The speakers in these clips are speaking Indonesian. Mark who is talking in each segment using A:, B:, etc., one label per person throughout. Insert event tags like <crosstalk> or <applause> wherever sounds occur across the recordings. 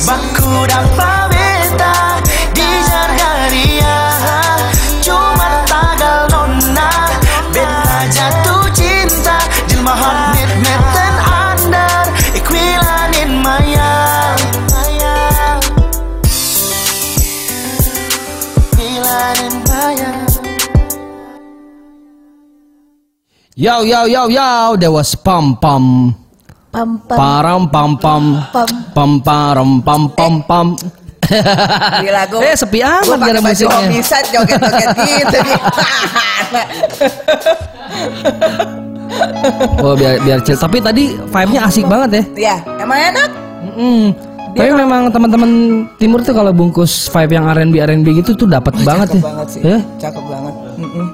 A: udang paveta di Jargaria Cuma tagal nona Beta jatuh cinta Jelma hot mid meten under Ikwilanin maya Ikwilanin maya
B: Yo yo yo yo, that was pam pam
C: Pam pam
B: param pam pam
C: pam. Eh.
B: pam param pam pam pam.
C: Gila gue.
B: Eh, sepi amat
C: gue Oh. pakai
B: gara
C: baju
B: musiknya.
C: homiset
B: <laughs>
C: joget-joget gitu di mana.
B: Oh biar biar chill. Tapi tadi vibe-nya asik banget ya.
C: <laughs> Ya, emang enak?
B: Mm-mm. Tapi memang teman-teman timur tuh kalau bungkus vibe yang R&B R&B gitu tuh dapat banget
C: Cakep
B: ya.
C: banget sih.
B: Ya.
C: Cakep banget. Mm-mm.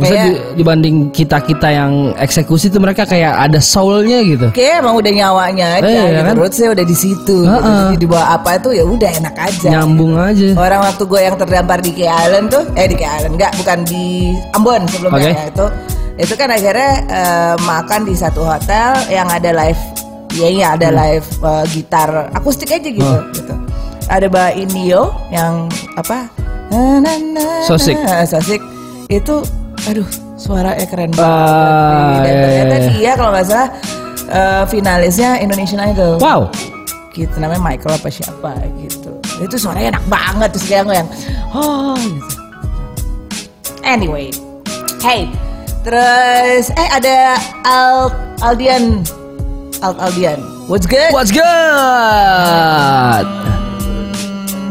B: Maksudnya
C: Kayak-
B: di- dibanding kita-kita yang eksekusi tuh mereka kayak ada soul-nya gitu.
C: Oke, emang udah nyawanya aja.
B: Eh, iya
C: gitu.
B: kan?
C: Menurut saya udah di situ. gitu.
B: Heeh.
C: Jadi di bawah apa itu ya udah enak aja.
B: Nyambung aja.
C: Orang waktu gue yang terdampar di Key Island tuh, eh di Key Island enggak, bukan di Ambon sebelumnya
B: Oke.
C: ya, itu. Itu kan akhirnya eh, makan di satu hotel yang ada live, iya iya ada
B: Hmm.
C: live eh, gitar akustik aja gitu,
B: Oh.
C: gitu. Ada bah Indio yang apa? na, na, na,
B: Sosik.
C: na, sosik itu, aduh suaranya keren banget.
B: Ah,
C: Dan
B: iya,
C: ternyata
B: iya.
C: dia kalau nggak salah eh, finalisnya Indonesian Idol
B: Wow.
C: gitu namanya Michael apa siapa gitu itu suaranya enak banget terus kayak gue yang oh gitu. anyway hey terus eh ada Al Aldian Al Aldian what's good
B: What's good?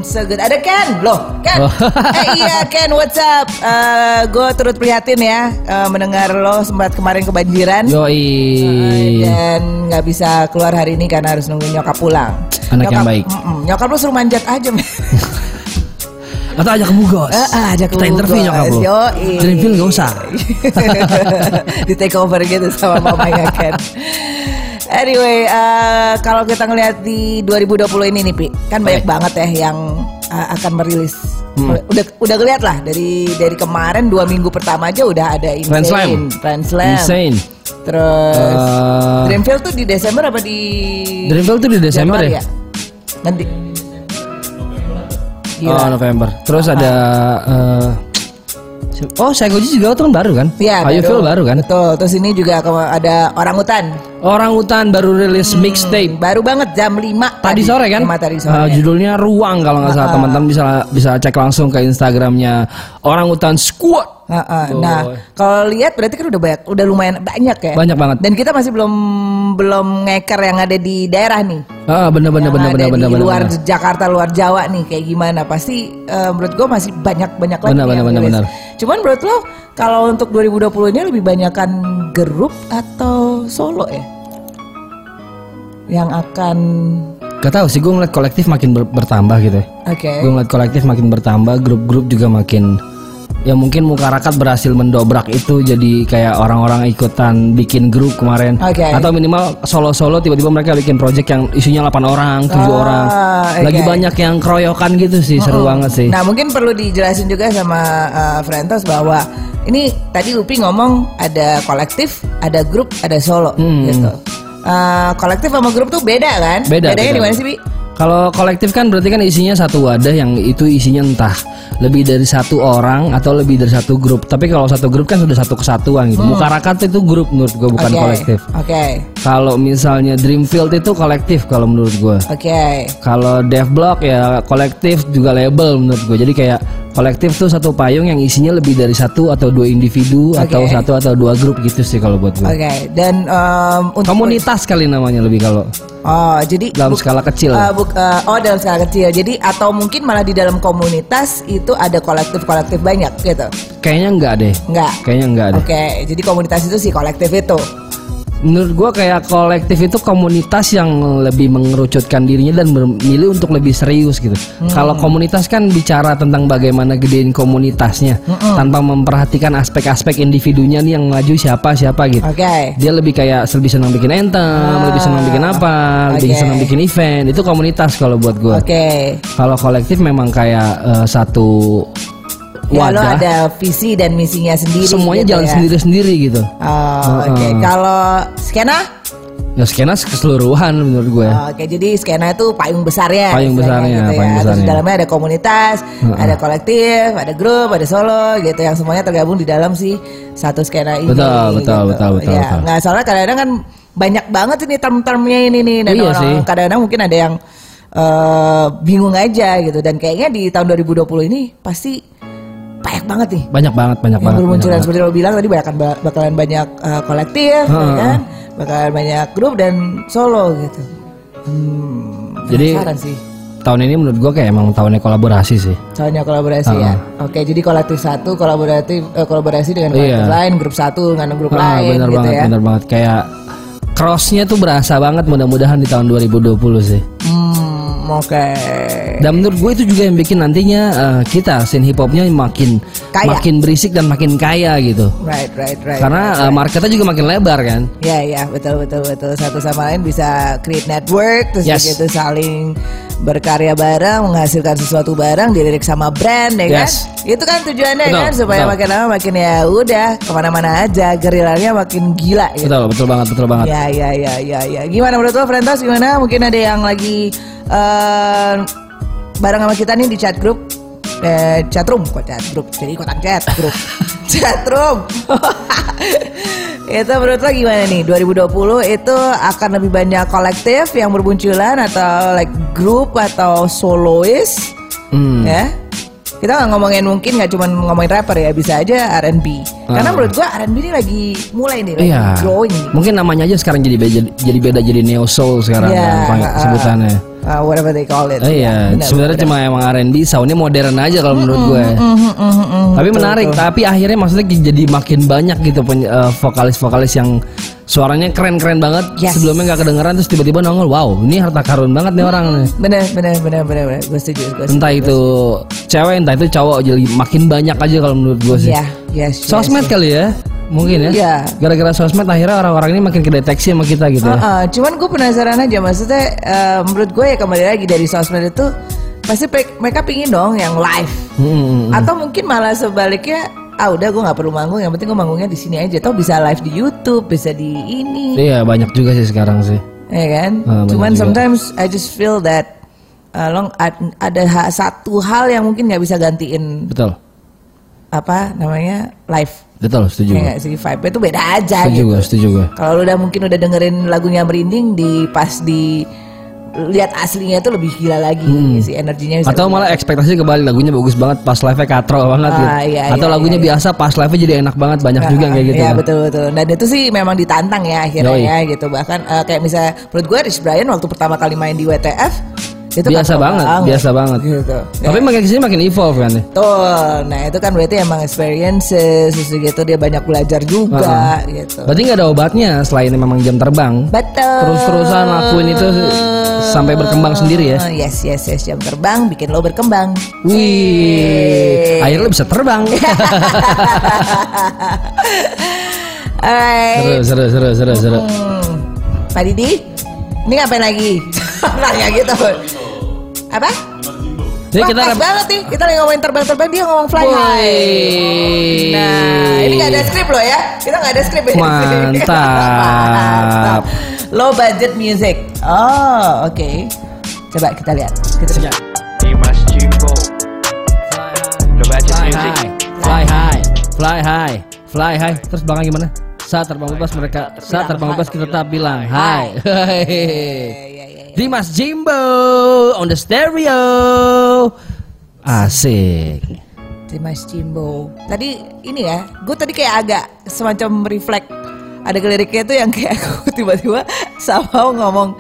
C: so good ada Ken loh Ken
B: Oh.
C: <laughs> eh iya Ken what's up Eh, gue turut prihatin ya eh, mendengar lo sempat kemarin kebanjiran
B: Yoi.
C: dan nggak bisa keluar hari ini karena harus nunggu nyokap pulang.
B: Anak yang
C: Nyokap-
B: baik.
C: Mm-mm. nyokap lu suruh manjat aja. men. <laughs>
B: Atau ajak kamu Gos.
C: Eh, ah, ajak
B: Kita
C: lu,
B: interview
C: Gos.
B: nyokap lu.
C: Yoi.
B: Dreamfield gak usah.
C: <laughs> Di take over gitu sama mamanya Ken. Anyway, eh, kalau kita ngelihat di 2020 ini nih, Pi, kan banyak banget ya yang eh, akan merilis.
B: Hmm.
C: Udah udah ngeliat lah dari dari kemarin dua minggu pertama aja udah ada Insane,
B: Slam.
C: Translam,
B: Insane.
C: terus
B: Eh,
C: Dreamfield tuh di Desember apa di
B: Dreamfield Eh, tuh di Desember
C: Januari
B: ya?
C: Nanti.
B: Oh
C: Gila.
B: November. Terus ada
C: Ah.
B: eh, si- Oh Psychoji juga tuh kan baru kan?
C: Iya,
B: How You Feel baru kan?
C: Betul. Terus ini juga ke- ada orang hutan.
B: Orang Utan baru rilis mixtape
C: Baru banget jam 5
B: tadi sore kan?
C: Lima Hmm. tadi iya,
B: Eh,
C: sore. Ah,
B: judulnya Ruang kalau nggak salah teman-teman bisa bisa cek langsung ke Instagramnya Orang Utan Squad.
C: Heeh.
B: Tuh.
C: Nah, kalau lihat berarti kan udah banyak, udah lumayan banyak ya.
B: Banyak banget.
C: Dan kita masih belum belum ngeker yang ada di daerah nih.
B: Ah bener bener
C: Yang
B: bener bener
C: ada di
B: bener bener.
C: luar
B: bener.
C: Jakarta, luar Jawa nih kayak gimana? Pasti eh, menurut gue masih banyak banyak lagi
B: Benar, benar,
C: yang
B: benar,
C: rilis.
B: benar.
C: Cuman menurut lo kalau untuk 2020 ini lebih banyakan grup atau solo ya? Yang akan
B: Gak tau sih gue ngeliat kolektif makin ber- bertambah gitu. ya.
C: oke.
B: Gue ngeliat kolektif makin bertambah, grup-grup juga makin ya mungkin Mukarakat berhasil mendobrak itu jadi kayak orang-orang ikutan bikin grup kemarin
C: Oke.
B: atau minimal solo-solo tiba-tiba mereka bikin project yang isinya 8 orang, 7
C: Ah,
B: orang.
C: oke.
B: Lagi banyak yang keroyokan gitu sih, seru banget sih.
C: Nah mungkin perlu dijelasin juga sama eh, Frentos bahwa ini tadi Upi ngomong ada kolektif, ada grup, ada solo
B: Hmm.
C: gitu. Eh, kolektif sama grup tuh beda kan?
B: Beda, beda.
C: Bedanya di mana sih Bi?
B: Kalau kolektif kan berarti kan isinya satu wadah yang itu isinya entah lebih dari satu orang atau lebih dari satu grup. Tapi kalau satu grup kan sudah satu kesatuan gitu. Mukarakat itu grup menurut gue bukan
C: Hmm. Oke,
B: kolektif.
C: Oke,
B: Kalau misalnya Dreamfield itu kolektif kalau menurut gue.
C: oke.
B: Kalau Dev Block ya kolektif juga label menurut gue. Jadi kayak kolektif tuh satu payung yang isinya lebih dari satu atau dua individu atau
C: Oke.
B: satu atau dua grup gitu sih kalau buat gue.
C: Oke, dan em, untuk
B: Komunitas kali namanya lebih kalau
C: oh jadi
B: dalam
C: buk-
B: skala kecil.
C: eh, buk- eh, oh dalam skala kecil. Jadi atau mungkin malah di dalam komunitas itu ada kolektif-kolektif banyak gitu.
B: Kayaknya enggak deh.
C: Enggak.
B: Kayaknya enggak deh.
C: Oke, jadi komunitas itu si kolektif itu.
B: Menurut gua kayak kolektif itu komunitas yang lebih mengerucutkan dirinya dan memilih untuk lebih serius gitu.
C: Hmm.
B: Kalau komunitas kan bicara tentang bagaimana gedein komunitasnya tanpa memperhatikan aspek-aspek individunya nih yang maju siapa siapa gitu.
C: Oke. Ah,
B: Dia lebih kayak lebih senang bikin anthem, lebih senang bikin apa, lebih
C: oke.
B: senang bikin event. Itu komunitas kalau buat gua.
C: Oke.
B: Kalau kolektif memang kayak eh, satu
C: Ya lo
B: wadah,
C: ada visi dan misinya sendiri.
B: semuanya
C: gitu
B: jalan
C: ya.
B: sendiri-sendiri gitu.
C: Oh, Oke, kalau skena?
B: Ya skena keseluruhan menurut ya. gue.
C: Oke, jadi skena itu payung besarnya.
B: Payung
C: istilahnya gitu ya.
B: besarnya, payung
C: Terus di
B: besarnya.
C: dalamnya ada komunitas,
B: Heeh.
C: ada kolektif, ada grup, ada solo gitu yang semuanya tergabung di dalam si satu skena ini.
B: Betul,
C: gitu.
B: betul, betul, betul,
C: Ya,
B: betul.
C: Nah, soalnya kadang-kadang kan banyak banget ini term-termnya ini nih dan
B: Iya
C: orang
B: sih.
C: kadang-kadang mungkin ada yang eh, bingung aja gitu dan kayaknya di tahun 2020 ini pasti banyak banget nih
B: Banyak banget, banyak
C: yang
B: banget.
C: bermunculan
B: banyak banget.
C: seperti lo bilang tadi bakalan ba- bakalan banyak eh, kolektif ya
B: Heeh.
C: kan bakalan banyak grup dan solo gitu hmm,
B: Jadi-
C: penasaran sih
B: Tahun ini menurut gue kayak emang tahunnya kolaborasi sih.
C: soalnya kolaborasi ya oke jadi kolektif satu kolaboratif eh, kolaborasi dengan kolektif
B: Iya.
C: lain grup satu dengan grup
B: Ah,
C: lain
B: bener
C: gitu
B: banget,
C: ya
B: bener banget. Kayak crossnya tuh berasa banget mudah-mudahan di tahun 2020 sih.
C: hmm oke
B: Dan menurut gue itu juga yang bikin nantinya eh, kita scene hip hopnya makin
C: Kaya.
B: makin berisik dan makin kaya gitu.
C: right right right
B: Karena eh, marketnya juga makin lebar kan.
C: Ya ya betul betul betul satu sama lain bisa create network terus
B: Yes.
C: begitu saling berkarya bareng menghasilkan sesuatu bareng dilirik sama brand ya kan
B: Yes.
C: itu kan tujuannya
B: Betul,
C: kan supaya
B: betul.
C: makin lama makin ya udah kemana-mana aja gerilanya makin gila gitu
B: Betul, betul banget, betul banget.
C: ya ya ya ya ya gimana menurut lo Frentos gimana mungkin ada yang lagi eh, bareng sama kita nih di chat group eh, chat room kok chat group jadi ikutan chat
B: <laughs>
C: group chat room <laughs> itu menurut lo gimana nih 2020 itu akan lebih banyak kolektif yang bermunculan atau like grup atau soloist
B: Hmm.
C: ya kita nggak ngomongin mungkin nggak cuma ngomongin rapper ya bisa aja R&B karena
B: Ah.
C: menurut gua R&B ini lagi mulai nih lagi
B: Iya.
C: growing nih.
B: Mungkin namanya aja sekarang jadi beda, jadi beda jadi neo soul sekarang
C: Iya,
B: kan,
C: ah, ah.
B: sebutannya.
C: Uh, whatever they call it.
B: Eh, iya,
C: Benar,
B: sebenarnya
C: benar.
B: cuma emang R&B, soundnya modern aja kalau menurut ya. gue.
C: Mhm, mhm, mhm.
B: Tapi menarik, tapi akhirnya maksudnya jadi makin banyak gitu peny- eh, vokalis-vokalis yang suaranya keren-keren banget.
C: Yes.
B: Sebelumnya nggak kedengeran terus tiba-tiba nongol, wow, ini harta karun banget nih orang. nih."
C: Benar, benar, benar, benar, benar. Gue setuju, gue setuju.
B: Entah itu cewek, entah itu cowok, jadi makin banyak aja kalau menurut gue sih.
C: Iya, yes, yes,
B: Sosmed
C: yes.
B: kali ya, mungkin ya.
C: Iya.
B: Gara-gara sosmed akhirnya orang-orang ini makin kedeteksi sama kita gitu. ya.
C: Uh-uh, cuman gue penasaran aja maksudnya eh, menurut gue ya kembali lagi dari sosmed itu pasti pe- mereka pingin dong yang live
B: Hmm.
C: atau mungkin malah sebaliknya ah udah gue nggak perlu manggung yang penting gue manggungnya di sini aja tau bisa live di YouTube bisa di ini
B: Iya banyak juga sih sekarang sih.
C: ya kan?
B: Ah, benar
C: Cuman
B: juga.
C: sometimes I just feel that uh, long ad- ada ha- satu hal yang mungkin nggak bisa gantiin
B: Betul,
C: apa namanya live
B: betul setuju.
C: ya nggak sih vibe itu beda
B: Iya.
C: aja
B: Setuju
C: gitu.
B: gue, setuju gue.
C: Kalau lu udah mungkin udah dengerin lagunya merinding di pas di lihat aslinya itu lebih gila lagi si energinya bisa
B: Hmm. Atau
C: lebih-
B: malah ekspektasi kebalik lagunya bagus banget pas live-nya katro banget
C: Ah,
B: gitu.
C: iya,
B: Atau
C: iya,
B: lagunya
C: iya,
B: biasa pas live-nya jadi enak banget banyak juga yang kayak gitu.
C: ya
B: kan.
C: betul betul dan itu sih memang ditantang ya akhirnya
B: Yoi.
C: ya gitu bahkan eh, kayak misalnya menurut gue Rich Brian waktu pertama kali main di WTF itu
B: Biasa
C: katro
B: banget, biasa banget.
C: gitu Ya.
B: Tapi makin kesini makin evolve kan ya.
C: Betul. Nah itu kan berarti emang experiences terus gitu dia banyak belajar juga gitu.
B: Berarti nggak ada obatnya selain memang jam terbang.
C: Betul.
B: Terus-terusan lakuin itu sampai berkembang sendiri ya.
C: Yes yes yes jam terbang bikin lo berkembang.
B: Wih, akhirnya bisa
C: <laughs>
B: terbang. seru,
C: Alright.
B: seru, seru, seru, seru.
C: Hmm. Pak Didi, ini ngapain lagi? <laughs> Nanya gitu. Apa?
B: Jadi
C: Wah,
B: kita
C: pas
B: rap-
C: banget nih kita lagi ngomongin terbang-terbang dia ngomong fly
B: Woi.
C: high. Nah, ini nggak ada skrip loh ya. Kita nggak ada skrip ya. di sini. <laughs>
B: Mantap.
C: Mantap. Low budget music. Oh, oke. Coba kita lihat. Kita
B: Ya.
C: lihat.
D: Dimas Cimbo Low budget
B: Fly
D: music.
B: high, fly high, fly high, fly high. Terus belakang gimana? Saat terbang bebas mereka, saat terbang bebas kita tetap bilang hai. <laughs>
C: Ya, ya, ya, ya.
B: Dimas Jimbo on the stereo. Asik.
C: Dimas Cimbo. Tadi ini ya, gue tadi kayak agak semacam reflect. Ada liriknya tuh yang kayak aku <laughs> tiba-tiba sama ngomong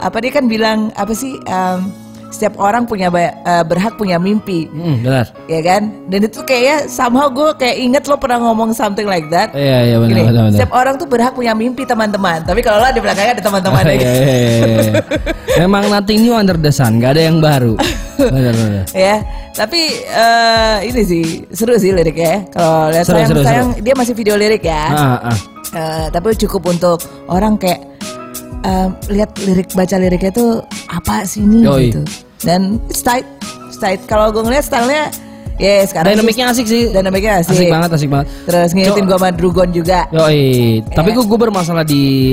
C: apa dia kan bilang apa sih? em, setiap orang punya ba- eh, berhak punya mimpi.
B: Hmm, benar.
C: ya kan? Dan itu kayaknya somehow gue kayak inget lo pernah ngomong something like that.
B: Iya, iya benar,
C: Gini,
B: benar, benar.
C: setiap orang tuh berhak punya mimpi teman-teman. Tapi kalau lo di belakangnya ada teman-teman
B: <laughs> Iya,
C: ya.
B: iya, iya, iya. Memang nothing new under the sun, gak ada yang baru.
C: <laughs>
B: Benar, benar.
C: Ya, tapi eh, ini sih seru sih liriknya. ya. Kalau lihat
B: Seru,
C: sayang,
B: seru,
C: sayang dia masih video lirik ya.
B: Ah, ah.
C: Eh, tapi cukup untuk orang kayak eh, lihat lirik baca liriknya tuh apa sih ini
B: Yoi.
C: gitu. Dan it's tight, it's tight. Kalau gue ngeliat stylenya, ya sekarang sih
B: Dynamicnya asik sih.
C: Dynamicnya asik.
B: Asik banget, asik banget.
C: Terus ngingetin
B: Cok.
C: gue sama Drugon juga.
B: Yoi, tapi gue gue bermasalah di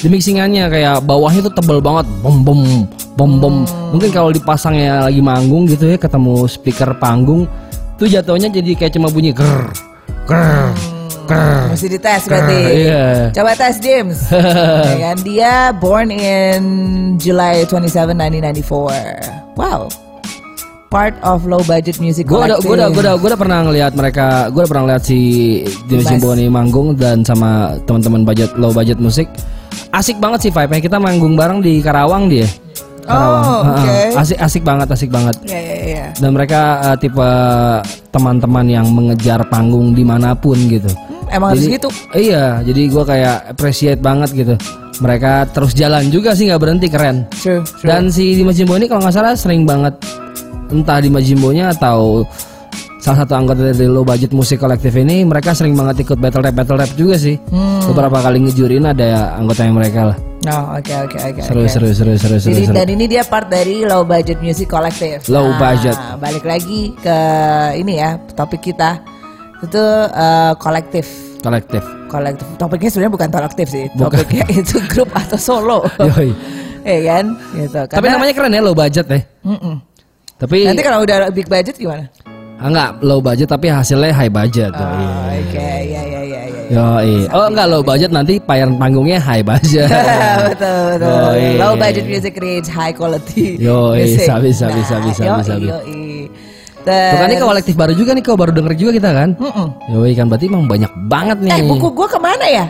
B: di mixingannya kayak bawahnya tuh tebel banget bom bom bom bom
C: Hmm.
B: mungkin kalau dipasangnya lagi manggung gitu ya ketemu speaker panggung tuh jatuhnya jadi kayak cuma bunyi ger ger
C: Mesti dites berarti.
B: Ah. Iya.
C: Coba tes
B: <laughs>
C: James. ya kan? Dia born in July 27, 1994. Wow. Part of low budget music
B: Gue udah, gue udah, gue udah,
C: collective.
B: gue udah pernah ngelihat mereka, gue udah pernah ngelihat si Jimmy
C: Mas.
B: Simboni manggung dan sama teman-teman budget low budget musik. Asik banget sih vibe-nya. Kita manggung bareng di Karawang dia. Karawang.
C: Oh,
B: Heeh.
C: oke.
B: Asik, asik banget, asik banget.
C: Iya, iya, iya.
B: Dan mereka eh, tipe teman-teman yang mengejar panggung dimanapun gitu.
C: Emang harus
B: Jadi-
C: gitu.
B: Iya, jadi gue kayak appreciate banget gitu. Mereka terus jalan juga sih nggak berhenti keren.
C: True, true.
B: Dan si Dimas Jimbo ini kalau nggak salah sering banget entah Dimas Jimbonya atau salah satu anggota dari Low Budget Music Collective ini mereka sering banget ikut battle rap battle rap juga sih. Beberapa kali ngejurin ada anggotanya mereka lah.
C: Oh, Hmm. oke, oke, oke.
B: Seru ya.
C: oke.
B: seru seru seru seru.
C: Jadi
B: seru.
C: dan ini dia part dari low budget music collective. Nah,
B: Low budget.
C: Balik lagi ke ini ya topik kita itu eh, kolektif.
B: Kolektif.
C: Kolektif. Topiknya sebenarnya bukan kolektif sih.
B: Bukan.
C: Topiknya <laughs> itu grup atau solo.
B: <laughs> Yoi.
C: Iya kan? Gitu.
B: Tapi Iya.
C: Karena-
B: namanya keren ya Low Budget ya.
C: Mm-mm.
B: Tapi
C: Nanti kalau udah big budget gimana?
B: ah, nggak Low Budget tapi hasilnya High Budget.
C: Oh,
B: Yoi.
C: Oke, ya ya ya ya. ya.
B: Yoi. Oh enggak low budget nanti payaran panggungnya high budget.
C: <laughs> Iya, betul betul.
B: Yoi.
C: Low budget music creates high quality.
B: Yoi,
C: music. Nah,
B: sabi, sabi, sabi, sabi,
C: yoi,
B: sabi.
C: yoi.
B: Tuh kan ini
C: Terus-
B: kolektif baru juga nih kau baru denger juga kita kan.
C: Mm-mm.
B: Yoi kan berarti emang banyak banget nih.
C: Hmm. Eh buku gua kemana ya?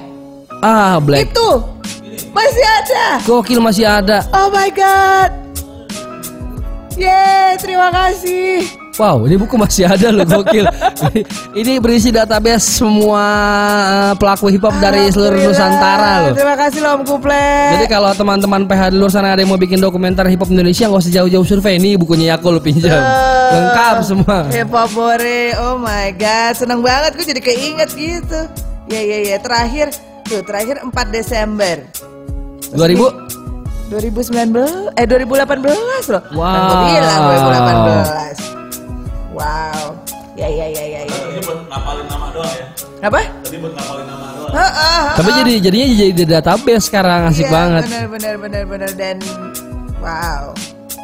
B: Ah black.
C: Itu masih ada.
B: Gokil masih ada.
C: Oh my god. Yeay, terima kasih.
B: Wow, ini buku masih ada loh
C: <laughs>
B: gokil. ini berisi database semua eh, pelaku hip hop dari seluruh
C: Alhamdulillah.
B: Nusantara loh.
C: Terima kasih loh Om Kuple.
B: Jadi kalau teman-teman PH di luar sana ada yang mau bikin dokumenter hip hop Indonesia nggak usah jauh-jauh survei ini bukunya aku lo pinjam.
C: Eh,
B: Lengkap semua.
C: Hip Hop Bore. Oh my god, seneng banget gue jadi keinget gitu. Ya ya ya, terakhir tuh terakhir 4 Desember
B: 2000
C: 2019 eh 2018 loh.
B: Wow.
C: Kan gue bilang 2018. Wow. Ya ya ya ya ya. Tadi buat ngapalin nama doang ya. Apa? Tadi buat ngapalin nama doang. Heeh.
B: Tapi jadi jadinya jadi di database sekarang asik
C: Iya,
B: banget.
C: Benar benar benar benar dan wow.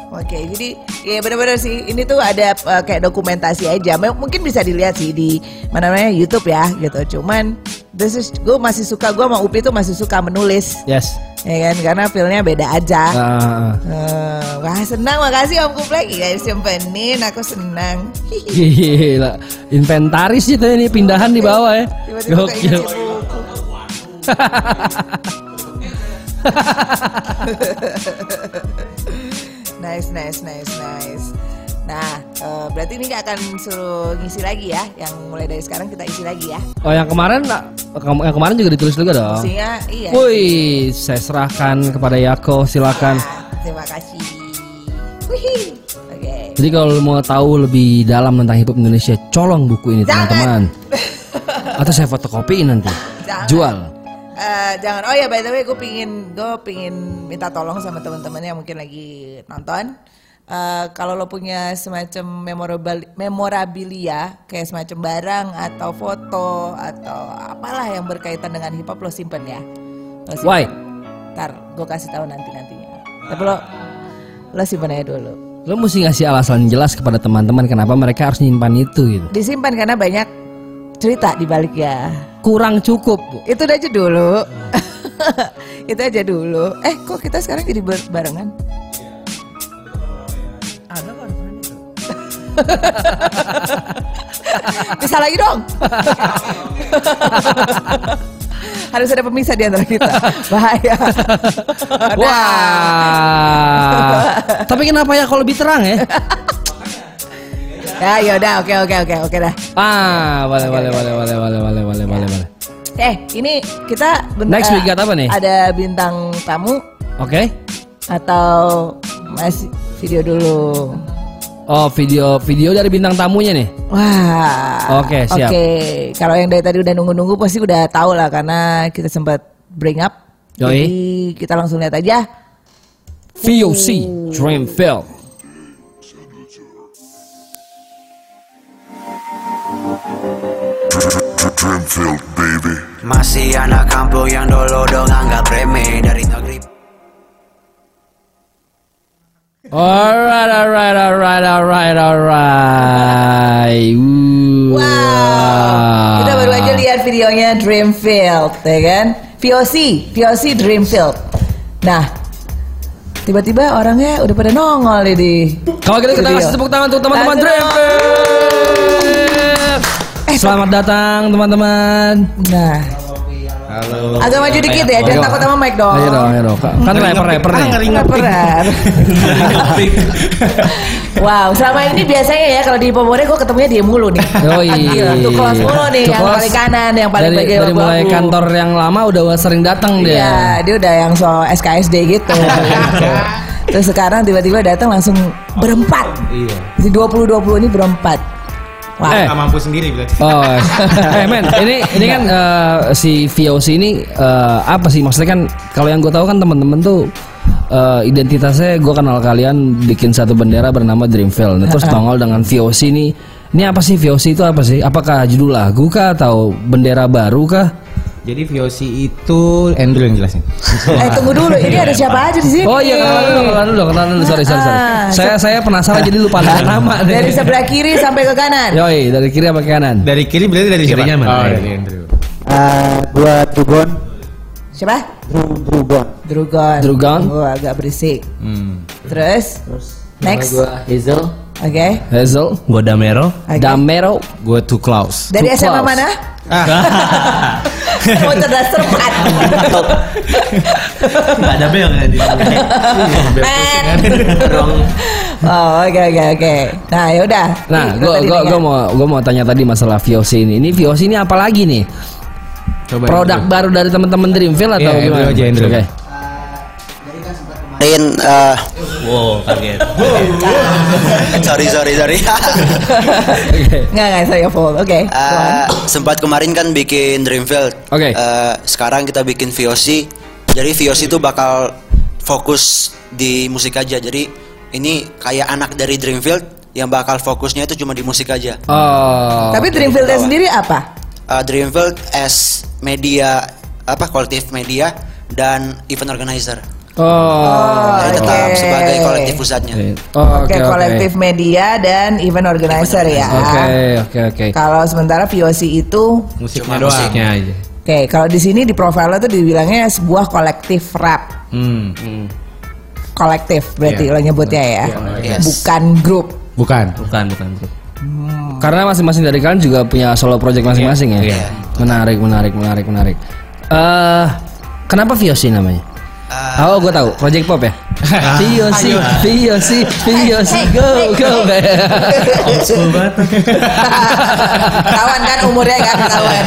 C: Oke, jadi ya benar-benar sih ini tuh ada uh, kayak dokumentasi aja. M- Mungkin bisa dilihat sih di mana namanya YouTube ya gitu. Cuman this is gue masih suka gue sama Upi tuh masih suka menulis
B: Yes.
C: ya kan karena feelnya beda aja.
B: Ah,
C: Eh, wah senang makasih Om Kuplek ya simpenin aku senang. Hihi.
B: gila. Inventaris gitu ini pindahan di bawah ya.
C: Tiba-tiba gitu.
B: Gokil. <laughs>
C: keinget si buku. nice, nice, nice, nice. Nah, eh, berarti ini nggak akan suruh ngisi lagi ya, yang mulai dari sekarang kita isi lagi ya.
B: Oh yang kemarin kam- yang kemarin juga ditulis juga dong.
C: Isinya iya.
B: Woi, Kan. saya serahkan kepada Yako, silakan.
C: Nah, terima kasih. Wih, oke.
B: Jadi kalau lu mau tahu lebih dalam tentang hip hop Indonesia, colong buku ini
C: Jangan.
B: teman-teman.
C: <laughs>
B: Atau saya fotokopiin nanti.
C: Jangan.
B: Jual.
C: Eh, jangan oh ya by the way gue pingin gue pingin minta tolong sama teman-teman yang mungkin lagi nonton Eh, kalau lo punya semacam memorable memorabilia kayak semacam barang atau foto atau apalah yang berkaitan dengan hip hop lo simpen ya lo simpen.
B: Why?
C: ntar gue kasih tahu nanti nantinya tapi lo lo simpen aja dulu
B: Lu mesti ngasih alasan jelas kepada teman-teman kenapa mereka harus nyimpan itu gitu.
C: disimpan karena banyak cerita di ya. baliknya
B: Kurang cukup, Bu.
C: Itu aja dulu. <laughs> itu aja dulu. Eh, kok kita sekarang jadi ber- barengan? <laughs> Bisa lagi dong. <laughs> Harus ada pemisah di antara kita.
B: <laughs>
C: Bahaya. Ada. <laughs>
B: Wah. Tapi kenapa ya kalau lebih terang ya?
C: Ya, yaudah, oke oke oke oke dah.
B: Ah, boleh boleh boleh boleh boleh boleh boleh boleh boleh.
C: Eh, ini kita bentar
B: Next we got apa nih?
C: Ada bintang tamu
B: Oke.
C: atau masih video dulu.
B: Oh, video video dari bintang tamunya nih.
C: Wah.
B: Oke, siap.
C: Oke, kalau yang dari tadi udah nunggu-nunggu pasti udah tahu lah karena kita sempat bring up.
B: Yoi.
C: Jadi kita langsung lihat aja.
B: VOC
C: Uh.
B: Dream Film.
E: Dreamfield, baby.
A: Masih anak kampung yang dulu dong anggap remeh dari negeri
B: Alright, alright, alright, alright, alright. Wow.
C: Wow. Kita baru aja lihat videonya Dreamfield, ya kan? VOC, VOC Dreamfield. Nah, tiba-tiba orangnya udah pada nongol nih di.
B: Kalau gitu kita
C: Studio.
B: kasih tepuk tangan untuk teman-teman
C: Tepuk tangan.
B: Dreamfield. Selamat datang teman-teman.
C: Nah. Halo. Agak maju dikit ya, jangan takut sama mic dong. Ah,
B: Ayo dong, ayo dong. Kan rapper-rapper nih.
C: Laparan. wow, selama ini biasanya ya kalau di Pomore gue ketemunya dia mulu nih. <laughs>
B: Yoi.
C: Gila, Tuh kelas mulu nih yang
B: Tukos
C: paling kanan, yang paling
B: dari,
C: bagian
B: dari mulai
C: abu-abu.
B: kantor ya. yang lama udah sering datang dia.
C: Iya, dia udah yang soal SKSD
B: <laughs>
C: gitu. Terus sekarang tiba-tiba datang langsung berempat.
F: Iya.
C: Di 2020 ini berempat. Wah.
B: Eh.
F: Nggak mampu sendiri berarti.
B: Oh, <laughs> eh men, ini ini kan
C: Iya.
B: eh, si VOC ini eh, apa sih maksudnya kan? Kalau yang gue tahu kan teman-teman tuh eh, identitasnya gue kenal kalian bikin satu bendera bernama Dreamfield. Nah, terus tongol dengan VOC ini, ini apa sih VOC itu apa sih? Apakah judul lagu kah atau bendera baru kah?
F: Jadi VOC itu Andrew yang jelasin.
C: Eh tunggu dulu, ini ada siapa aja di sini?
B: Oh iya kenalan dulu, kenalan dulu, kenalan dulu. Sorry, sorry, sorry.
C: Ah,
B: Saya saya penasaran jadi lupa <laughs> nama nih.
C: Dari sebelah kiri sampai ke kanan.
B: Yoi, dari kiri apa ke kanan?
F: Dari kiri berarti dari siapa?
G: Kirinya mana? Iya.
F: Oh, dari Andrew.
H: Eh, gua Drugon,
C: Siapa?
H: Dru- Drugon.
C: Drugon.
B: Drugon.
C: Oh, agak berisik.
F: Hmm.
C: Terus, next. Oke.
H: Hazel.
B: Hazel,
G: Gua Damero.
C: Oke.
B: Damero,
F: Gue tuh Klaus.
C: Dari
B: Two
C: SMA
B: Klaus.
C: mana?
F: Ah.
G: <laughs>
C: <laughs> Mau cerdas serpat.
G: Gak ada bel kan di
C: Men. Oh, oke oke oke. Nah, ya udah.
B: Nah,
C: Nih,
B: gua
C: tadi
B: gua
C: dengar.
B: gua mau gua mau tanya tadi masalah VOC ini. Ini VOC ini apa lagi nih?
F: <laughs> Coba
B: Produk
F: Andrew.
B: baru dari teman-teman Dreamfield atau
F: Iya, Andrew
B: gimana?
F: aja, Andrew.
B: Oke.
H: Rin, eh,
G: Wow, kaget.
H: <laughs> sorry sorry sorry.
C: Nggak, nggak, saya full. Oke.
B: Ah,
H: Eh, sempat kemarin kan bikin Dreamfield.
B: Oke.
H: Eh, sekarang kita bikin VOC. Jadi VOC itu bakal fokus di musik aja. Jadi ini kayak anak dari Dreamfield yang bakal fokusnya itu cuma di musik aja.
B: Oh.
C: Tapi Dreamfield sendiri apa?
H: Eh, Dreamfield as media apa kolektif media dan event organizer.
B: Oh.
H: Jadi tetap
C: oke.
H: sebagai kolektif pusatnya.
C: Oke, kolektif media dan event organizer ya.
B: Oke, oke, oke.
C: Kalau sementara VOC itu
F: musiknya doang. Musiknya aja.
C: Oke, kalau di sini di profilnya tuh dibilangnya sebuah kolektif rap.
F: Hmm.
B: Iya.
C: Kolektif berarti lo nyebutnya ya.
H: Yes.
C: Bukan
B: <laughs>
C: grup.
F: Bukan.
G: Bukan, bukan. bro.
B: Karena masing-masing dari kalian juga punya solo project masing-masing ya.
F: Iya.
B: Menarik, menarik, menarik, menarik. Eh, kenapa VOC namanya?
H: Eh,
F: Ah.
B: oh, gue tahu. Project Pop ya. VOC, VOC, VOC, go, go.
C: Ketahuan kan umurnya kan ketahuan.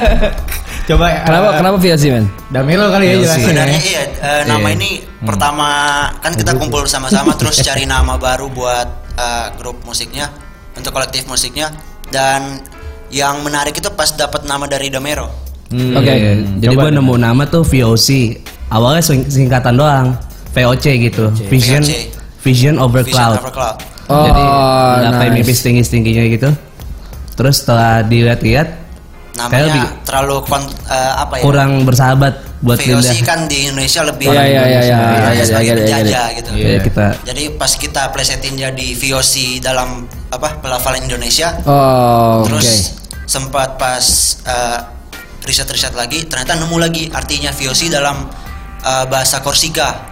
F: <laughs> Coba.
B: Kenapa,
F: eh,
B: kenapa VOC men?
F: Damero kali ya jelasin.
H: Sebenarnya
F: <laughs> ya.
H: iya eh, nama ini
B: Hmm.
H: pertama kan kita kumpul sama-sama terus
B: <laughs>
H: cari nama baru buat eh, grup musiknya untuk kolektif musiknya dan yang menarik itu pas dapat nama dari Damero.
F: Hmm.
B: Oke.
F: Iya.
G: Jadi
F: Coba.
G: gua nemu nama tuh VOC. Awalnya sing- singkatan doang. VOC gitu. Vision
H: VOC.
G: Vision over
H: Vision
G: cloud.
H: Over Cloud.
B: Oh,
G: Jadi ngapain
B: nice.
G: mimpi tinggi-tingginya gitu. Terus setelah dilihat-lihat kayak
H: Namanya
G: lebih
H: terlalu kon- eh, apa ya?
G: kurang bersahabat buat
H: VOC
G: Linda.
H: kan di Indonesia lebih
B: Iya, iya, iya, iya,
H: orang
B: iya, iya,
H: sebagai
B: iya, iya, iya.
H: penjajah gitu.
G: Jadi Ya, kita
H: Jadi pas kita plesetin jadi VOC dalam apa pelafalan Indonesia
B: Oh, oke.
H: Terus sempat pas eh, riset-riset lagi, ternyata nemu lagi artinya VOC dalam eh, bahasa Korsika.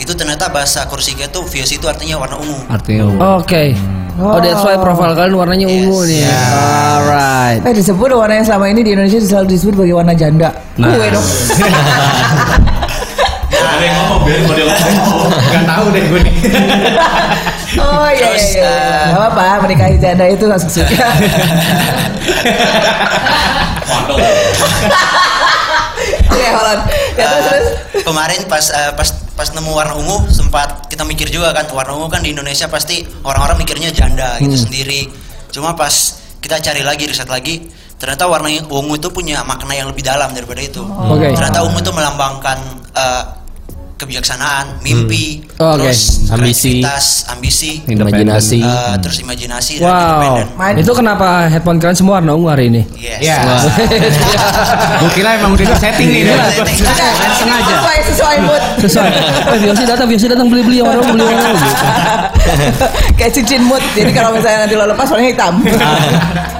H: Itu ternyata bahasa Korsika itu VOC itu artinya warna ungu.
G: artinya
B: Oke. Oh, that's why profil kalian warnanya ungu nih. Alright.
C: Eh disebut warna yang selama ini di Indonesia selalu disebut sebagai warna janda.
G: Nah.
C: Gue
F: <laughs>
C: dong.
F: Gak tahu deh gue nih.
C: <laughs> Oh iya iya.
H: Terus,
C: iya.
H: eh,
C: Gak apa-apa menikahi janda itu langsung
H: <laughs>
C: suka. Iya Holon. Ya terus
H: Eh,
C: terus.
H: kemarin pas eh, pas pas nemu warna ungu sempat kita mikir juga kan warna ungu kan di Indonesia pasti orang-orang mikirnya janda gitu sendiri. Cuma pas kita cari lagi riset lagi ternyata warna ungu itu punya makna yang lebih dalam daripada itu.
B: Oke.
H: Ternyata ungu itu melambangkan eh, kebijaksanaan, mimpi,
B: Oh, oke.
H: terus
E: Ambisi.
H: kreativitas, ambisi,
E: Imajinasi.
H: eh, terus
F: Iya,
H: imajinasi dan
B: Wow.
H: independen.
C: Main-
B: Itu kenapa headphone kalian semua warna ungu hari ini?
H: Yes.
F: Iya.
B: <laughs>
F: <laughs> Gue kira emang udah setting nih.
H: Iya.
F: dia.
C: Ada,
F: Sengaja.
C: Sesuai sesuai
H: <laughs>
C: mood.
B: Sesuai. Eh, Biosi datang, Biosi datang beli beli yang warna ungu, beli yang warna ungu. gitu.
C: Kayak cincin mood. Jadi kalau misalnya nanti lo lepas warnanya hitam.
H: Ah.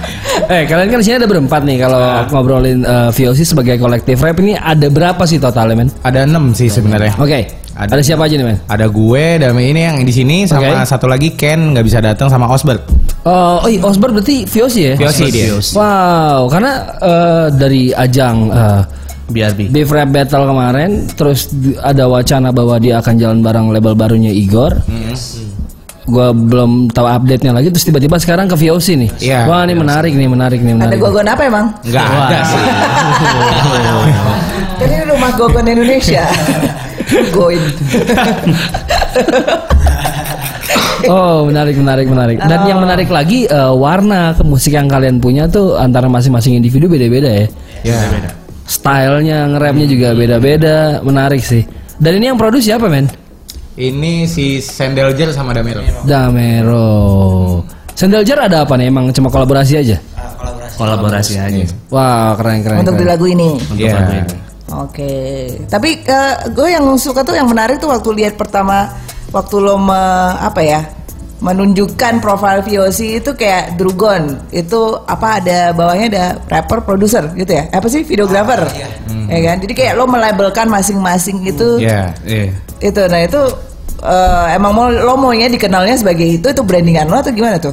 B: Eh kalian kan di sini ada berempat nih kalau
F: Iya.
B: ngobrolin eh, VOC sebagai kolektif rap ini ada berapa sih totalnya men?
F: Ada 6 sih sebenarnya.
B: Oke, ada.
F: Ada.
B: siapa aja nih men?
F: Ada gue, ada ini yang di sini sama
B: Oke.
F: satu lagi Ken nggak bisa datang sama Osbert.
B: Eh, oh, iya, Osbar berarti VOC ya?
F: Yosi dia.
B: Wow, karena eh, dari ajang eh,
G: BRB.
B: Beef Rap Battle kemarin, terus di- ada wacana bahwa dia akan jalan bareng label barunya Igor.
F: Mm-hmm.
B: Gue belum tahu update-nya lagi, terus tiba-tiba sekarang ke VOC nih.
F: Iya.
B: Wah, ini menarik nih, menarik nih, menarik.
C: Ada gogon apa emang?
F: Enggak ada sih.
C: Kan ini rumah gogon
H: <laughs>
C: Indonesia. Goin.
B: Oh, menarik, menarik, menarik. Dan yang menarik lagi eh, warna ke musik yang kalian punya tuh antara masing-masing individu beda-beda ya.
F: Ya.
B: Stylenya nge-rapnya juga beda-beda, menarik sih. Dan ini yang produksi siapa, men?
F: Ini si Sendelger sama Damero.
B: Iya, Damero. Sendelger ada apa nih? Emang cuma kolaborasi aja?
H: Eh, kolaborasi.
G: Kolaborasi aja.
B: Wah, keren keren.
C: Untuk di
B: keren.
C: lagu ini.
F: Iya.
C: Oke, tapi eh, gue yang suka tuh yang menarik tuh waktu lihat pertama waktu lo me- apa ya menunjukkan profil VOC itu kayak Drugon itu apa ada bawahnya ada rapper produser gitu ya apa sih videographer ya kan jadi kayak lo melabelkan masing-masing itu
F: Iya. Iya.
C: itu nah itu eh, emang mau lo maunya dikenalnya sebagai itu itu brandingan lo atau gimana tuh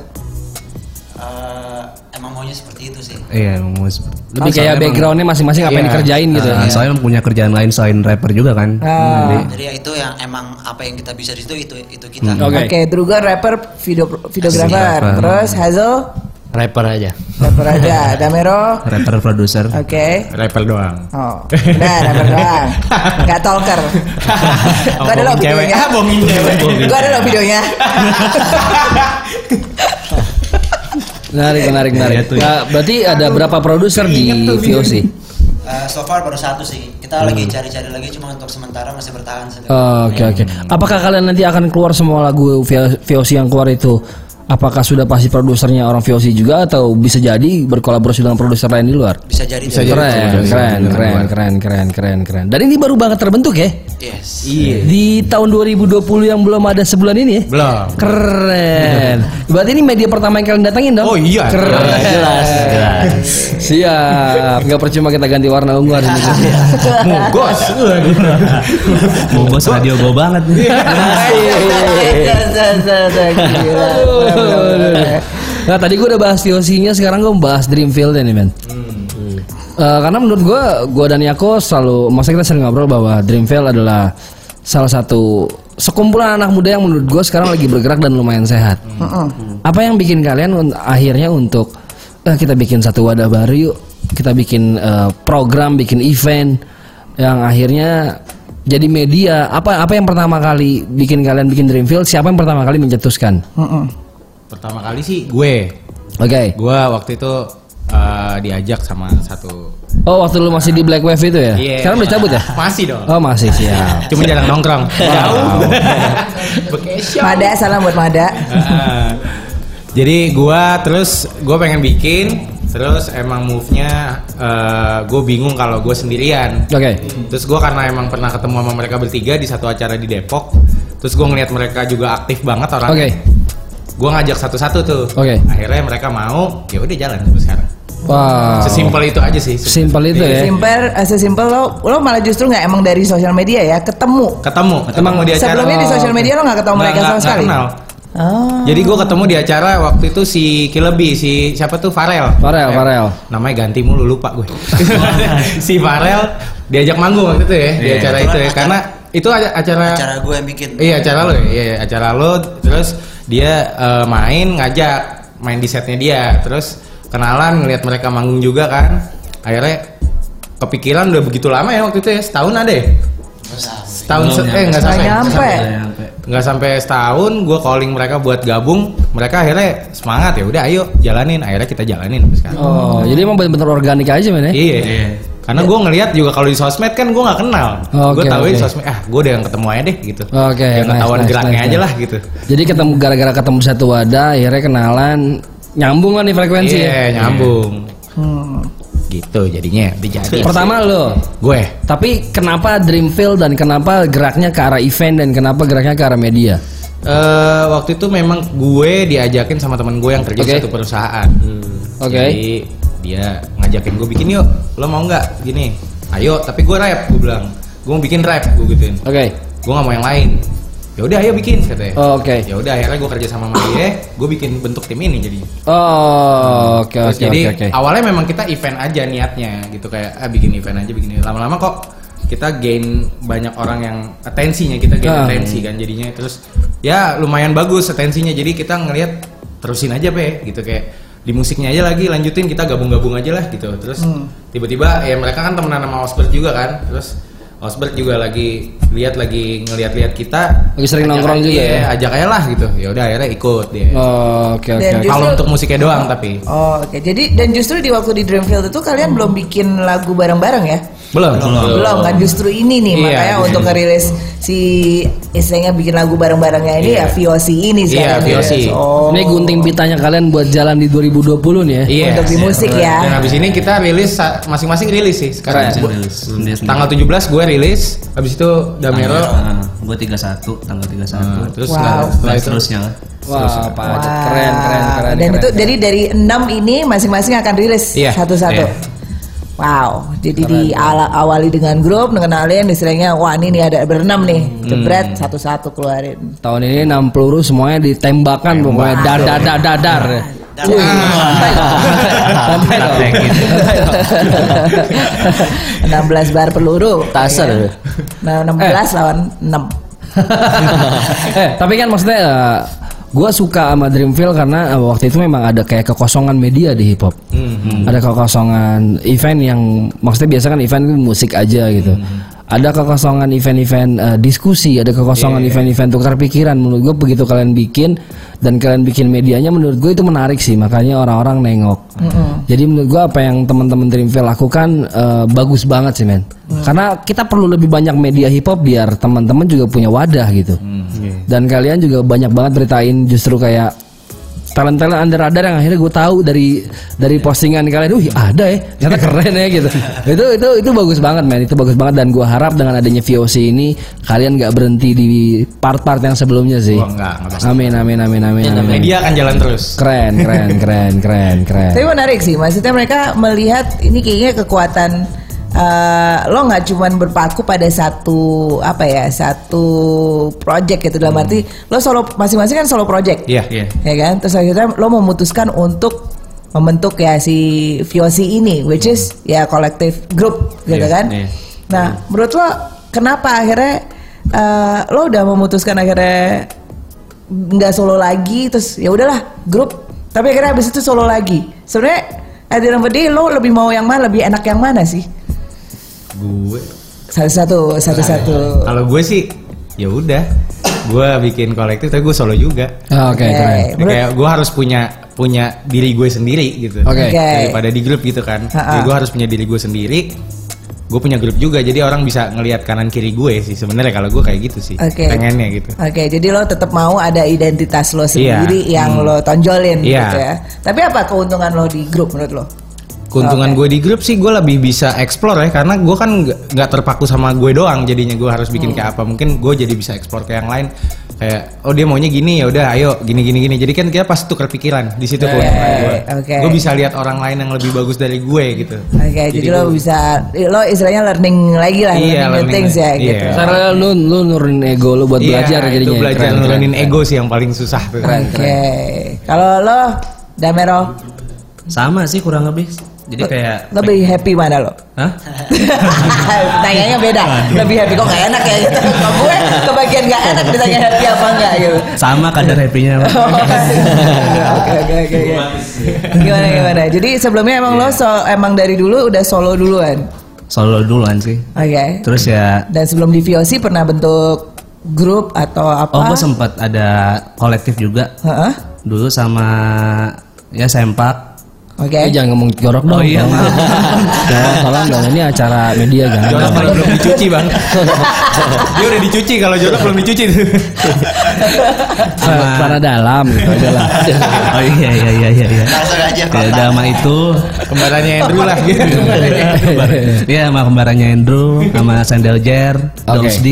H: Eh, emang maunya seperti itu sih.
G: Iya, emang mau seperti-
B: Lebih kayak
G: Soalnya emang-
B: backgroundnya masing-masing apa yang
F: Iya.
B: dikerjain gitu.
G: Ah, soalnya emang punya kerjaan lain selain rapper juga kan.
C: Nah,
G: Jadi,
H: Jadi ya itu yang emang apa yang kita bisa di situ itu itu kita.
B: Oke.
C: oke Drugon rapper video videographer
G: Videographer.
C: terus Hazel
E: Rapper aja.
C: rapper aja Damero
G: rapper produser.
C: oke
F: Rapper doang. <laughs>
C: Oh, udah rapper doang. Gak talker. Gua ada lo
F: bohongin cewek.
C: videonya.
F: Ah, bohongin cewek.
C: Gua ada lo videonya.
B: Menarik menarik menarik. Nah, berarti ada berapa produser di VOC?
H: Eh, so far baru satu sih. Kita lagi cari-cari lagi cuma untuk sementara masih bertahan. sendiri.
B: Oke oke. Apakah kalian nanti akan keluar semua lagu VOC yang keluar itu? Apakah sudah pasti produsernya orang VOC juga atau bisa jadi berkolaborasi dengan produser lain di luar?
H: Bisa jadi.
F: Bisa
H: dari-
F: jadi.
B: Keren,
F: produser
B: keren, keren,
F: dari luar.
B: keren, keren, keren, keren. Dan ini baru banget terbentuk ya? Iya.
H: Yes.
B: Di tahun 2020 yang belum ada sebulan ini ya?
F: Belum.
B: Keren. Berarti ini media pertama yang kalian datangin dong?
F: Oh iya.
B: Keren.
E: Jelas, jelas.
B: Siap. Nggak percuma kita ganti warna ungu hari ini.
F: Mugos.
G: Bogos radio gue banget.
C: Gila.
B: Nah tadi gue udah bahas TOC-nya, sekarang gue bahas Dreamfield nih men. Eh, karena menurut gue, gue dan Yako selalu, maksudnya kita sering ngobrol bahwa Dreamfield adalah salah satu sekumpulan anak muda yang menurut gue sekarang lagi bergerak dan lumayan sehat. Apa yang bikin kalian un- akhirnya untuk eh, kita bikin satu wadah baru yuk, kita bikin eh, program, bikin event yang akhirnya jadi media. Apa apa yang pertama kali bikin kalian bikin Dreamfield? Siapa yang pertama kali mencetuskan?
F: Pertama kali sih gue.
B: Oke.
F: Gue waktu itu eh, diajak sama satu.
B: Oh waktu lu masih di Black Wave itu ya?
F: Iya.
B: Sekarang udah cabut ya?
F: Masih dong.
B: Oh masih siap.
F: Cuma jarang
B: <laughs>
F: nongkrong. Jauh.
C: Mada salam buat Mada.
F: Heeh. Jadi gua terus gua pengen bikin terus emang move-nya eh, gua bingung kalau gue sendirian.
B: Oke.
F: Terus gua karena emang pernah ketemu sama mereka bertiga di satu acara di Depok. Terus gua ngeliat mereka juga aktif banget orang.
B: Oke.
F: Gua ngajak satu-satu tuh.
B: Oke.
F: Akhirnya mereka mau, ya udah jalan sampai sekarang.
B: Wow.
F: Sesimpel itu aja sih. Iya.
B: Simple Oh. itu ya.
C: Simpel, eh, sesimpel lo, lo malah justru nggak emang dari sosial media ya, ketemu.
F: Ketemu, ketemu di acara.
C: Sebelumnya di sosial media lo nggak ketemu
F: Nggak-
C: mereka
F: nggak-
C: sama
F: nggak
C: sekali.
F: kenal.
C: Oh.
F: Jadi gue ketemu di acara waktu itu si Kilebi, si siapa tuh Farel. Ya.
B: Farel, Farel.
F: Namanya ganti mulu lupa gue. <laughs> si Farel diajak manggung waktu itu ya di acara itu ya karena itu ada acara,
H: Cara gue yang bikin.
F: iya acara lo ya, iya, iya, acara lo terus dia eh, main ngajak main di setnya dia terus kenalan ngelihat mereka manggung juga kan akhirnya kepikiran udah begitu lama ya waktu itu ya setahun ada ya setahun se- eh nggak
C: Nggak
F: sampai
C: nyampe.
F: nggak sampai setahun gue calling mereka buat gabung mereka akhirnya semangat ya udah ayo jalanin akhirnya kita jalanin sampai sekarang
B: Oh, jadi emang bener-bener organik aja men ya?
F: iya Karena gue ngelihat juga kalau di sosmed kan gue nggak kenal.
B: Oke,
F: gue tahu di
B: oke.
F: sosmed, ah gue udah yang ketemu aja deh gitu.
B: Oke,
F: Yang
B: nice,
F: ketahuan
B: nice,
F: geraknya
B: nice,
F: aja
B: nice.
F: lah gitu.
B: Jadi ketemu gara-gara ketemu satu wadah, akhirnya kenalan, nyambung kan nih frekuensi.
F: Iya,
B: ya?
F: nyambung. Gitu jadinya. Dijadi.
B: Pertama lo,
F: gue.
B: tapi kenapa Dreamfield dan kenapa geraknya ke arah event dan kenapa geraknya ke arah media?
F: eh waktu itu memang gue diajakin sama teman gue yang kerja
B: Oke.
F: di satu perusahaan. Hmm.
B: Oke.
F: Jadi dia ngajakin gue bikin yuk, lo mau nggak gini? Ayo, tapi gue rap, gue bilang. Gue mau bikin rap, gue gituin.
B: Oke,
F: Gue nggak mau yang lain. Ya udah, ayo bikin katanya.
B: Oh, oke,
F: Ya udah, akhirnya gue kerja sama sama dia. Gue bikin bentuk tim ini jadi.
B: Oh, oke,
F: Terus
B: oke,
F: jadi
B: oke, oke.
F: awalnya memang kita event aja niatnya gitu kayak ah, bikin event aja bikin event. lama-lama kok kita gain banyak orang yang atensinya kita gain
B: Ah.
F: atensi kan jadinya terus ya lumayan bagus atensinya jadi kita ngelihat terusin aja pe gitu kayak di musiknya aja lagi lanjutin kita gabung-gabung aja lah gitu terus
B: Hmm.
F: tiba-tiba ya mereka kan temenan sama Osbert juga kan terus Osbert juga lagi lihat lagi ngelihat-lihat kita
B: Lagi sering
F: Ajak
B: nongkrong
F: aja-
B: juga
F: iya,
B: ya?
F: ajak aja lah gitu ya udah akhirnya ikut dia
B: Oh, Oke, oke, oke.
C: Dan juga-
F: kalau
C: Justru-
F: untuk musiknya doang tapi
C: Oh, oke. Jadi dan justru di waktu di Dreamfield itu kalian belum bikin lagu bareng-bareng ya?
F: belum
C: Belum kan? Justru ini nih
F: Iya,
C: makanya
F: justru.
C: untuk ngerilis si istilahnya bikin lagu bareng-barengnya ini
F: Iya.
C: ya VOC ini
F: Iya,
C: sekarang. nih.
F: VOC.
C: Oh.
B: Ini gunting pitanya kalian buat jalan di 2020 nih ya.
F: Iya.
C: Untuk di musik ya.
F: Dan habis ini kita rilis sa- masing-masing rilis sih sekarang.
G: Masing-masing
F: Gua-
G: rilis. Hmm, dia sendiri.
F: Tanggal 17 gue rilis, habis itu Damero.
G: Ah, gua 31 tanggal 31.
F: Nah, terus
C: Wow.
F: nggak- setelah
G: Dan
F: itu
G: seterusnya lah.
B: Wah, Pak Acep,
C: Wow.
B: keren, keren, keren.
C: Nah, Dan
B: keren,
C: itu
B: keren.
C: jadi dari enam ini masing-masing akan rilis
F: Iya,
C: satu-satu.
F: iya.
C: Wow, jadi diawali dengan grup, mengenalin istilahnya, wah ini nih ada berenam nih,
F: Hmm.
C: jebret satu-satu
F: <laughs>
C: keluarin.
B: tahun ini 6 peluru semuanya ditembakkan pokoknya dadar dadar dadar.
H: Dan
B: Santai dong.
E: gitu.
B: <laughs>
C: 16 bar peluru.
E: Taser.
C: Nah, 16
F: Eh.
C: lawan 6.
B: <laughs> eh, tapi kan maksudnya gue suka sama Dreamfield karena eh, waktu itu memang ada kayak kekosongan media di hip hop. Ada kekosongan event yang maksudnya biasa kan event itu musik aja gitu. Ada kekosongan event-event eh, diskusi, ada kekosongan event-event tukar pikiran. Menurut gue begitu kalian bikin dan kalian bikin medianya, menurut gue itu menarik sih. Makanya orang-orang nengok. Jadi menurut gue apa yang teman-teman Dreamfield lakukan eh, bagus banget sih men.
F: Hmm.
B: Karena kita perlu lebih banyak media hip hop biar teman-teman juga punya wadah gitu.
F: Hmm. Iya.
B: Dan kalian juga banyak banget beritain justru kayak talent-talent under radar yang akhirnya gue tahu dari dari
F: Iya.
B: postingan kalian, wih ada ya, ternyata keren ya
F: <laughs>
B: gitu. itu itu itu bagus banget men, itu bagus banget dan gue harap dengan adanya VOC ini kalian nggak berhenti di part-part yang sebelumnya sih.
F: Wah, nggak, nggak pasti.
B: amin amin amin amin amin.
F: media akan jalan terus.
B: Keren keren keren keren
F: <laughs>
B: keren.
C: Tapi menarik sih, maksudnya mereka melihat ini kayaknya kekuatan eh, lo nggak cuman berpaku pada satu apa ya satu project gitu dalam arti lo solo masing-masing kan solo project,
F: Iya.
C: ya kan? Terus akhirnya lo memutuskan untuk membentuk ya si VOC ini, which is ya kolektif grup gitu
F: Iya,
C: kan?
F: iya.
C: Nah, menurut lo kenapa akhirnya eh, lo udah memutuskan akhirnya nggak solo lagi terus ya udahlah grup tapi akhirnya habis itu solo lagi sebenarnya at the end of the day, lo lebih mau yang mana lebih enak yang mana sih
F: Gue
C: satu satu satu satu
F: kalau gue sih ya udah gue bikin kolektif tapi gue solo juga.
B: Ah, Oke
C: Oke.
B: keren.
C: Eh, menurut-
F: Kayak gue harus punya punya diri gue sendiri gitu.
B: Oke.
C: Oke.
F: Daripada di grup gitu kan.
C: Ha-ha.
F: Jadi gue harus punya diri gue sendiri. Gue punya grup juga jadi orang bisa ngelihat kanan kiri gue sih sebenarnya kalau gue kayak gitu sih.
C: Oke.
F: Pengennya gitu.
C: Oke, jadi lo tetap mau ada identitas lo sendiri
F: Iya.
C: yang lo tonjolin
F: Iya.
C: gitu ya. Tapi apa keuntungan lo di grup menurut lo?
F: Keuntungan gue di grup sih gue lebih bisa explore ya karena gue kan nggak- nggak terpaku sama gue doang jadinya gue harus
C: Hmm.
F: bikin kayak apa mungkin gue jadi bisa explore ke yang lain kayak oh dia maunya gini ya udah ayo gini gini gini jadi kan kita pasti tukar pikiran di situ gue
C: oke.
F: gue bisa lihat orang lain yang lebih bagus dari gue gitu
C: Oke, jadi, lo
F: gua-
C: bisa lo istilahnya learning lagi lah,
F: Iya,
C: learning, new
F: learning
C: things ya
F: lagi.
C: gitu.
F: Iya.
B: Karena lu lu nurunin ego lu buat
F: Iya,
B: belajar
F: itu
B: jadinya. ya.
F: belajar
B: Keren, keren,
F: nurunin
B: keren.
F: ego sih yang paling susah tuh
C: Oke. Kalau lo Damero
G: Sama sih kurang lebih. Jadi kayak
C: lebih happy mana
F: <laughs>
C: lo?
G: Hah?
C: Tanyanya beda. Lebih happy kok gak enak
F: <laughs>
C: ya gitu. Kok gue kebagian gak enak ditanya happy apa enggak gitu.
G: Sama kadar happy-nya.
C: <laughs>
F: Oh,
G: Pak.
F: iya.
C: Oke oke oke. oke.
G: ya.
C: Gimana gimana. Jadi sebelumnya emang lo
G: Iya.
C: so- emang dari dulu udah solo duluan.
G: Solo duluan sih.
C: Oke.
G: Terus ya
C: Dan sebelum di VOC pernah bentuk grup atau apa?
G: Oh, gue sempat ada kolektif juga
C: Heeh.
G: dulu sama ya sempak
C: Oke.
B: Eh, jangan ngomong jorok dong.
G: iya,
B: dong. Tolong, tolong dong ini acara media jangan.
F: Jorok
B: dong.
F: kalau belum dicuci bang Dia udah dicuci kalau jorok belum dicuci tuh
B: Eh, Celana dalam gitu aja lah.
G: oh iya iya iya iya. iya.
H: Langsung aja
G: Ya
H: kontak.
G: udah sama itu Oh,
F: Kembarannya Andrew lah gitu Kembarannya Andrew.
G: <laughs> Iya sama kembarannya Andrew Sama Sandel Jer Dolls D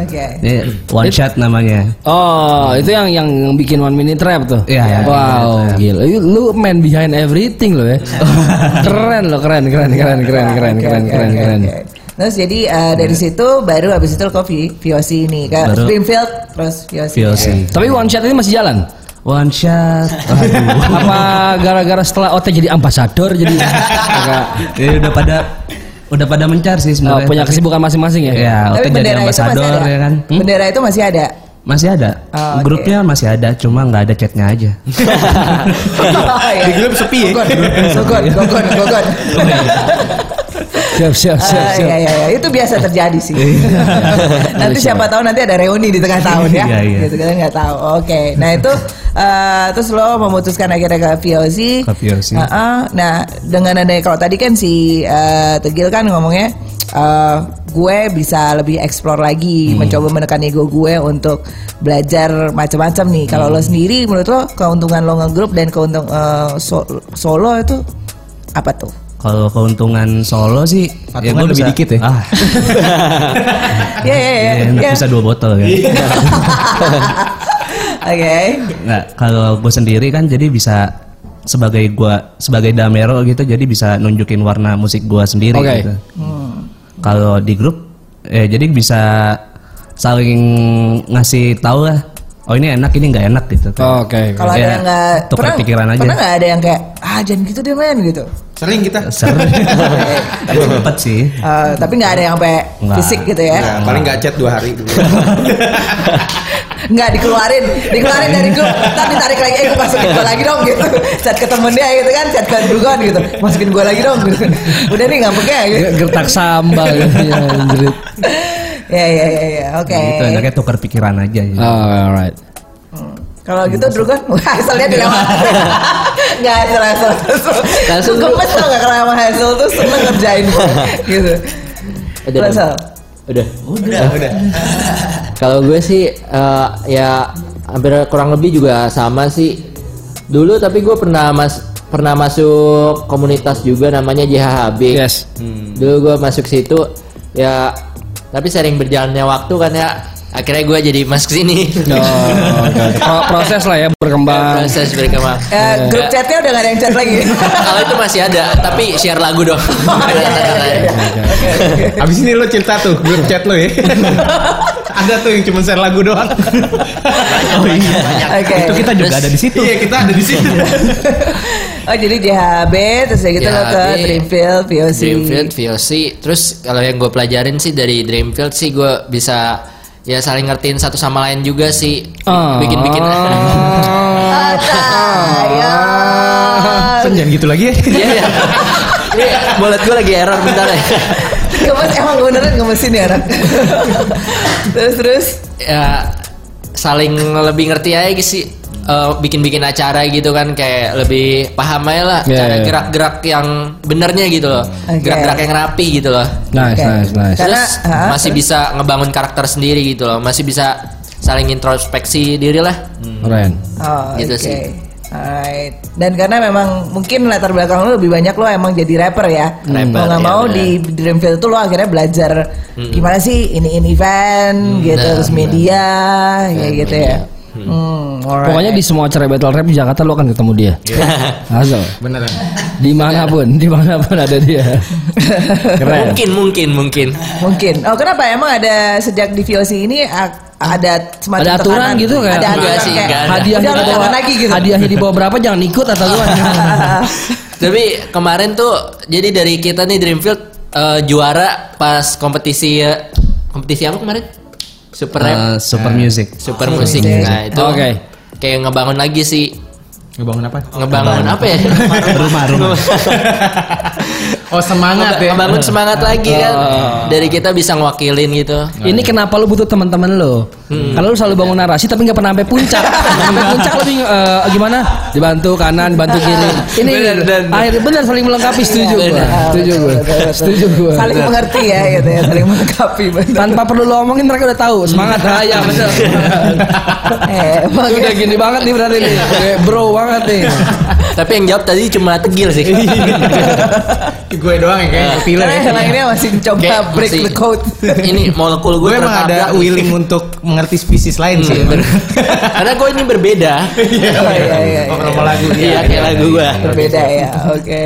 C: Oke.
G: Ini one shot namanya
B: Oh, itu yang yang bikin one minute rap tuh.
G: Iya,
B: Wow, gila. Lu, lu man behind everything lo ya. keren lo, keren, keren, keren, keren, keren,
C: Oke,
B: keren,
C: oke,
B: keren,
C: oke,
B: keren.
C: oke. Terus jadi eh, dari situ baru habis itu kok V- VOC ini ke
G: Iya. Baru-
C: Springfield terus VOC.
G: VOC
F: Iya.
B: Tapi one shot ini masih jalan.
G: One shot Aduh
F: <laughs>
B: Apa gara-gara setelah OT jadi ambasador jadi agak
G: Ini udah pada Udah pada mencar sih
B: eh,
G: sebenarnya
B: punya
G: Tapi-
B: kesibukan masing-masing ya?
G: Ya
C: Tapi
G: Ote jadi
C: bendera itu masih
G: ambasador
C: ada.
G: ya kan Hmm?
C: Bendera itu masih
G: <laughs>
C: ada.
G: Masih ada
C: Oh, oke.
G: Grupnya masih ada Cuma nggak ada chatnya <laughs> aja
F: Di grup sepi ya
C: Oh, iya. Gogon, gogon, gogon.
G: ya?
B: Siap,
G: Eh,
B: siap, siap,
C: Ah,
B: siap.
C: iya, iya, iya. itu biasa terjadi
G: <laughs>
C: sih. nanti siapa tahu nanti ada reuni di tengah tahun ya.
G: Iya, iya.
C: Gitu kan nggak tahu. Oke. Nah, itu eh, terus lo memutuskan akhirnya ke VOC.
G: Ke VOC.
C: Heeh. nah, dengan adanya kalau tadi kan si eh, Tegil kan ngomongnya eh, gue bisa lebih explore lagi,
G: Hmm.
C: mencoba menekan ego gue untuk belajar macam-macam nih. Kalau
G: Hmm.
C: lo sendiri menurut lo keuntungan lo ngegroup dan keuntung eh, so- solo itu apa tuh?
G: Kalau keuntungan solo sih
F: Patungan
G: gua
F: lebih dikit ya?
G: Ah,
C: Iya, iya, iya,
G: <laughs> iya, enak,
C: iya.
G: bisa dua botol kan.
C: <laughs> Oke.
G: Nggak, kalau gue sendiri kan jadi bisa sebagai gua sebagai damero gitu jadi bisa nunjukin warna musik gua sendiri
B: Oke.
G: gitu. Kalau di grup eh jadi bisa saling ngasih tahu lah oh ini enak ini nggak enak gitu kan.
B: Oh, Oke.
C: iya. Kalau ada
G: Ya,
C: yang nggak
G: tukar pikiran aja.
C: pernah nggak ada yang kayak ah jangan gitu deh men gitu.
F: Sering kita <laughs>
G: Seru. Tapi sempet sih.
C: Eh, tapi nggak ada yang sampai
G: Nggak.
C: fisik gitu ya.
F: Nah, paling gak chat dua hari dulu.
C: Nggak dikeluarin, dikeluarin dari grup, tapi tarik lagi, eh gue masukin gue lagi dong gitu. Chat ke temen dia gitu kan, chat ke Brugon gitu, masukin gue lagi dong gitu. Udah nih ngampeknya
G: Iya,
C: gitu.
B: Gertak sambal <laughs> gitu
C: iya,
B: ya, anjrit.
C: <laughs> Ya ya ya ya, oke.
G: Itu Gitu, enaknya tukar pikiran aja
F: Eh,
G: gitu.
B: Oh, Alright.
C: Kalau gitu Drugon, wah Hazelnya dilewat. Nggak Hazel, Hazel. Hazel
B: Hazel
C: gue
B: dulu.
C: gemes tau nggak kenapa Hazel tuh seneng ngerjain gue gitu.
E: Udah,
C: Lo,
E: udah.
C: Sal?
E: Udah.
F: Udah, udah.
E: Kalau gue sih eh, ya hampir kurang lebih juga sama sih. Dulu tapi gue pernah mas pernah masuk komunitas juga namanya JHHB.
B: Yes.
E: Hmm. Dulu gue masuk situ ya tapi sering berjalannya waktu kan ya akhirnya gue jadi masuk sini. <laughs>
B: Oh, oke. Pro- Proses lah ya berkembang.
E: Proses berkembang.
G: Iya.
C: Eh, grup chatnya udah gak ada yang chat lagi.
E: Kalau itu masih ada, tapi share lagu dong.
F: Abis ini lo cerita tuh grup chat lo ya. Ada tuh yang cuma share lagu doang.
G: Oh iya.
C: Oke.
E: Gitu
G: Itu kita juga
E: Terus-
G: ada di situ.
F: Iya kita ada di situ.
C: <laughs> Oh jadi JHB terus dari gitu lo ke
E: JHB,
C: Dreamfield, VOC.
E: Dreamfield, VOC. Terus kalau yang gue pelajarin sih dari Dreamfield sih gue bisa ya saling ngertiin satu sama lain juga sih.
B: Ah.
E: Bikin-bikin.
C: Oh, iya. Sayang.
F: <laughs> Kan jangan gitu lagi ya.
E: <laughs> Iya ya. Ini bolet gue lagi error bentar ya.
C: Gemes emang beneran gemesin ya anak. <laughs> terus terus.
E: <laughs> ya saling lebih ngerti aja sih. Eh, bikin-bikin acara gitu kan kayak lebih paham aja lah
B: Iya,
E: cara
B: iya.
E: gerak-gerak yang benernya gitu loh.
C: Oke.
E: Gerak-gerak yang rapi gitu loh.
B: <laughs> Nice,
C: Oke.
B: nice, nice.
C: Karena-
E: Terus
C: ah,
E: masih bisa ngebangun karakter sendiri gitu loh, masih bisa saling introspeksi diri lah.
B: Keren.
C: Oh,
E: Gitu
C: oke.
E: sih.
C: Alright. Dan karena memang mungkin latar belakang lu lebih banyak lo emang jadi rapper ya.
E: Rapper,
C: mau nggak
E: iya,
C: mau
E: benar. Hmm.
C: di Dreamfield tuh lo akhirnya belajar gimana sih ini in event gitu
E: benar,
C: terus media kayak gitu ya. Hmm, alright. Iya.
B: Pokoknya di semua acara battle rap di Jakarta lo akan ketemu dia. Asal.
F: Beneran.
B: Dimanapun, dimanapun ada dia.
C: <laughs>
B: Keren.
E: Mungkin mungkin mungkin.
C: mungkin. Oh, kenapa emang ada sejak di VOC ini a- ada semacam
B: Ada aturan
C: tekanan?
B: gitu kayak-
C: ada aturan
E: Enggak sih,
C: kayak,
E: enggak ada.
B: Hadiahnya di
C: udah lu
B: bawah
C: jangan lagi gitu.
B: Hadiahnya di bawah berapa jangan ikut atau lu.
C: <laughs>
E: Tapi kemarin tuh jadi dari kita nih Dreamfield eh, juara pas kompetisi eh, kompetisi apa kemarin? Super rap,
G: Eh, super music.
E: super musik. Nah, itu
B: Oke.
E: kayak ngebangun lagi sih. ya?
F: Ngebangun apa?
E: Ngebangun apa ya?
G: Rumah rumah.
F: Oh semangat ya.
E: Membangun semangat lagi kan. Dari kita bisa ngwakilin gitu.
B: Ini kenapa lu butuh teman-teman lo? Kalau lu selalu bangun narasi tapi nggak pernah sampai puncak. sampai puncak lebih eh, gimana? Dibantu kanan, bantu kiri. Ini
E: Bener, bener, bener.
B: akhirnya benar saling melengkapi setuju gua. Setuju gua. Setuju gua.
C: Saling mengerti ya gitu ya, saling melengkapi
E: <laughs>
C: benar.
B: Tanpa perlu lo omongin mereka udah tahu semangat. Ah ya bener.
C: Eh, emang
B: Udah gini banget nih berarti nih. Kayak Bro banget nih.
E: Tapi yang jawab tadi cuma tegil sih.
F: Gue doang yang kayaknya ketiler
C: Karena
F: ya.
C: yang lainnya masih coba
E: Kayak
C: break
E: masih-
C: the
B: <laughs>
C: code.
B: Iya,
E: ini molekul
F: Gue
E: gue
F: emang ada
E: tertabrak.
F: willing untuk mengerti spesies lain sih. emang.
E: <laughs> Karena gue ini berbeda.
C: Oh, iya, iya,
F: Oh,
C: iya.
F: nama lagu
E: Iya, kayak lagu gue.
C: Berbeda ya, oke.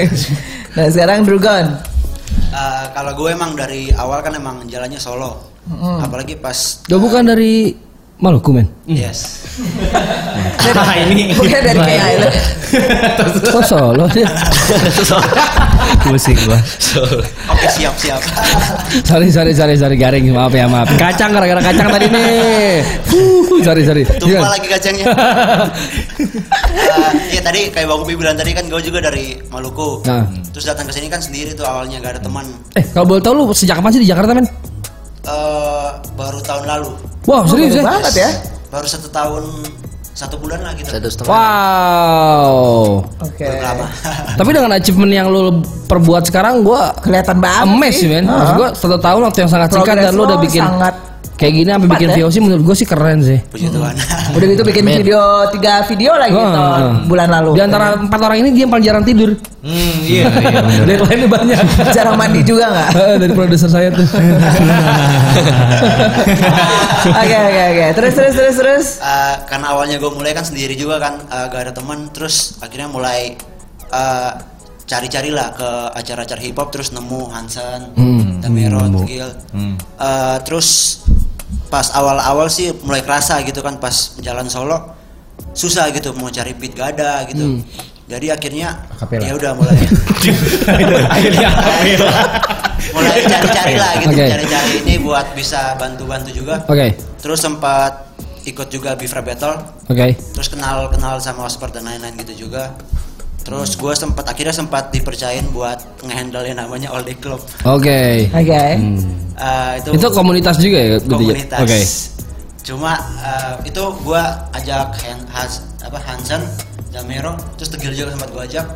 C: <laughs> Nah sekarang
B: <laughs>
C: Drugon.
H: Eh, kalau gue emang dari awal kan emang jalannya solo. Apalagi pas
B: Udah bukan dari Maluku men.
H: yes.
B: Ah,
F: Nah, ini.
C: Bukan dari
B: Iya.
C: Kay Island.
B: Kok solo dia?
G: Pusing gua.
H: Oke, siap siap.
B: Sorry sorry sorry sorry garing maaf ya maaf. Kacang gara-gara kacang tadi nih. Huh, sorry sorry. Iya.
H: Tumpah
B: Gimana?
H: lagi kacangnya. Eh, Iya tadi kayak Bang Upi bilang tadi kan gue juga dari Maluku.
B: Nah.
H: Terus datang ke sini kan sendiri tuh awalnya gak ada teman.
B: Eh kalau boleh tahu lu sejak kapan sih di Jakarta men?
H: Eh, baru tahun lalu.
B: Wow serius ya?
C: banget ya.
H: Baru satu tahun satu bulan lah gitu.
E: Satu setengah.
B: Wow.
C: Oke.
H: Belum lama. <laughs>
B: Tapi dengan achievement yang lu perbuat sekarang gua
C: Kelihatan banget.
B: amazed
C: sih.
B: sih men. Maksud
C: Heeh.
B: gua satu tahun waktu yang sangat singkat
C: Progress
B: dan lu udah
C: lo
B: bikin
C: sangat
B: kayak gini sampai
C: cepat,
B: bikin
C: ya.
B: VOC menurut gua sih keren sih.
H: Puji Tuhan.
E: Hmm.
C: Udah gitu bikin video tiga video lagi
B: Heeh.
C: tahun bulan lalu.
B: Di antara empat orang ini dia yang paling jarang tidur.
F: Hmm, iya. iya.
B: Dari lainnya banyak.
C: <laughs> jarang mandi juga nggak?
B: <laughs> Heeh, <laughs> Dari produser saya <laughs> tuh.
C: Oke oke oke. Terus terus terus terus.
H: Eh, karena awalnya gue mulai kan sendiri juga kan eh, gak ada teman terus akhirnya mulai eh, cari-cari lah ke acara-acara hip hop terus nemu Hansen, Damero, Gil, Eh, terus pas awal-awal sih mulai kerasa gitu kan pas jalan solo susah gitu mau cari beat gak ada gitu jadi akhirnya ya udah mulai
F: Akhirnya apel.
H: <laughs> mulai cari-cari lah gitu
B: Oke.
H: cari-cari ini buat bisa bantu-bantu juga
B: Oke.
H: terus sempat ikut juga Bifra Battle
B: Oke.
H: terus kenal kenal sama Osport dan lain-lain gitu juga terus gue sempat akhirnya sempat dipercayain buat ngehandle yang namanya All Day Club
B: Oke.
C: Oke.
H: Eh, itu
B: Itu komunitas juga ya gitu ya?
H: komunitas
B: Oke.
H: cuma eh, itu gue ajak Han, Hans- apa Hansen Damero terus Tegil juga sempat gue ajak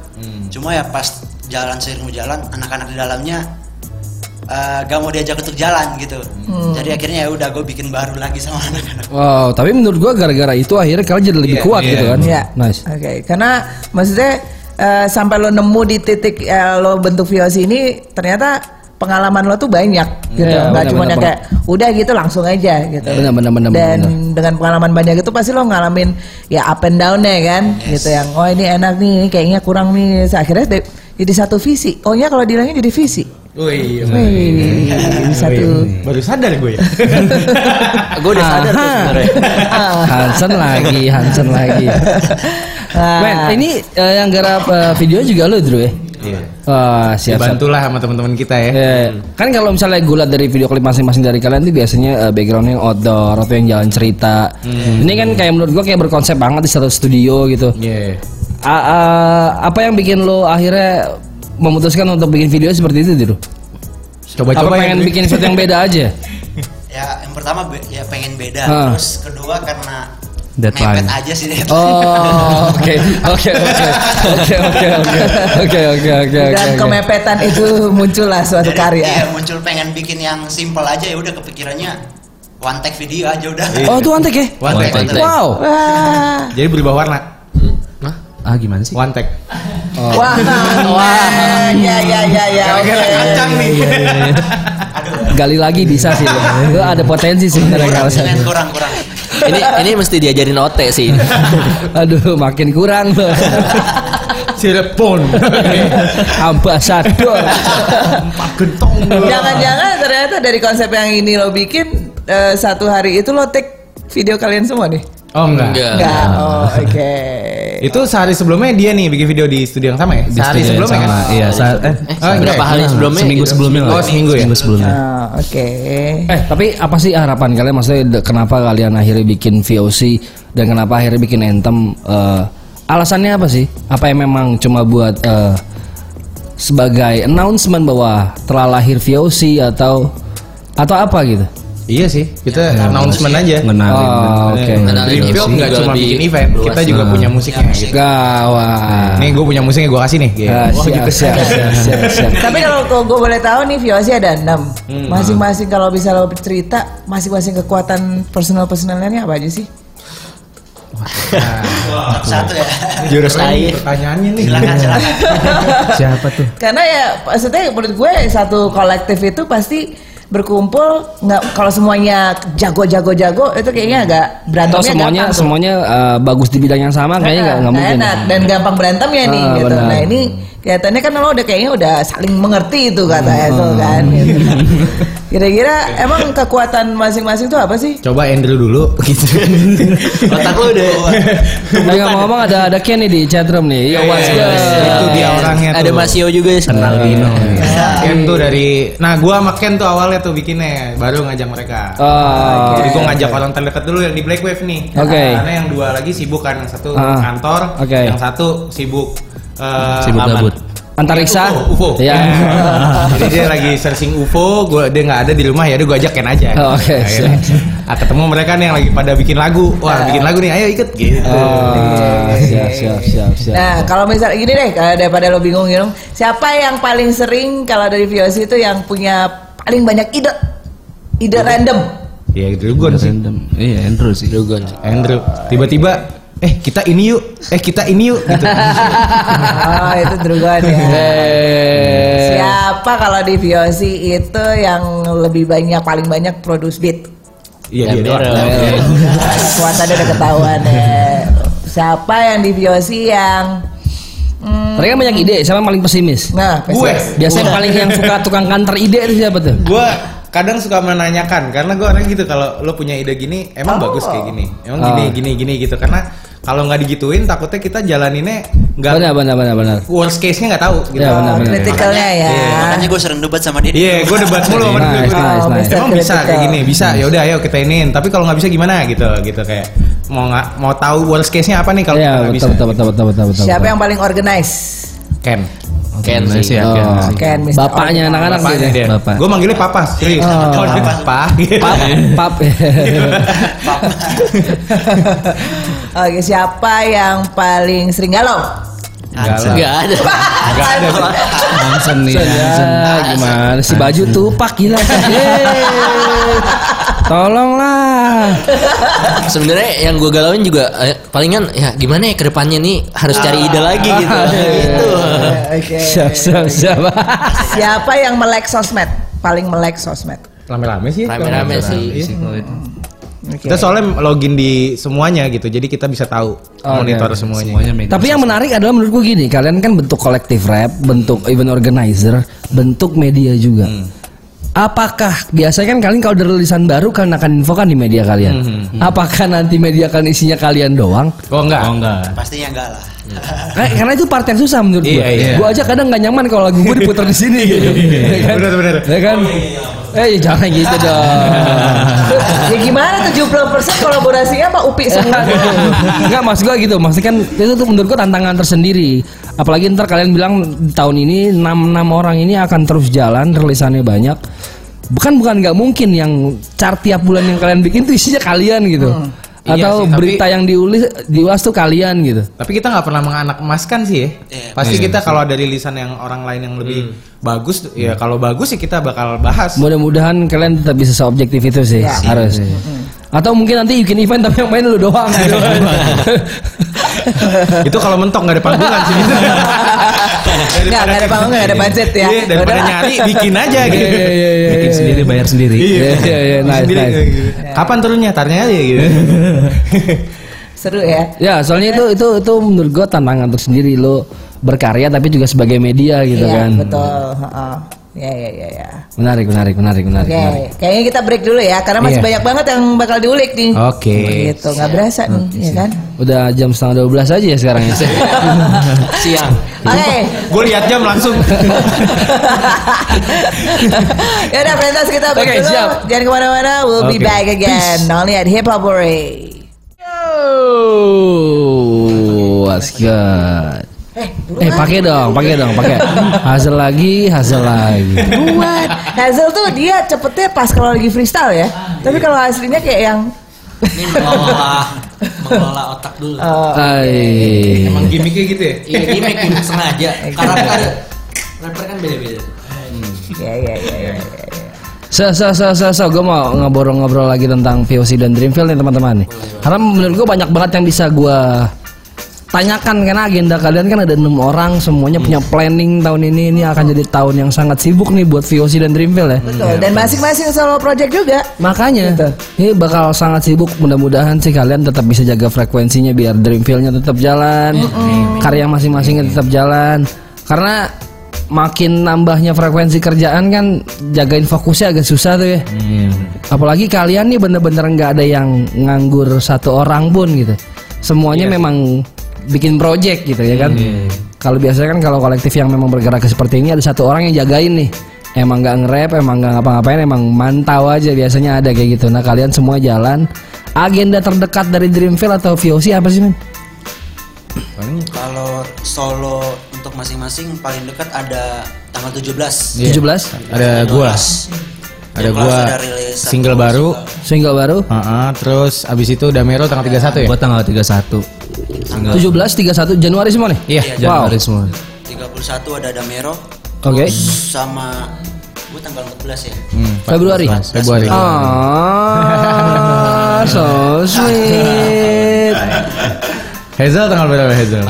H: cuma ya pas jalan sering jalan anak-anak di dalamnya eh, gak mau diajak untuk jalan gitu jadi akhirnya ya udah gue bikin baru lagi sama anak-anak
B: Wow, tapi menurut gua gara-gara itu akhirnya kalian jadi lebih kuat gitu kan?
C: Iya.
B: Nice.
C: Oke. Karena maksudnya eh, sampai lo nemu di titik eh, lo bentuk VOC ini ternyata pengalaman lo tuh banyak gitu.
B: Iya,
C: Nggak
B: benar,
C: cuma
B: benar, Iya,
C: yang kayak udah gitu langsung aja gitu.
B: Benar, benar, benar,
C: Dan
B: benar.
C: dengan pengalaman banyak itu pasti lo ngalamin ya up and down nya kan gitu yang oh ini enak nih ini kayaknya kurang nih akhirnya de- jadi satu visi. Oh ya kalau dibilangnya jadi visi.
F: Wih,
C: Wih, satu.
F: Oh, iya. baru sadar gue ya.
E: Gue udah sadar tuh sebenarnya.
B: Hansen lagi, Hansen lagi.
C: Nah,
B: Men, ini eh, yang garap eh, video juga lo, Drew ya?
F: Iya.
B: Wah, siap, siap.
F: Dibantulah sama teman-teman kita ya.
B: Eh, kan kalau misalnya gue liat dari video klip masing-masing dari kalian tuh biasanya eh, backgroundnya yang outdoor atau yang jalan cerita. Ini kan kayak menurut gue kayak berkonsep banget di satu studio gitu.
F: Iya.
B: A- a- apa yang bikin lo akhirnya memutuskan untuk bikin video seperti itu, Drew? Apa
F: Coba-coba
B: pengen
F: yang-
B: bikin sesuatu yang beda aja?
H: ya yang pertama be- ya pengen beda
B: Ah.
H: terus kedua karena
G: Deadline.
H: mepet aja sih deadline. <laughs>
B: Oh, oke, oke, oke, oke, oke, oke, oke, oke, oke,
C: dan
B: oke.
C: kemepetan itu <laughs> muncullah suatu
H: Jadi, iya,
C: karya.
H: muncul pengen bikin yang simple aja ya udah kepikirannya one take video aja udah <laughs>
B: Oh, itu antek ya?
F: One take.
E: One take.
B: Wow.
C: Wah.
F: Jadi berubah warna.
G: Ah gimana sih?
F: One take.
C: Wah, wah, ya ya ya ya.
F: Gara-gara
C: oke.
F: kacang nih.
B: Gali lagi bisa sih. Lu ada potensi sebenarnya kalau saya.
H: Kurang, kurang kurang
E: Ini ini mesti diajarin OT sih.
B: Aduh, makin kurang loh.
F: Cirebon.
B: Ambasador.
F: Empat gentong.
C: Jangan-jangan ternyata dari konsep yang ini lo bikin eh, satu hari itu lo take video kalian semua nih?
F: Oh enggak.
E: Enggak.
C: Enggak. Oh, oke.
F: Itu sehari sebelumnya dia nih bikin video di studio yang sama ya?
G: Di
F: sehari
G: studio yang
F: sebelumnya
G: sama,
F: kan?
G: Iya, sa- eh,
F: Oh, enggak
E: Berapa
F: ya?
E: hari sebelumnya?
G: seminggu
E: gitu.
G: sebelumnya lah.
F: Oh, seminggu ya?
G: sebelumnya.
C: Oh, oke.
B: Eh, tapi apa sih harapan kalian? Maksudnya de- kenapa kalian akhirnya bikin VOC dan kenapa akhirnya bikin anthem? Eh, alasannya apa sih? Apa yang memang cuma buat eh, sebagai announcement bahwa telah lahir VOC atau atau apa gitu.
F: Iya sih, kita announcement aja.
G: Ngenalin.
B: Oh, oke.
F: Oke.
E: Kenalin
F: Dream Field nggak
E: musik Nah, Iya, juga
F: cuma
E: lebih
F: bikin event, kita juga punya musiknya. gitu.
B: Gawat.
F: Nih gue punya musiknya gue kasih nih. Gitu.
B: Ah,
F: Wah,
B: siap,
F: gitu.
B: siap, siap, siap, siap.
C: Tapi kalau gue boleh tahu nih Viosi ada enam. Masing-masing kalau bisa lo cerita masing-masing kekuatan personal personalnya ini apa aja sih?
H: Satu ya.
F: Jurus air. Pertanyaannya nih.
H: Silakan silakan.
G: Siapa tuh?
C: Karena ya maksudnya menurut gue satu kolektif itu pasti berkumpul nggak kalau semuanya jago-jago-jago itu kayaknya agak
B: Atau
C: berantemnya
B: semuanya
C: gampang tuh.
B: semuanya eh, bagus di bidang yang sama kayaknya nggak nggak
C: Nah,
B: mungkin.
C: enak dan gampang berantem ya nih
B: Ah,
C: gitu.
B: benar.
C: Nah ini kelihatannya kan lo udah kayaknya udah saling mengerti itu kata
B: Ah.
C: itu kan. gitu.
B: <laughs>
C: Kira-kira emang kekuatan masing-masing itu apa sih?
F: Coba Andrew dulu <laughs> gitu.
E: Otak lu udah
B: Tapi ngomong-ngomong ada ada Ken nih di chatroom nih. Iya, was, was.
F: Itu dia orangnya tuh.
E: Ada Masio juga sih.
G: Kenal Dino.
F: Eh, Ken tuh dari Nah gua sama Ken tuh awalnya tuh bikinnya Baru ngajak mereka
B: Oh,
F: Jadi gua ngajak orang terdekat dulu yang di Black Wave nih
B: Oke.
F: Karena yang dua lagi sibuk kan Yang satu
B: Ah.
F: kantor
B: Oke.
F: Yang satu sibuk eh,
G: Sibuk
F: aman.
G: gabut.
B: antariksa.
F: UFO, UFO.
B: Ya.
F: <laughs> Jadi dia lagi searching UFO, gua dia nggak ada di rumah ya, udah gua ajak Ken aja.
B: Oh, oke,
F: Akhirnya, ah, ketemu mereka nih yang lagi pada bikin lagu. Wah, bikin lagu nih, ayo ikut gitu.
B: Ah. Oh, siap, siap, siap, siap.
C: Nah kalau misalnya gini deh kalau daripada lo bingung gitu, siapa yang paling sering kalau dari VOC itu yang punya paling banyak ide ide random?
F: Ya dulu gua sih.
G: Random. Iya, Andrew sih.
F: Andrew tiba-tiba eh kita ini yuk, eh kita ini yuk gitu.
C: oh itu drugan ya.
F: <laughs>
B: Eh,
C: Siapa kalau di VOC itu yang lebih banyak paling banyak produce
F: <laughs>
C: beat?
F: Iya dia doang.
C: Kekuatan udah ketahuan eh. Siapa yang di VOC yang hmm,
B: mereka banyak ide, siapa yang paling pesimis?
C: Nah,
F: Gue.
B: Biasanya yang paling yang suka tukang kantor ide itu siapa tuh?
F: Gue kadang suka menanyakan karena gue orang gitu kalau lo punya ide gini emang bagus kayak gini emang gini
B: Oh.
F: gini gini gitu karena kalau nggak digituin takutnya kita jalaninnya nggak
B: Benar, benar, benar, benar.
F: worst case nya nggak tahu gitu
B: Ya, benar, benar.
C: kritikalnya ya.
H: Makanya gue sering debat sama dia.
F: Iya, gue debat mulu sama
B: Nice,
F: dia. Gua debat.
B: nice, nice.
F: Emang bisa
C: Critical.
F: kayak gini, bisa. Ya udah, ayo kita iniin. Tapi kalau nggak bisa gimana gitu, gitu kayak mau nggak mau tahu worst case nya apa nih kalau
B: Iya,
F: kita nggak bisa.
B: betul, betul, betul, betul, betul, betul.
C: Siapa
B: betul.
C: yang paling organize?
F: Ken,
E: Ken
G: ya?
E: sih.
B: Oh,
C: Ken, Mr.
B: bapaknya
C: Organize.
B: anak-anak
F: Bapak
B: gitu.
F: dia.
G: Bapak.
F: Gue manggilnya Papa, serius. Oh, Papa.
B: Pap, pap.
C: Oke, siapa yang paling sering galau?
F: Nggak lah.
E: Enggak ada.
F: Nggak ada.
G: Hansen nih.
F: Iya.
B: Ah, gimana si baju tuh pak gila. Yeay. Tolonglah.
E: Sebenarnya yang gue galauin juga eh, palingan ya gimana ya ke depannya nih harus
F: Ah.
E: cari ide lagi gitu. <laughs> Gitu.
C: Oke.
B: Siap, siap, siap.
C: Siapa yang melek sosmed? Paling melek sosmed.
F: Rame-rame sih.
E: Rame-rame sih.
F: Iya.
C: Oke.
F: Kita soalnya login di semuanya gitu, jadi kita bisa tahu
B: Oh,
F: monitor
B: oke.
F: semuanya.
G: Semuanya megang.
B: Tapi yang menarik adalah menurut gue gini, kalian kan bentuk kolektif rap, bentuk event organizer, bentuk media juga.
F: Hmm.
B: Apakah biasanya kan kalian kalau ada rilisan baru kalian akan infokan di media kalian?
F: Hmm,
B: Apakah nanti media akan isinya kalian doang?
F: Oh enggak.
G: Oh enggak.
H: Pastinya enggak lah.
B: Ka- Karena itu part yang susah menurut gue.
F: Iya, iya.
B: Gue aja kadang nggak nyaman kalau lagu gue diputar di sini. gitu. Ya kan?
F: Bener-bener.
B: Ya kan?
F: Oh, iya,
B: Eh jangan gitu
F: <laughs>
B: dong. <laughs>
C: ya gimana 70% kolaborasinya Pak Upi semua?
B: Gitu kan. Enggak maksud gue gitu Maksudnya kan itu tuh menurut gue tantangan tersendiri Apalagi ntar kalian bilang di tahun ini 6-6 orang ini akan terus jalan Rilisannya banyak Bukan bukan nggak mungkin yang chart tiap bulan yang kalian bikin tuh isinya kalian gitu
F: Iya
B: Atau
F: sih, tapi-
B: berita yang diulis diulas tuh kalian gitu
F: Tapi kita nggak pernah menganak emaskan sih ya.
H: Iya,
F: Pasti kita kalau ada rilisan yang orang lain yang lebih bagus, ya kalau bagus sih kita bakal bahas.
B: Mudah-mudahan kalian tetap bisa seobjektif itu sih
F: Ya.
B: Harus
F: Hmm.
B: Atau mungkin nanti bikin event tapi yang main lu
F: <laughs>
B: doang <laughs> gitu.
F: itu kalau mentok nggak ada panggungan sih.
C: Nggak, nggak ada panggungan, nggak ada budget ya.
F: Iya, daripada
C: Udah.
F: nyari bikin aja gitu.
B: Iya, iya, iya, iya.
G: Bikin sendiri bayar sendiri.
B: Iya, iya, iya, nice,
F: Sendiri,
B: nice.
F: gitu. Kapan turunnya? Tarnya aja gitu.
C: Seru ya.
B: Ya, soalnya itu itu itu menurut gua tantangan tersendiri lo berkarya tapi juga sebagai media gitu
C: Iya,
B: kan.
C: betul. Heeh. Ya ya ya ya.
B: Menarik, menarik, menarik, menarik.
C: Oke,
B: menarik.
C: kayaknya kita break dulu ya karena masih
B: Iya.
C: banyak banget yang bakal diulik nih.
F: Oke.
C: Gitu, nggak berasa nih, ya kan?
B: Udah jam setengah 12 aja ya sekarang ya.
C: <laughs>
E: Siang.
C: Oke. <laughs>
F: Gue lihat jam langsung. <laughs>
C: ya udah Frentas kita break
B: Oke,
C: dulu.
B: siap.
C: Jangan kemana-mana. We'll be
F: Oke.
C: back again only at Hip Hop Parade.
B: Yo, what's good?
C: Eh,
B: Eh pakai dong, pakai dong, pakai. Hasil lagi, hasil lagi.
C: Buat <laughs> Hazel tuh dia cepetnya pas kalau lagi freestyle ya. Tapi kalau aslinya kayak yang
E: Ini mengelola mengelola otak dulu.
B: Ay.
F: Emang gimmicknya gitu ya?
E: Iya gimmick gimmick sengaja. Karena kan rapper kan beda-beda.
C: ya ya ya. ya.
B: So, so, so, so, so. Gue mau ngobrol-ngobrol lagi tentang VOC dan Dreamfield nih teman-teman nih. Karena menurut gue banyak banget yang bisa gue tanyakan karena agenda kalian kan ada enam orang semuanya punya planning tahun ini ini akan jadi tahun yang sangat sibuk nih buat VOC dan Dreamfield ya.
C: Betul. Dan masing-masing solo project juga.
B: Makanya ini bakal sangat sibuk. Mudah-mudahan sih kalian tetap bisa jaga frekuensinya biar Dreamfield-nya tetap jalan, karya masing-masingnya tetap jalan. Karena makin nambahnya frekuensi kerjaan kan jagain fokusnya agak susah tuh ya. Apalagi kalian nih bener-bener nggak ada yang nganggur satu orang pun gitu. Semuanya memang bikin project gitu ya kan. Kalau biasanya kan kalau kolektif yang memang bergerak ke seperti ini ada satu orang yang jagain nih. Emang nggak nge-rap, emang nggak ngapa-ngapain, emang mantau aja biasanya ada kayak gitu. Nah kalian semua jalan. Agenda terdekat dari Dreamfield atau VOC apa sih men?
H: Kalau solo untuk masing-masing paling dekat ada tanggal
F: Iya,
H: 17.
B: 17
F: Ada gua. Ada
H: Yang
F: gua
H: kelas ada rilis satu
F: single baru.
B: single baru.
F: Heeh, terus abis itu Damero tanggal 31 ya?
G: Buat tanggal 31 Single.
H: Nah.
B: 17, 31 Januari semua nih.
F: Iya,
B: Wow.
G: Januari semua.
H: 31 ada Damero
B: Oke. Hmm.
H: sama gua tanggal 14 ya.
B: Februari.
F: Februari. Oh.
B: Ah, so sweet.
F: Hazel tanggal berapa Hazel?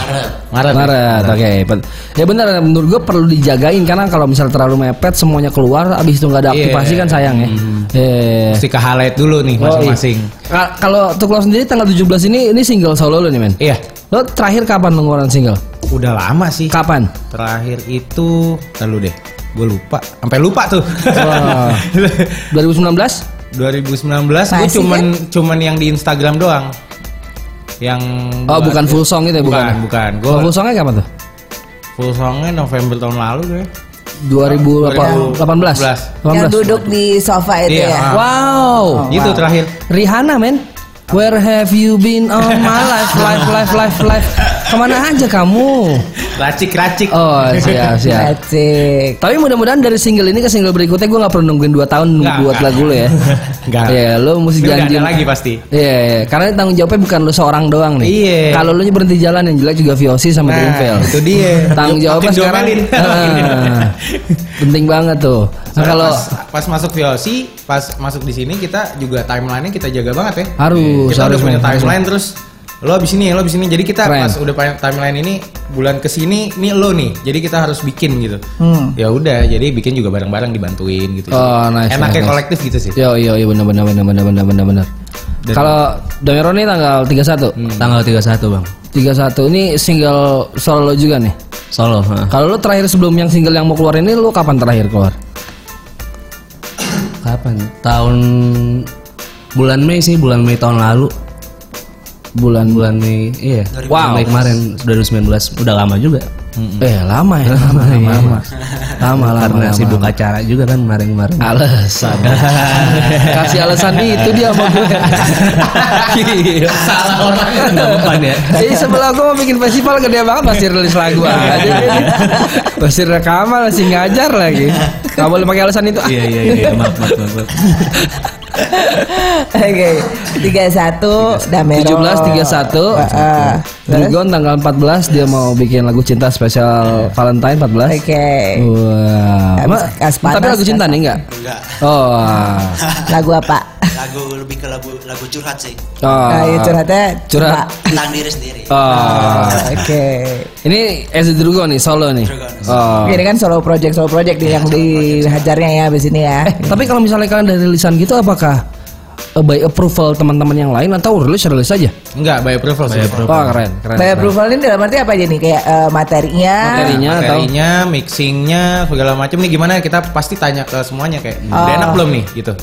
F: Maret.
B: Maret, oke. Pen- Ya benar, menurut gue perlu dijagain karena kalau misalnya terlalu mepet semuanya keluar, abis itu nggak ada aktivasi
F: Iya.
B: kan sayang ya. Iya.
F: Mesti ke highlight dulu nih masing-masing.
B: Ka- Kalau untuk lo sendiri tanggal 17 ini ini single solo lo nih men.
F: Iya.
B: Lo terakhir kapan lo ngeluarin single?
F: Udah lama sih.
B: Kapan?
F: Terakhir itu lalu deh. Gue lupa, sampai lupa tuh. <laughs>
B: Wah. 2019?
F: 2019 gue
C: Masih
F: cuman cuman yang di Instagram doang. Yang
B: Oh
F: gua-
B: bukan full song itu ya, bukan?
F: Bukan, bukan. Gua
B: Kalau full songnya kapan tuh?
F: full songnya November tahun lalu deh.
B: 2018. 18.
C: Yang duduk di sofa itu <laughs>
F: Iya.
C: ya.
B: Oh, Wow.
F: itu terakhir.
B: Rihanna men Where have you been all my life Life life life life Kemana aja kamu
F: Racik-racik.
B: Oh siap siap
C: Asik.
B: Tapi mudah-mudahan dari single ini ke single berikutnya Gue gak perlu nungguin 2 tahun
F: Nggak,
B: buat
F: nggak.
B: lagu lo ya
F: Nggak.
B: Iya lo mesti
F: Ini udah
B: janji
F: ada lagi pasti.
B: Iya, iya. karena tanggung jawabnya bukan lu seorang doang nih.
F: Iya.
B: Kalau lu berhenti jalan yang jelek juga VOC sama
F: Nah,
B: Dreamfield.
F: itu dia.
B: Tanggung
F: Makin
B: jawabnya sekarang.
F: diomelin.
B: <laughs> Ah, penting banget tuh. Nah,
F: Soalnya
B: kalau
F: pas, pas masuk VOC, pas masuk di sini kita juga timelinenya kita jaga banget ya.
B: Harus,
F: Kita
B: harus,
F: udah punya
B: men, harus,
F: timeline terus lo abis ini, lo abis ini. Jadi kita
B: Keren.
F: pas udah punya timeline ini bulan kesini nih lo nih. Jadi kita harus bikin gitu. Ya udah, jadi bikin juga bareng-bareng dibantuin gitu.
B: Hmm. Oh, nice, nice,
F: Enaknya
B: nice.
F: kolektif gitu sih.
B: yo yo yo benar benar benar benar benar benar benar. Kalau Damero nih tanggal 31.
G: Tanggal 31 bang
B: 31 ini single solo lo juga nih.
G: Solo ha.
B: Kalau lu terakhir sebelum yang single yang mau keluar ini lu kapan terakhir keluar?
G: Kapan? Tahun Bulan Mei sih Bulan Mei tahun lalu
B: Bulan
G: Bulan Mei Iya Bulan Mei kemarin 2019 Udah lama juga
B: eh lama
G: <laughs>
B: ya lama lama lama lama lama,
G: Karena
B: lama.
G: sibuk acara juga kan kemarin-kemarin <laughs>
B: Alasan Kasih alasan itu dia sama gue Gila.
G: Salah orang Gak Iya. beban ya
B: Jadi sebelah gue mau bikin festival gede banget Pasti rilis lagu
G: Iya,
B: aja Pasti rekaman Pasti ngajar lagi Gak boleh pakai alasan itu
G: Iya iya iya Maaf maaf maaf, maaf
C: Oke, tiga satu, Damero.
B: 1731
C: Heeh.
B: Dragon tanggal 14 Dia mau bikin lagu cinta spesial Valentine 14
C: Oke,
B: Wah.
C: Habis
B: Ma-
C: kas panas,
B: Tapi lagu
C: kas
B: cinta nih enggak?
H: Enggak.
B: Oh,
C: lagu apa?
H: Lagu lebih ke lagu lagu curhat sih.
B: oh.
C: Nah, ya curhatnya
B: Curhat.
C: Pak.
H: Tentang diri sendiri.
B: Oh.
C: Oke.
B: Ini as a Drugo nih solo nih.
H: Drugo.
B: Oh.
C: Ini kan solo project, solo project nih yang dihajarnya ya abis ini ya.
B: Tapi kalau misalnya kalian dari rilisan gitu apakah eh, by approval teman-teman yang lain atau rilis rilis aja?
F: Enggak, by approval sih.
B: Wah keren, keren.
C: By approval ini dalam arti apa aja nih? Kayak eh, materinya.
B: Materinya atau
F: Materinya, mixingnya, segala macam nih gimana kita pasti tanya ke semuanya kayak "Hmm, udah enak belum nih gitu.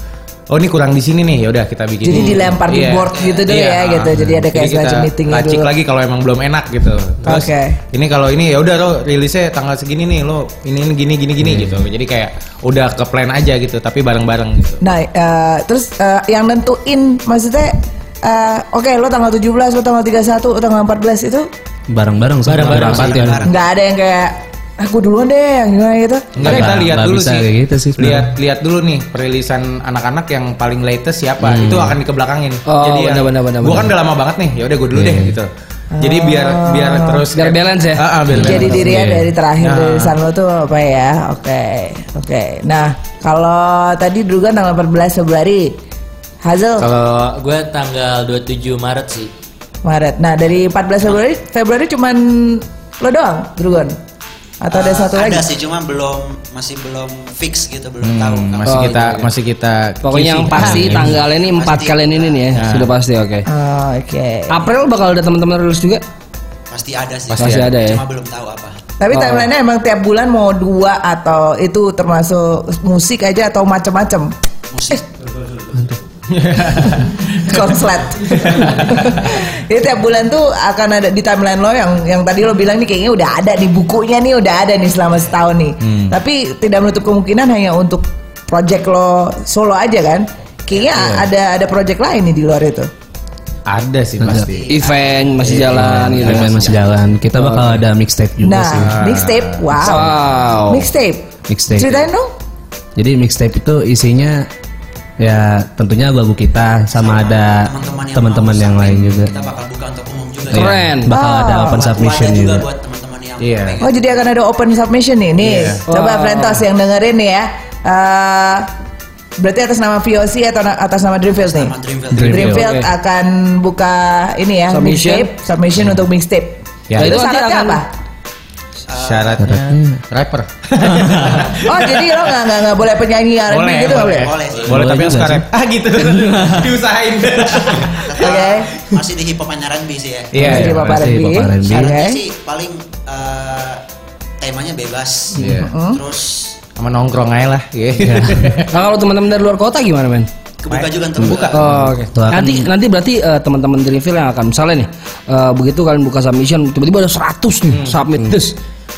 F: Oh ini kurang di sini nih, ya udah kita bikin. Iya.
C: Jadi dilempar di board gitu dulu ya, gitu. Jadi ada kayak
F: kita
C: semacam meetingnya
F: lacik
C: dulu.
F: lagi kalau emang belum enak gitu. Terus
C: Oke.
F: ini kalau ini ya udah lo rilisnya tanggal segini nih lo ini, ini gini gini gini
C: Hmm.
F: gitu. Jadi kayak udah ke plan aja gitu, tapi bareng-bareng gitu.
C: Nah, eh, terus eh, yang nentuin maksudnya eh, oke lo tanggal 17, lo tanggal 31, lo tanggal 14 itu
G: bareng-bareng semua
F: Bareng-bareng,
G: dirapatin.
F: bareng-bareng.
C: Nggak ada yang kayak aku duluan deh yang gimana gitu.
F: Enggak, kita
G: Nggak-
F: lihat
G: nggak
F: dulu
G: bisa
F: sih.
G: kayak gitu sih sebenarnya.
F: lihat lihat dulu nih perilisan anak-anak yang paling latest siapa. Itu akan dikebelakangin.
B: Oh,
F: yang-
B: benar, benar, benar,
F: Gua kan
B: benar.
F: udah lama banget nih. Ya udah gue dulu deh gitu. Jadi biar biar terus
B: Biar balance ya?
F: Ah, ah, biar
C: Jadi
F: balance.
C: dirinya
G: Iya.
C: dari terakhir
F: Nah.
C: dari San lo tuh apa ya? Oke, oke. Nah, kalau tadi juga tanggal 14 Februari Hazel
F: Kalau
E: Gue tanggal 27 Maret sih.
C: Maret. Nah, dari 14 Februari Februari cuman lo doang, Drugon. Atau ada
H: Eh,
C: satu
H: ada
C: lagi?
H: sih cuma belum masih belum fix gitu belum tahu
F: Hmm,
H: kapan.
F: masih
B: Oh,
F: kita
B: gitu, gitu.
F: masih kita Ah,
B: Pokoknya yang pasti tanggal ini empat kalian ini nih ya, sudah pasti oke.
C: Oh, oke.
B: April bakal ada teman-teman rilis juga.
H: pasti ada sih
B: Pasti ada ya.
H: cuma belum tahu apa
C: Tapi timelinenya emang tiap bulan mau dua atau itu termasuk musik aja atau macam-macam
H: musik
C: <laughs> konslet. Jadi tiap bulan tuh akan ada di timeline lo yang yang tadi lo bilang nih kayaknya udah ada nih bukunya nih udah ada nih selama setahun nih. Tapi tidak menutup kemungkinan hanya untuk project lo solo aja kan. Kayaknya ada ada project lain nih di luar itu.
F: ada sih pasti.
B: Event masih jalan gitu.
G: Timeline masih jalan.
B: Oh.
G: Kita bakal ada mixtape juga Iya sih.
C: Nah, mixtape, wow.
B: Wow.
C: Mixtape.
G: Mixtape.
C: Ceritain dong.
G: Jadi mixtape itu isinya ya tentunya lagu kita sama, ada Ah, teman-teman yang,
H: mau
G: lain
H: submit,
G: juga.
H: kita bakal buka untuk umum juga ya.
G: Iya.
B: Keren. Oh.
G: Bakal ada
C: Wow.
G: open
H: Buat-
G: submission
H: buat juga
G: juga.
H: buat teman-teman yang
F: Iya.
H: pengen.
C: Oh jadi akan ada open submission nih nih.
B: Iya.
C: Coba Frentos yang dengerin nih ya. Eh, berarti atas nama VOC atau na- atas nama Dreamfield nih.
H: Sama Dreamville.
G: Dreamfield.
C: Dreamfield
B: Oke.
C: akan buka ini ya
B: Submission.
C: mixtape, submission untuk mixtape.
F: Ya.
B: Itu
C: Itu
B: nanti
C: syaratnya
B: akan-
C: apa?
F: Syaratnya rapper.
C: Oh jadi lo nggak nggak nggak boleh penyanyi R&B
F: boleh,
C: gitu nggak
F: boleh.
C: boleh.
H: Boleh sih.
F: Boleh, tapi
G: Boleh
F: yang
G: juga
F: suka rap. Ah gitu. Diusahain.
H: Tetap
C: Oke.
H: masih di hip hop and R&B sih ya
F: Ah, Iya,
C: Jadi
F: iya,
C: Bapak
G: pasti
C: R&B.
G: Bapak R&B.
C: Oke.
H: Syaratnya sih paling eh, temanya bebas
F: Iya.
H: terus
F: Sama nongkrong aja lah. Iya.
B: Nah, kalau teman-teman dari luar kota gimana men?
H: kebuka juga untuk buka
B: Oh, oke.
G: Tuh, akan-
B: Nanti nanti berarti eh, teman-teman Dreamfield yang akan misalnya nih eh, begitu kalian buka submission tiba-tiba ada 100 nih submit terus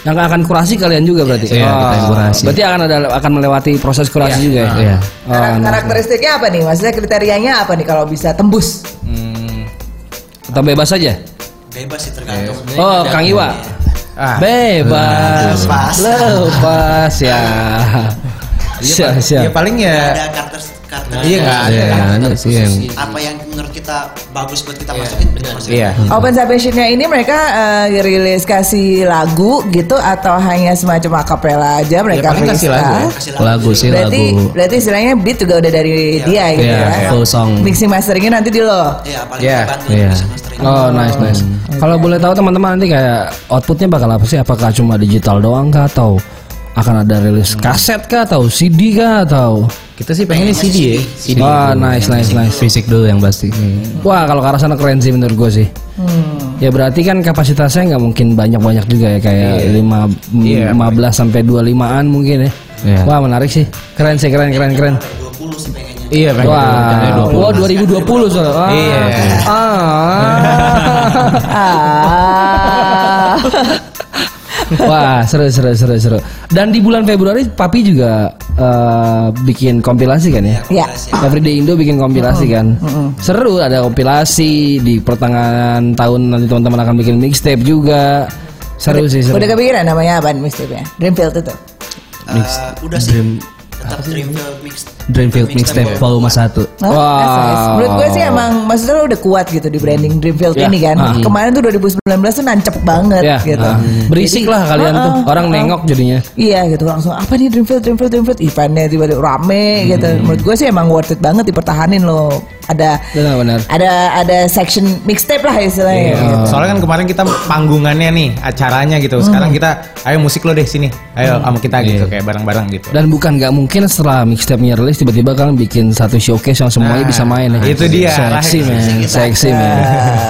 B: yang akan kurasi kalian juga berarti.
G: Hmm. Iya, kita yang
B: Oh,
G: kurasi.
B: Berarti akan ada akan melewati proses kurasi juga ya.
G: Iya.
B: Oh,
C: Karak-
B: nah,
C: Karakteristiknya apa nih? Maksudnya kriterianya apa nih kalau bisa tembus?
B: atau bebas saja.
H: bebas sih tergantung
B: Oh, Kang Iwa.
F: Ah,
B: Bebas.
H: Lepas.
B: Lepas ya. Siap,
F: <laughs> ya
B: siap.
F: paling ya
H: ada karakter karakter
F: Iya, nggak ada.
G: Iya, ada sih yang
H: apa yang menurut kita bagus buat kita masukin kita masukin.
F: Iya.
C: Open submissionnya ini mereka eh, rilis kasih lagu gitu atau hanya semacam akapela aja mereka
F: paling kasih lagu ya.
C: freestyle?
H: kasih
G: lagu sih
C: Berarti
G: lagu.
C: berarti istilahnya beat juga udah dari dia gitu
G: Iya,
C: ya.
G: full song.
C: Mixing masteringnya nanti di lo.
H: Iya, paling
F: Iya,
H: yeah. bantu
G: iya.
H: yeah. mastering.
B: Oh, nice, nice. Kalau boleh tahu teman-teman nanti kayak outputnya bakal apa sih? Apakah cuma digital doang kah atau akan ada rilis kaset kah atau CD kah atau
F: kita sih pengen CD ya.
G: CD
B: Wah,
G: dulu.
B: nice, nice, nice.
G: Fisik dulu yang pasti.
B: Hmm. Wah, kalau ke arah sana keren sih menurut gue sih.
F: Hmm.
B: Ya berarti kan kapasitasnya nggak mungkin banyak-banyak juga ya kayak lima
F: Iya,
B: 15 sampai 25-an mungkin ya.
G: Iya.
B: Wah, menarik sih. Keren sih, keren keren keren.
H: 20 sih pengennya.
F: Iya, pengen.
B: Wah, wow. 2020 soalnya. Wah.
F: Iya.
B: Ah.
C: Ah.
B: <laughs> Wah seru seru seru seru. Dan di bulan Februari Papi juga eh, bikin kompilasi kan ya?
C: ya.
B: Everyday Indo bikin kompilasi kan. Seru ada kompilasi di pertengahan tahun nanti teman-teman akan bikin mixtape juga. Seru sih seru.
C: Udah kepikiran namanya apa mixtape-nya? Dreamfield itu.
H: Eh, udah sih. tetap Dreamfield mix.
G: Dreamfield Mixtape Volume 1.
C: Oh,
B: Wow.
C: nice. Menurut gue sih emang maksudnya lo udah kuat gitu di branding Dreamfield ini kan. Kemarin tuh 2019 tuh nancep banget
B: Ya,
C: gitu.
B: ah.
C: ah,
B: berisik lah kalian tuh. Orang nengok jadinya.
C: Iya gitu langsung apa nih Dreamfield Dreamfield Dreamfield eventnya tiba-tiba
B: Hmm.
C: rame gitu. Menurut gue sih emang worth it banget dipertahanin loh. Ada
B: Benar-benar.
C: ada ada section mixtape lah
B: Iya.
C: istilahnya. gitu.
F: Soalnya kan kemarin kita panggungannya nih, acaranya gitu. Sekarang kita ayo musik lo deh sini. Ayo sama kita gitu kayak bareng-bareng gitu.
B: Dan bukan nggak mungkin setelah mixtape-nya rilis tiba-tiba kalian bikin satu showcase yang semuanya
F: Nah,
B: bisa main ya.
F: itu dia.
B: Seksi
F: Arahnya
B: men, seksi men,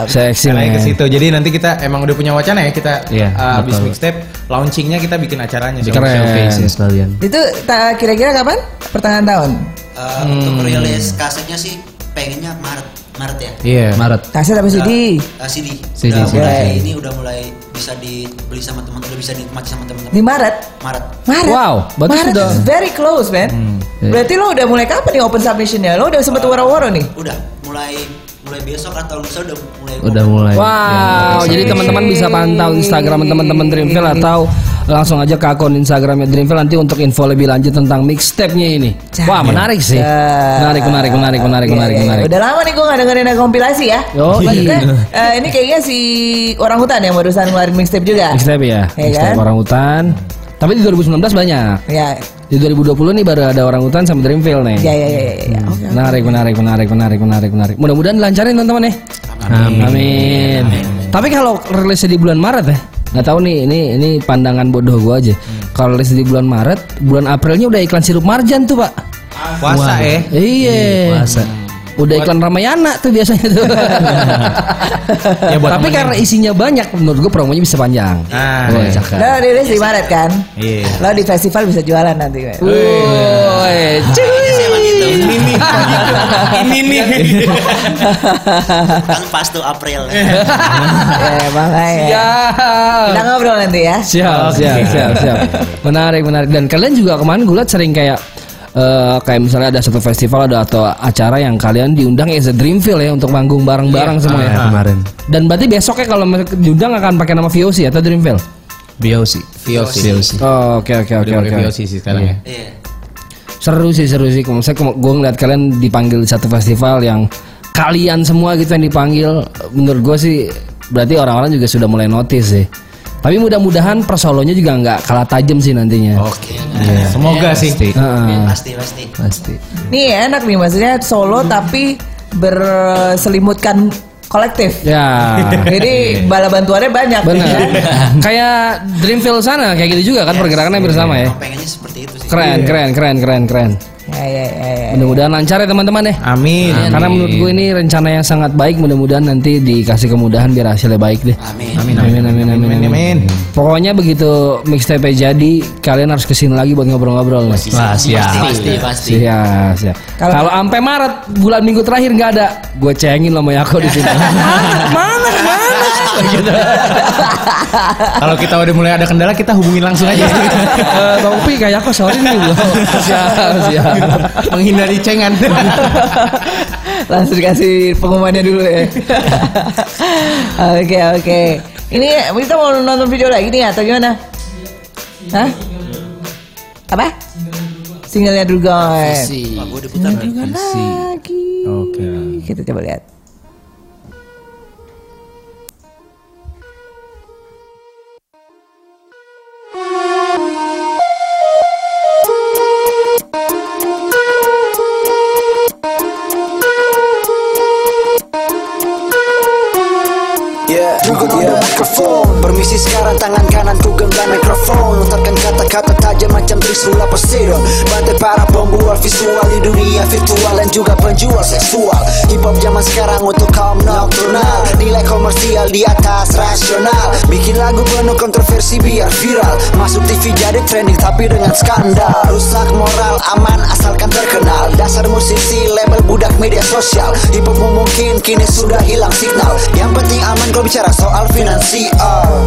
B: seksi
F: Caranya
B: men.
F: ke situ. Jadi nanti kita emang udah punya wacana ya kita
G: Iya,
F: uh, habis
G: betul.
F: mixtape launchingnya kita bikin acaranya.
B: Bikin Keren.
G: Showcase-nya sekalian.
C: Itu ta- kira-kira kapan? Pertengahan tahun.
H: Eh, Untuk rilis kasetnya sih pengennya Maret. Maret ya.
F: Iya.
G: Maret.
C: Kaset apa CD?
H: Eh, CD.
G: CD,
H: udah
G: CD.
H: mulai ini udah mulai bisa dibeli sama teman udah bisa dinikmati sama teman-teman.
C: Di Maret.
H: Maret.
C: Maret.
B: Wow, berarti
C: Maret
B: sudah- Hmm, iya.
C: is very close,
B: Ah.
C: man. Berarti lo udah mulai kapan nih open submissionnya? Lo udah sempet waro-waro nih?
H: Udah mulai mulai besok atau lusa udah mulai
G: udah mulai
C: ya,
G: Iya,
B: Wow, jadi teman-teman bisa pantau Instagram teman-teman Dreamville atau langsung aja ke akun Instagramnya Dreamville nanti untuk info lebih lanjut tentang mixtape-nya ini. Wah, menarik sih. Iya. Menarik, menarik, menarik, menarik,
C: Iya,
B: menarik,
C: iya, iya.
B: menarik.
C: Udah lama nih gue gak dengerin ada kompilasi ya.
B: Yo, <laughs>
C: Maksudnya eh, ini kayaknya si orang hutan yang barusan ngeluarin mixtape juga.
B: Mixtape ya,
C: Iya
B: mixtape
C: kan?
B: orang hutan. Tapi di 2019 banyak.
C: Ya,
B: Di 2020 nih baru ada orang hutan sama Dreamville nih.
C: ya, ya, ya, ya, ya. Oke.
B: Menarik, menarik, menarik, menarik, menarik, menarik. Mudah-mudahan lancarin teman-teman ya. Amin. Tapi kalau rilisnya di bulan Maret ya, nggak tahu nih ini ini pandangan bodoh gua aja. Kalau rilis di bulan Maret, bulan Aprilnya udah iklan sirup marjan tuh pak.
F: Puasa ya.
B: Iya.
G: puasa
B: Udah iklan Ramayana tuh biasanya tuh. Tapi karena isinya banyak, menurut gua promonya bisa panjang.
F: Nah,
B: Wah,
F: iya.
B: cakep.
C: Lo rilis di Maret kan?
F: Iya.
C: Lo di festival bisa jualan nanti.
B: Woi, cuy.
F: <laughs> Ini nih. Ini nih.
H: kan pas tuh April
F: Iya.
C: ya, makanya.
B: Ah. Siap.
C: Kita ngobrol nanti ya.
B: Siap, siap, siap, siap. Menarik, menarik. Dan kalian juga kemarin gue liat sering kayak eh, kayak misalnya ada satu festival ada atau acara yang kalian diundang as a Dreamville ya untuk manggung bareng-bareng semua ya.
G: ya, kemarin
B: Dan berarti besoknya kalau mer- diundang akan pakai nama VOC atau Dreamville.
G: VOC
F: VOC.
B: Oh, oke oke oke
F: Udah
B: oke.
F: mulai VOC sih sekarang ya.
H: iya
B: Seru sih, seru sih. Maksudnya gue ngeliat kalian dipanggil di satu festival yang kalian semua gitu yang dipanggil menurut gue sih berarti orang-orang juga sudah mulai notice sih. Tapi mudah-mudahan persolonya juga nggak kalah tajam sih nantinya.
H: Oh,
G: oke
F: Semoga sih.
B: Heeh.
H: Iya, kan? pasti pasti
G: pasti
C: Nih enak nih maksudnya solo tapi berselimutkan kolektif.
B: Ya.
C: Jadi bala bantuannya banyak.
B: Benar.
C: kan?
B: kayak Dreamville sana kayak gitu juga kan pergerakannya hampir sama ya.
H: Emang pengennya seperti itu sih
B: Keren, keren, keren, keren, keren.
C: Ya, ya, ya, ya.
B: Mudah-mudahan lancar ya teman-teman ya.
F: Amin.
B: Karena menurut gue ini rencana yang sangat baik, mudah-mudahan nanti dikasih kemudahan biar hasilnya baik deh.
H: amin
B: Amin amin amin amin.
F: Amin. Amin.
B: Pokoknya begitu mixtape jadi, kalian harus kesini lagi buat ngobrol-ngobrol. Mas.
G: Wah, siap.
E: pasti pasti
B: Iya, iya. Kalau sampai Maret bulan minggu terakhir nggak ada, gue cengin lo sama Yako di sini. Mana mana?
F: Kalau kita udah mulai ada kendala kita hubungin langsung aja.
B: Eh, Bang Upi kayak Yako sorry nih gue. Siap, siap.
F: Menghindari cengan.
C: <laughs> Langsung dikasih pengumumannya dulu
H: <laughs>
C: ya. Oke oke. Ini kita mau nonton video lagi nih atau gimana? Hah? Apa? Singlenya Drugon.
H: Wah, gua diputar nih.
C: Drugon lagi.
F: Oke.
C: Kita coba lihat.
I: Yeah, yeah. mikrofon Ya, Permisi sekarang tangan kananku genggam mikrofon Lontarkan kata-kata tajam macam trisula persiram Bantai para pembual visual di dunia virtual Dan juga penjual seksual Hip hop zaman sekarang untuk kaum nocturnal Nilai komersial di atas rasional Bikin lagu penuh kontroversi biar viral Masuk TV jadi trending tapi dengan skandal Rusak moral aman asalkan terkenal Dasar musisi label budak media sosial Hip hop mungkin kini sudah hilang signal Yang penting aman kalau bicara soal finansial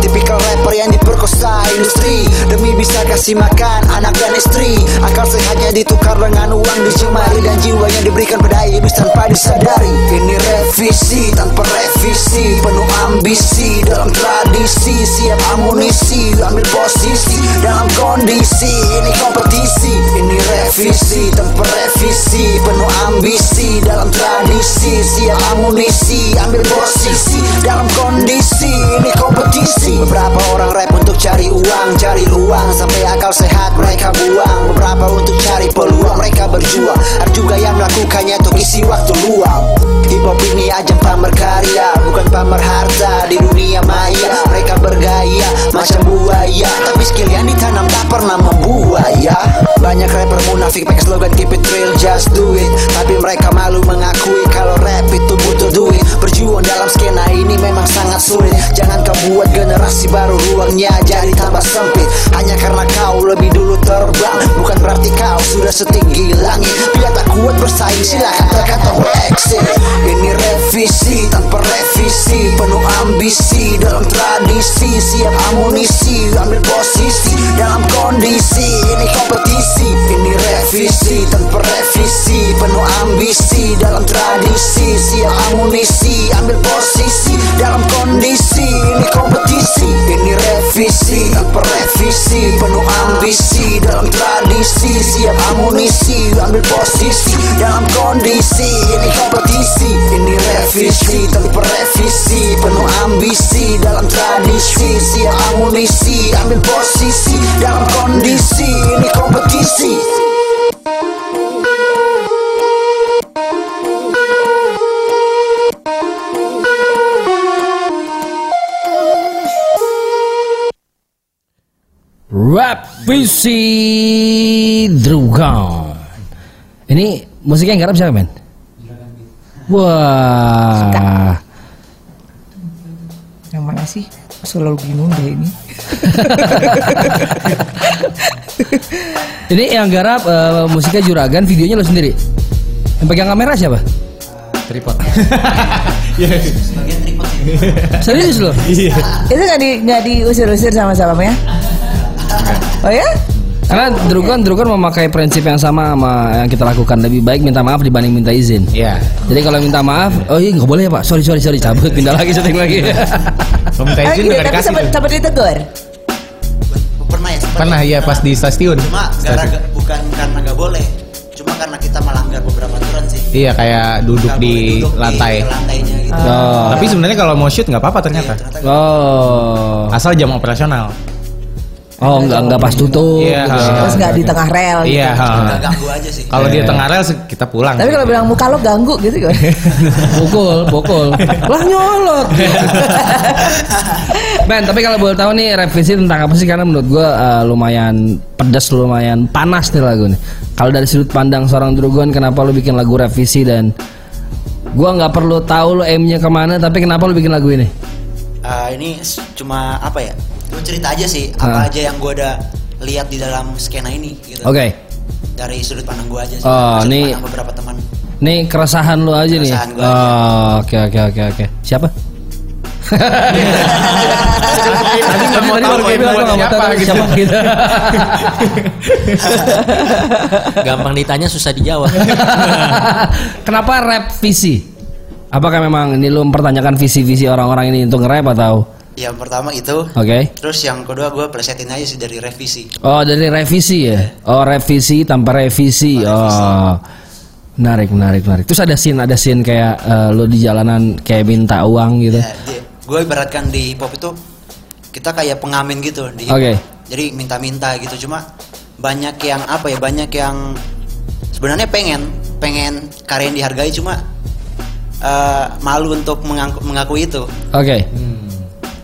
I: Tipikal rapper yang diperkosa industri Demi bisa kasih makan anak dan istri Akal sehatnya ditukar dengan uang dicemari Dan jiwanya diberikan pada iblis tanpa disadari Ini revisi tanpa revisi Penuh ambisi dalam tradisi Siap amunisi ambil posisi Dalam kondisi ini kompetisi Ini revisi tanpa revisi Penuh ambisi dalam tradisi Siap amunisi ambil posisi Dalam kondisi ini kompetisi Beberapa orang rap untuk cari uang Cari ruang sampai akal sehat mereka buang Beberapa untuk cari peluang mereka berjuang Ada juga yang melakukannya untuk isi waktu luang Hip hop ini ajang pamer karya Bukan pamer harta di dunia maya Mereka bergaya macam buaya Tapi skill yang ditanam tak pernah membuaya Banyak rapper munafik pakai slogan keep it real just do it Tapi mereka malu mengakui kalau rap itu butuh duit Berjuang dalam skena ini memang sangat sulit Jangan kau buat generasi Isi baru ruangnya jadi tambah sempit Hanya karena kau lebih dulu terbang Bukan berarti kau sudah setinggi langit Bila tak kuat bersaing silakan terkantong exit Ini revisi tanpa revisi Penuh ambisi dalam tradisi Siap amunisi ambil posisi Dalam kondisi ini kompetisi Ini revisi tanpa revisi Penuh ambisi dalam tradisi Siap amunisi ambil posisi Dalam kondisi ini kompetisi Ini revisi tanpa revisi Penuh ambisi dalam tradisi Siap amunisi ambil posisi Dalam kondisi ini kompetisi Ini revisi tanpa revisi Penuh ambisi dalam tradisi Siap amunisi ambil posisi Dalam kondisi ini kompetisi
B: Rap visi Drugon. Ini musiknya yang garap siapa men? Wah.
C: Yang mana sih? Selalu bingung deh ini.
B: Ini yang garap eh, musiknya juragan, videonya lo sendiri. Yang pegang kamera siapa?
F: Tripod.
B: Serius lo?
F: Iya.
C: Itu nggak di nggak diusir-usir sama siapa ya? Oh ya?
B: Karena Drugon Drugon memakai prinsip yang sama sama yang kita lakukan lebih baik minta maaf dibanding minta izin.
F: Iya.
B: Jadi kalau minta maaf, oh iya nggak boleh ya pak, sorry sorry sorry cabut pindah lagi syuting lagi. <laughs>
F: Kalau minta
C: Ah,
F: izin
C: gitu,
F: nggak
C: tapi
F: dikasih.
C: sempat
F: tuh.
C: sempat ditegur.
H: Pernah ya? seperti
F: Pernah
H: itu?
F: iya pas di stasiun.
H: Cuma gara
F: Stasiun.
H: bukan karena nggak boleh, cuma karena kita melanggar beberapa aturan sih.
F: Iya kayak duduk
H: Nggak boleh
F: di
H: duduk
F: lantai.
H: Di lantainya gitu.
B: Oh.
F: Tapi sebenarnya kalau mau shoot nggak apa-apa ternyata.
B: Oh,
F: Asal jam operasional.
B: oh nggak nggak pas tutup.
F: Iya.
C: Terus nggak di tengah
B: Oh,
C: rel. gitu.
F: Iya. ha.
H: Nggak ganggu aja sih.
F: Kalau
B: Iya.
F: dia tengah rel se- kita pulang.
C: Tapi kalau bilang muka lo ganggu gitu gimana?
B: Pukul, pukul. Lah nyolot. ben, tapi kalau boleh tahu nih revisi tentang apa sih? Karena menurut gua eh, lumayan pedas, lumayan panas nih lagu nih. Kalau dari sudut pandang seorang Drugon, kenapa lu bikin lagu revisi dan gua nggak perlu tahu lu aimnya kemana, tapi kenapa lu bikin lagu ini?
H: Ah, ini s- cuma apa ya? Gue cerita aja sih apa aja yang gue udah lihat di dalam skena ini. Gitu.
B: Ah. Oke,
H: Dari sudut pandang gue aja. Sih.
B: Oh,
H: Sudut
B: nih.
H: pandang beberapa teman.
B: nih keresahan lu aja nih.
H: Keresahan gua aja.
B: Oh, Oke, oke, oke, oke. Siapa? Tadi- tadi
F: mau tahu
B: gua
F: yang
B: bilang
F: buat
B: gua nggak mau
F: siapa
B: tahu
F: gitu.
B: siapa gitu.
E: Gampang ditanya susah dijawab.
F: Iya.
B: <laughs> Kenapa rap visi? Apakah memang ini lu mempertanyakan visi-visi orang-orang ini untuk nge-rap atau?
H: Ya, Yang pertama itu.
B: Oke.
H: Terus yang kedua gue plesetin aja sih dari revisi.
B: Oh, dari revisi ya. Oh, revisi tanpa revisi. Oh. Menarik, menarik, menarik. Terus ada scene, ada scene kayak eh, lu di jalanan kayak minta uang gitu.
H: gue Ya, ibaratkan di hip hop itu kita kayak pengamen gitu di hip hop.
B: Oke.
H: jadi minta-minta gitu cuma banyak yang apa ya banyak yang sebenarnya pengen pengen karya yang dihargai cuma eh, malu untuk mengaku, mengakui itu
B: Oke.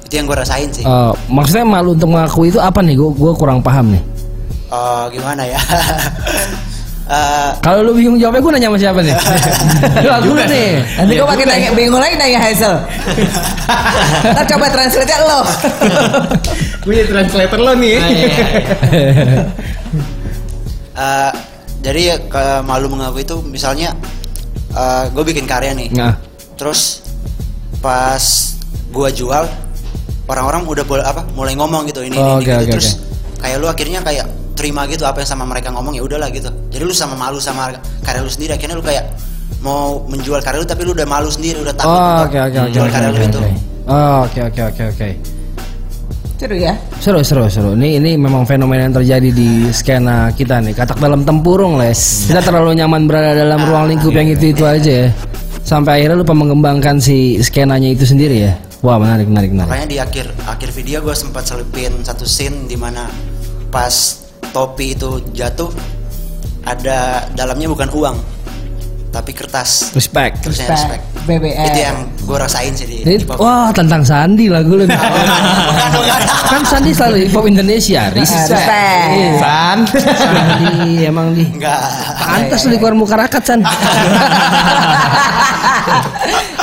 H: itu yang gue rasain sih
B: Eh, maksudnya malu untuk mengakui itu apa nih? Gue gua kurang paham nih.
H: Eh, gimana ya <laughs> Eh,
B: Kalau lu bingung jawabnya gue nanya sama siapa <laughs> nih? lu aku dulu nih.
C: Nanti
E: Iya
C: gue makin nanya,
E: ya.
C: bingung lagi nanya
E: <laughs>
C: Hazel. Ntar coba translate lo.
F: gue jadi translator lo nih. iya.
H: eh, jadi ya, ke- malu mengakui itu misalnya gue bikin karya nih
B: Nah.
H: terus pas gua jual orang-orang udah boleh apa mulai ngomong gitu ini
B: Oh, oke,
H: ini, ini gitu
B: oke,
H: terus kayak lu akhirnya kayak terima gitu apa yang sama mereka ngomong ya udahlah gitu jadi lu sama malu sama karya lu sendiri akhirnya lu kayak mau menjual karya lu tapi lu udah malu sendiri udah takut
B: Oh,
H: untuk
B: oke oke oke.
H: jual
B: oke,
H: karya lu
B: oke,
H: itu
B: oke. Oh, oke oke oke oke.
C: Seru ya.
B: Seru seru seru. Ini ini memang fenomena yang terjadi di skena kita nih. Katak dalam tempurung les. Kita terlalu nyaman berada dalam ruang lingkup yang itu itu aja ya. Sampai akhirnya lupa mengembangkan si skenanya itu sendiri ya. Wah menarik menarik menarik.
H: makanya di akhir akhir video gua sempat selipin satu scene dimana pas topi itu jatuh ada dalamnya bukan uang tapi kertas
B: Respect.
E: Iya,
H: terusnya
C: Pak
H: respect
C: BBM.
E: ya.
H: itu yang gue rasain sih di,
B: Jadi, Oh.
H: di pop.
B: wah tentang Sandi lagu lu. nih.
H: Bukan, bukan.
B: kan Sandi selalu hip hop Indonesia.
C: Respect.
B: Respect. Iya.
F: San.
B: Sandi emang di.
H: Enggak.
B: Pantas lu di keluar muka rakat San.
C: <laughs>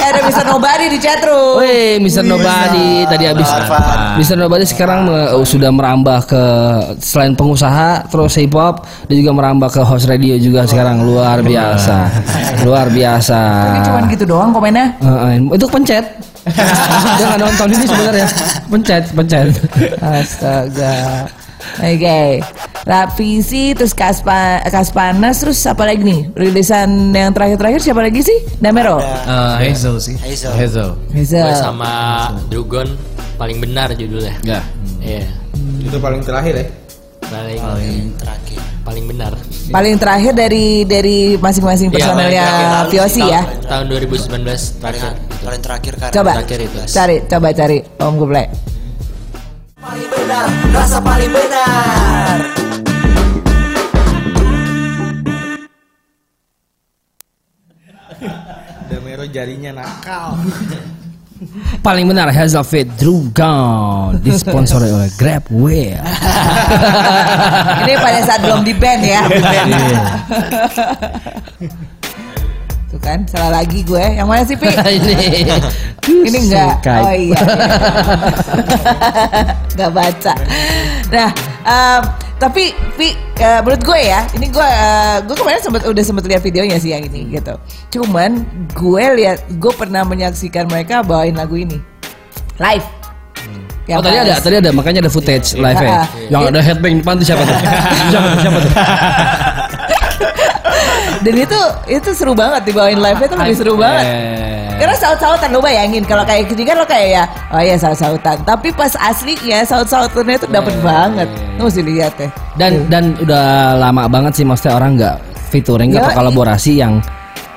C: eh ada Mr. Nobody di chatroom.
E: Oh,
B: Wih, Mr. Nobody tadi habis Mr. Nobody sekarang me- eh, sudah merambah ke selain pengusaha terus hip hop dia juga merambah ke host radio juga sekarang luar biasa. Luar biasa.
E: iya.
C: Tapi cuman gitu doang komennya.
B: Heeh, itu pencet. Dia nggak nonton ini sebenarnya. Pencet, pencet.
C: Astaga. Oke. Rapi sih terus Kaspa Kaspanas terus apa lagi nih? Rilisan yang terakhir-terakhir siapa lagi sih? Damero.
G: Eh, Hazel sih.
H: Hazel.
F: Hazel.
C: Hazel.
E: Gue sama Drugon paling benar judulnya.
F: Ya.
E: Iya.
F: <laughs> Itu paling terakhir ya.
E: Paling
H: terakhir.
E: paling benar.
C: Paling terakhir dari dari masing-masing
E: Iya,
C: personelnya
E: paling terakhir.
C: VOC ya.
E: Tahun 2019
H: Paling,
E: terakhir.
H: paling terakhir kan.
C: Coba
E: terakhir itu.
C: cari, coba cari Om
B: <laughs>
C: Gublek.
I: Paling benar, rasa paling benar.
F: Damero jarinya nakal.
B: Paling benar Hazel Fit Drugon disponsori oleh Grab Wheel.
C: Ini pada saat belum di band ya.
B: Iya.
G: Iya,
C: Tuh kan salah lagi gue. Yang mana sih Pi?
B: <laughs> ini.
C: Ini enggak.
B: Singkai.
C: Oh
B: <laughs>
C: iya. Enggak baca. Nah, em, tapi Pi eh, menurut gue ya, ini gue eh, gue kemarin sempat udah sempat lihat videonya sih yang ini gitu. Cuman gue lihat gue pernah menyaksikan mereka bawain lagu ini live. Ya kan? Yang
B: oh tadi
C: pas-
B: ada, tadi ada, makanya ada footage live ya.
C: Ah.
B: Yang ada headbang depan tuh
C: <laughs>
B: siapa tuh? siapa tuh? Siapa tuh?
C: Dan itu itu seru banget dibawain live itu lebih seru banget.
B: Iya.
C: Karena saut-sautan lo bayangin kalau kayak gini kan lo kayak ya oh ya saut-sautan. Tapi pas aslinya saut-sautannya itu dapet banget. Lo mesti lihat ya. deh.
B: Dan dan udah lama banget sih maksudnya orang nggak featuring
C: Ya,
B: atau kolaborasi yang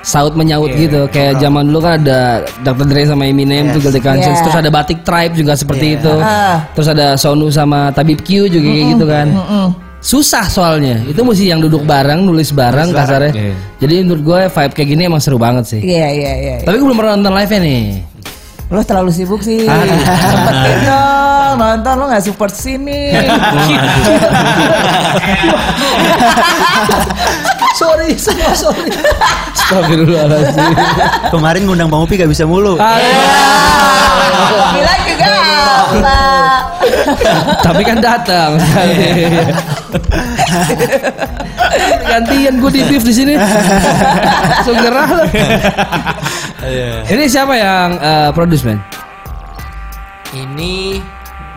B: saut menyaut gitu. Kayak zaman dulu kan ada Dr. Dre sama Eminem tuh Guilty Conscience.
C: Yeah.
B: Terus ada Batik Tribe juga seperti itu.
C: Ah.
B: Terus ada Sonu sama Tabib Q juga kayak gitu kan. Susah soalnya. Itu mesti yang duduk bareng, nulis bareng kasarnya.
G: Iya.
B: Jadi menurut gue vibe kayak gini emang seru banget sih.
C: Iya iya iya.
B: Tapi gue belum pernah nonton live-nya nih.
C: Lo terlalu sibuk sih. Sempetin dong nonton lo nggak support sini.
B: sorry, semua sorry. <laughs> Astagfirullahaladzim.
H: Kemarin ngundang Bang Upi gak bisa mulu.
B: Ah, <laughs>
C: Bilang juga apa?
B: Tapi kan datang. Gantian gue di beef di sini. Langsung nyerah lu. Ini siapa yang eh, produce man?
E: Ini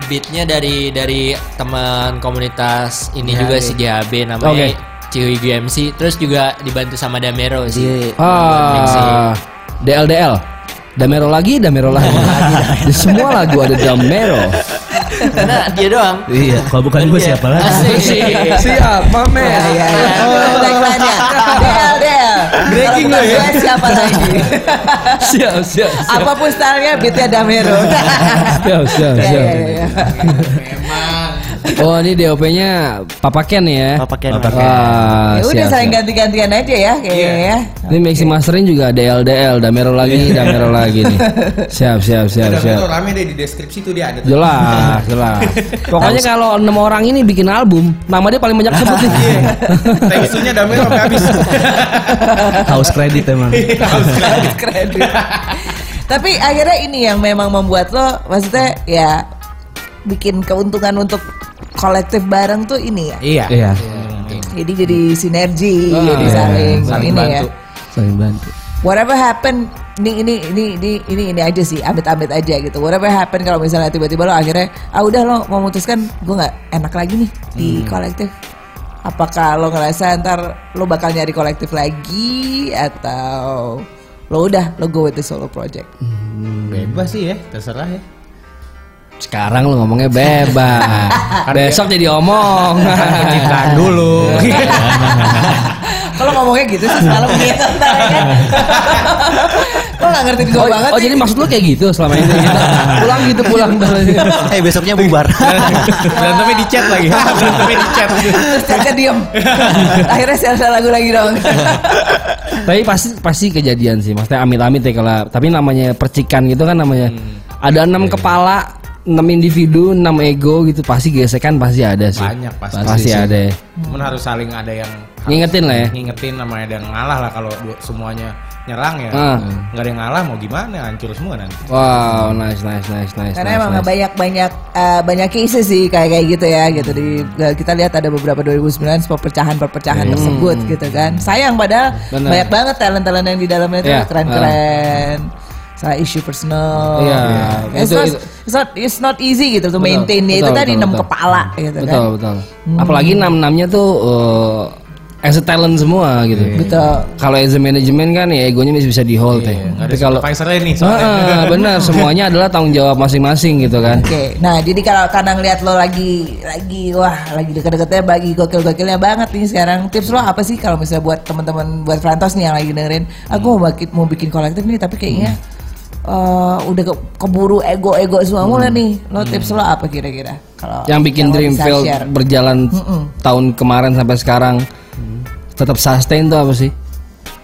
E: beatnya dari dari teman komunitas ini juga si JHB
B: Oke.
E: namanya Ciwi GMC terus juga dibantu sama Damero sih.
B: Iya. Ah, DLDL. Damero lagi, Damero lagi. Di semua lagu ada Damero.
E: Nah, dia doang.
G: Iya, kalau bukan gue siapa lagi?
E: Asik.
B: Siap, pamer.
C: Iya iya. iya.
B: Oh.
C: Itu tagline-nya. Del del.
F: Breaking
C: Kalau
F: lo ya.
C: bukan gue, Siapa lagi?
B: Siap, siap, siap.
C: Apapun stylenya beatnya Damero.
B: Siap, siap,
C: Iya
B: siap.
C: iya iya.
B: Oh, ini DOP-nya Papa Ken ya.
H: Papa Ken.
B: Wah, Ah,
C: Ya udah
B: siap, Iya.
C: saling
B: siap.
C: ganti-gantian aja ya kayaknya ya.
B: Ini mixing mastering juga DLDL, Damero lagi, Damero lagi nih. Siap, siap, siap, siap.
F: Damero rame deh di deskripsi tuh dia ada. tuh.
B: Jelas,
F: <laughs>
B: jelas. Pokoknya kalau enam orang ini bikin album, nama dia paling banyak sebut nih.
F: Iya. Thanks to-nya Damero sampai habis.
G: House credit emang.
C: Kredit. Tapi akhirnya ini yang memang membuat lo maksudnya ya bikin keuntungan untuk kolektif bareng tuh ini ya.
F: Iya.
G: Iya.
C: Jadi jadi sinergi, jadi
B: iya,
C: saling,
F: saling
C: ini ya.
F: bantu.
G: Saling bantu.
C: Whatever happen, ini ini ini ini ini ini aja sih, amit-amit aja gitu. Whatever happen kalau misalnya tiba-tiba lo akhirnya ah udah lo memutuskan gue nggak enak lagi nih di
B: Hmm.
C: kolektif. Apakah lo ngerasa ntar lo bakal nyari kolektif lagi atau lo udah lo go with the solo project?
B: Hmm.
F: Bebas sih ya, terserah ya.
B: Sekarang lu ngomongnya
F: <laughs>
B: bebas.
F: Kan
B: Besok jadi omong. Oh,
F: Ciptaan dulu.
C: Kalau ngomongnya gitu sih selalu
B: <laughs>
C: begitu ntar ya kan. Lo gak ngerti gue
B: Iya. Oh,
C: banget
B: oh
C: sih.
B: jadi maksud lu kayak gitu selama
F: <laughs>
B: ini
F: Iya.
B: gitu. Pulang gitu pulang
H: eh besoknya bubar.
F: Berantemnya di chat lagi. Berantemnya di chat.
C: Terus Caca
B: <laughs>
C: diem Akhirnya sel lagu lagi dong
B: Tapi pasti pasti
F: Hmm. Iya.
B: kejadian sih. Maksudnya amit-amit ya kalau tapi namanya percikan gitu kan namanya. Ada enam kepala enam individu, enam ego gitu pasti gesekan pasti ada sih.
F: Banyak pasti
B: Pasti
F: sih.
B: ada. ya.
F: Cuman harus saling ada yang harus
B: Ngingetin lah ya.
F: Ngingetin sama ada yang ngalah lah kalau du- semuanya nyerang ya.
B: Ah.
F: Nggak ada yang ngalah mau gimana hancur semua nanti.
B: Wow, nice, nice, nice, nice.
C: Karena
B: nice,
C: emang
B: nice.
C: banyak banyak eh, banyak isu sih kayak kayak gitu ya gitu di eh, kita lihat ada beberapa 2009 perpecahan perpecahan
B: Hmm.
C: tersebut gitu kan. Sayang padahal
B: Bener.
C: banyak banget talent talent yang di dalamnya itu
B: Iya,
C: keren-keren. Soal isu personal.
B: Iya, itu-
C: It's, not,
B: itu.
C: it's not it's not easy gitu to maintain ya itu
B: betul,
C: tadi
B: betul,
C: enam
B: betul.
C: kepala gitu
B: betul,
C: kan.
B: betul. Apalagi enam enamnya tuh eh, as a talent semua gitu.
C: Betul.
B: Kalau as a management kan ya egonya masih bisa di hold ya.
F: Nggak ada
B: Tapi kalau
F: supervisornya nih soalnya.
B: Ah, benar semuanya adalah tanggung jawab masing-masing gitu kan.
C: Oke, nah jadi kalau kadang ngeliat lo lagi lagi wah lagi deket-deketnya bagi gokil-gokilnya banget nih sekarang tips lo apa sih kalau misalnya buat teman-teman buat Frantos nih yang lagi dengerin, aku mau bikin mau bikin kolektif nih tapi kayaknya eh, udah ke- keburu ego-ego semua mulai nih, lo tips lo apa kira-kira kalau
B: Hmm. Yang bikin
C: lo
B: dream
C: bisa
B: Dreamfield
C: share?
B: berjalan
C: Mm-mm.
B: tahun kemarin sampai sekarang tetap sustain tuh apa sih?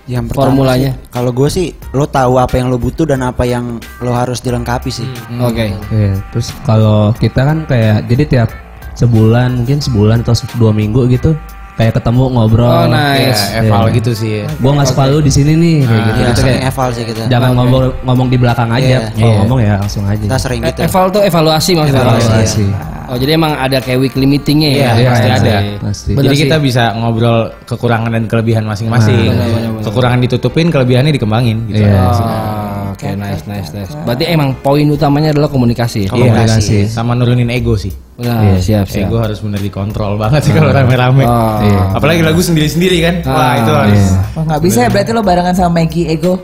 J: Yang pertama
B: Formulanya.
J: sih, Kalau gue sih lo tahu apa yang lo butuh dan apa yang lo harus dilengkapi sih.
H: Hmm.
B: Oke.
G: <laughs> Iya, terus kalau kita kan kayak jadi tiap sebulan mungkin sebulan atau se- dua minggu gitu kayak ketemu ngobrol.
B: Oh, nice.
F: Ya,
G: Iya.
F: eval gitu sih ya.
G: Gua nggak suka lu di sini nih kayak gitu.
J: Iya,
G: Itu
J: sering
G: kayak,
J: eval sih kita.
G: jangan ngomong ngomong di belakang
J: Iya.
G: aja. Kalau ngomong ya langsung aja.
J: Kita sering
B: E-
J: gitu.
B: Eval tuh evaluasi maksudnya.
G: Evaluasi.
B: Oh jadi emang ada kayak weekly meetingnya ya?
F: Iya,
G: Iya,
F: pasti
G: iya,
F: ada.
G: pasti.
F: Jadi
B: Bener
F: kita bisa ngobrol kekurangan dan kelebihan masing-masing.
B: Nah,
F: kekurangan ditutupin, kelebihannya dikembangin gitu.
G: Iya.
B: Ah, Oke nice nice nice. Berarti emang poin utamanya adalah komunikasi. ya?
F: Komunikasi sama nurunin ego sih.
B: Nah, siap siap.
F: Ego harus bener dikontrol banget sih kalau rame-rame.
B: Ah. Iya.
F: Apalagi lagu sendiri-sendiri kan. Wah,
B: Ah,
F: itu harus.
B: iya.
C: Wah nggak bisa ya berarti lo barengan sama Maggie
B: <laughs>
C: Ego.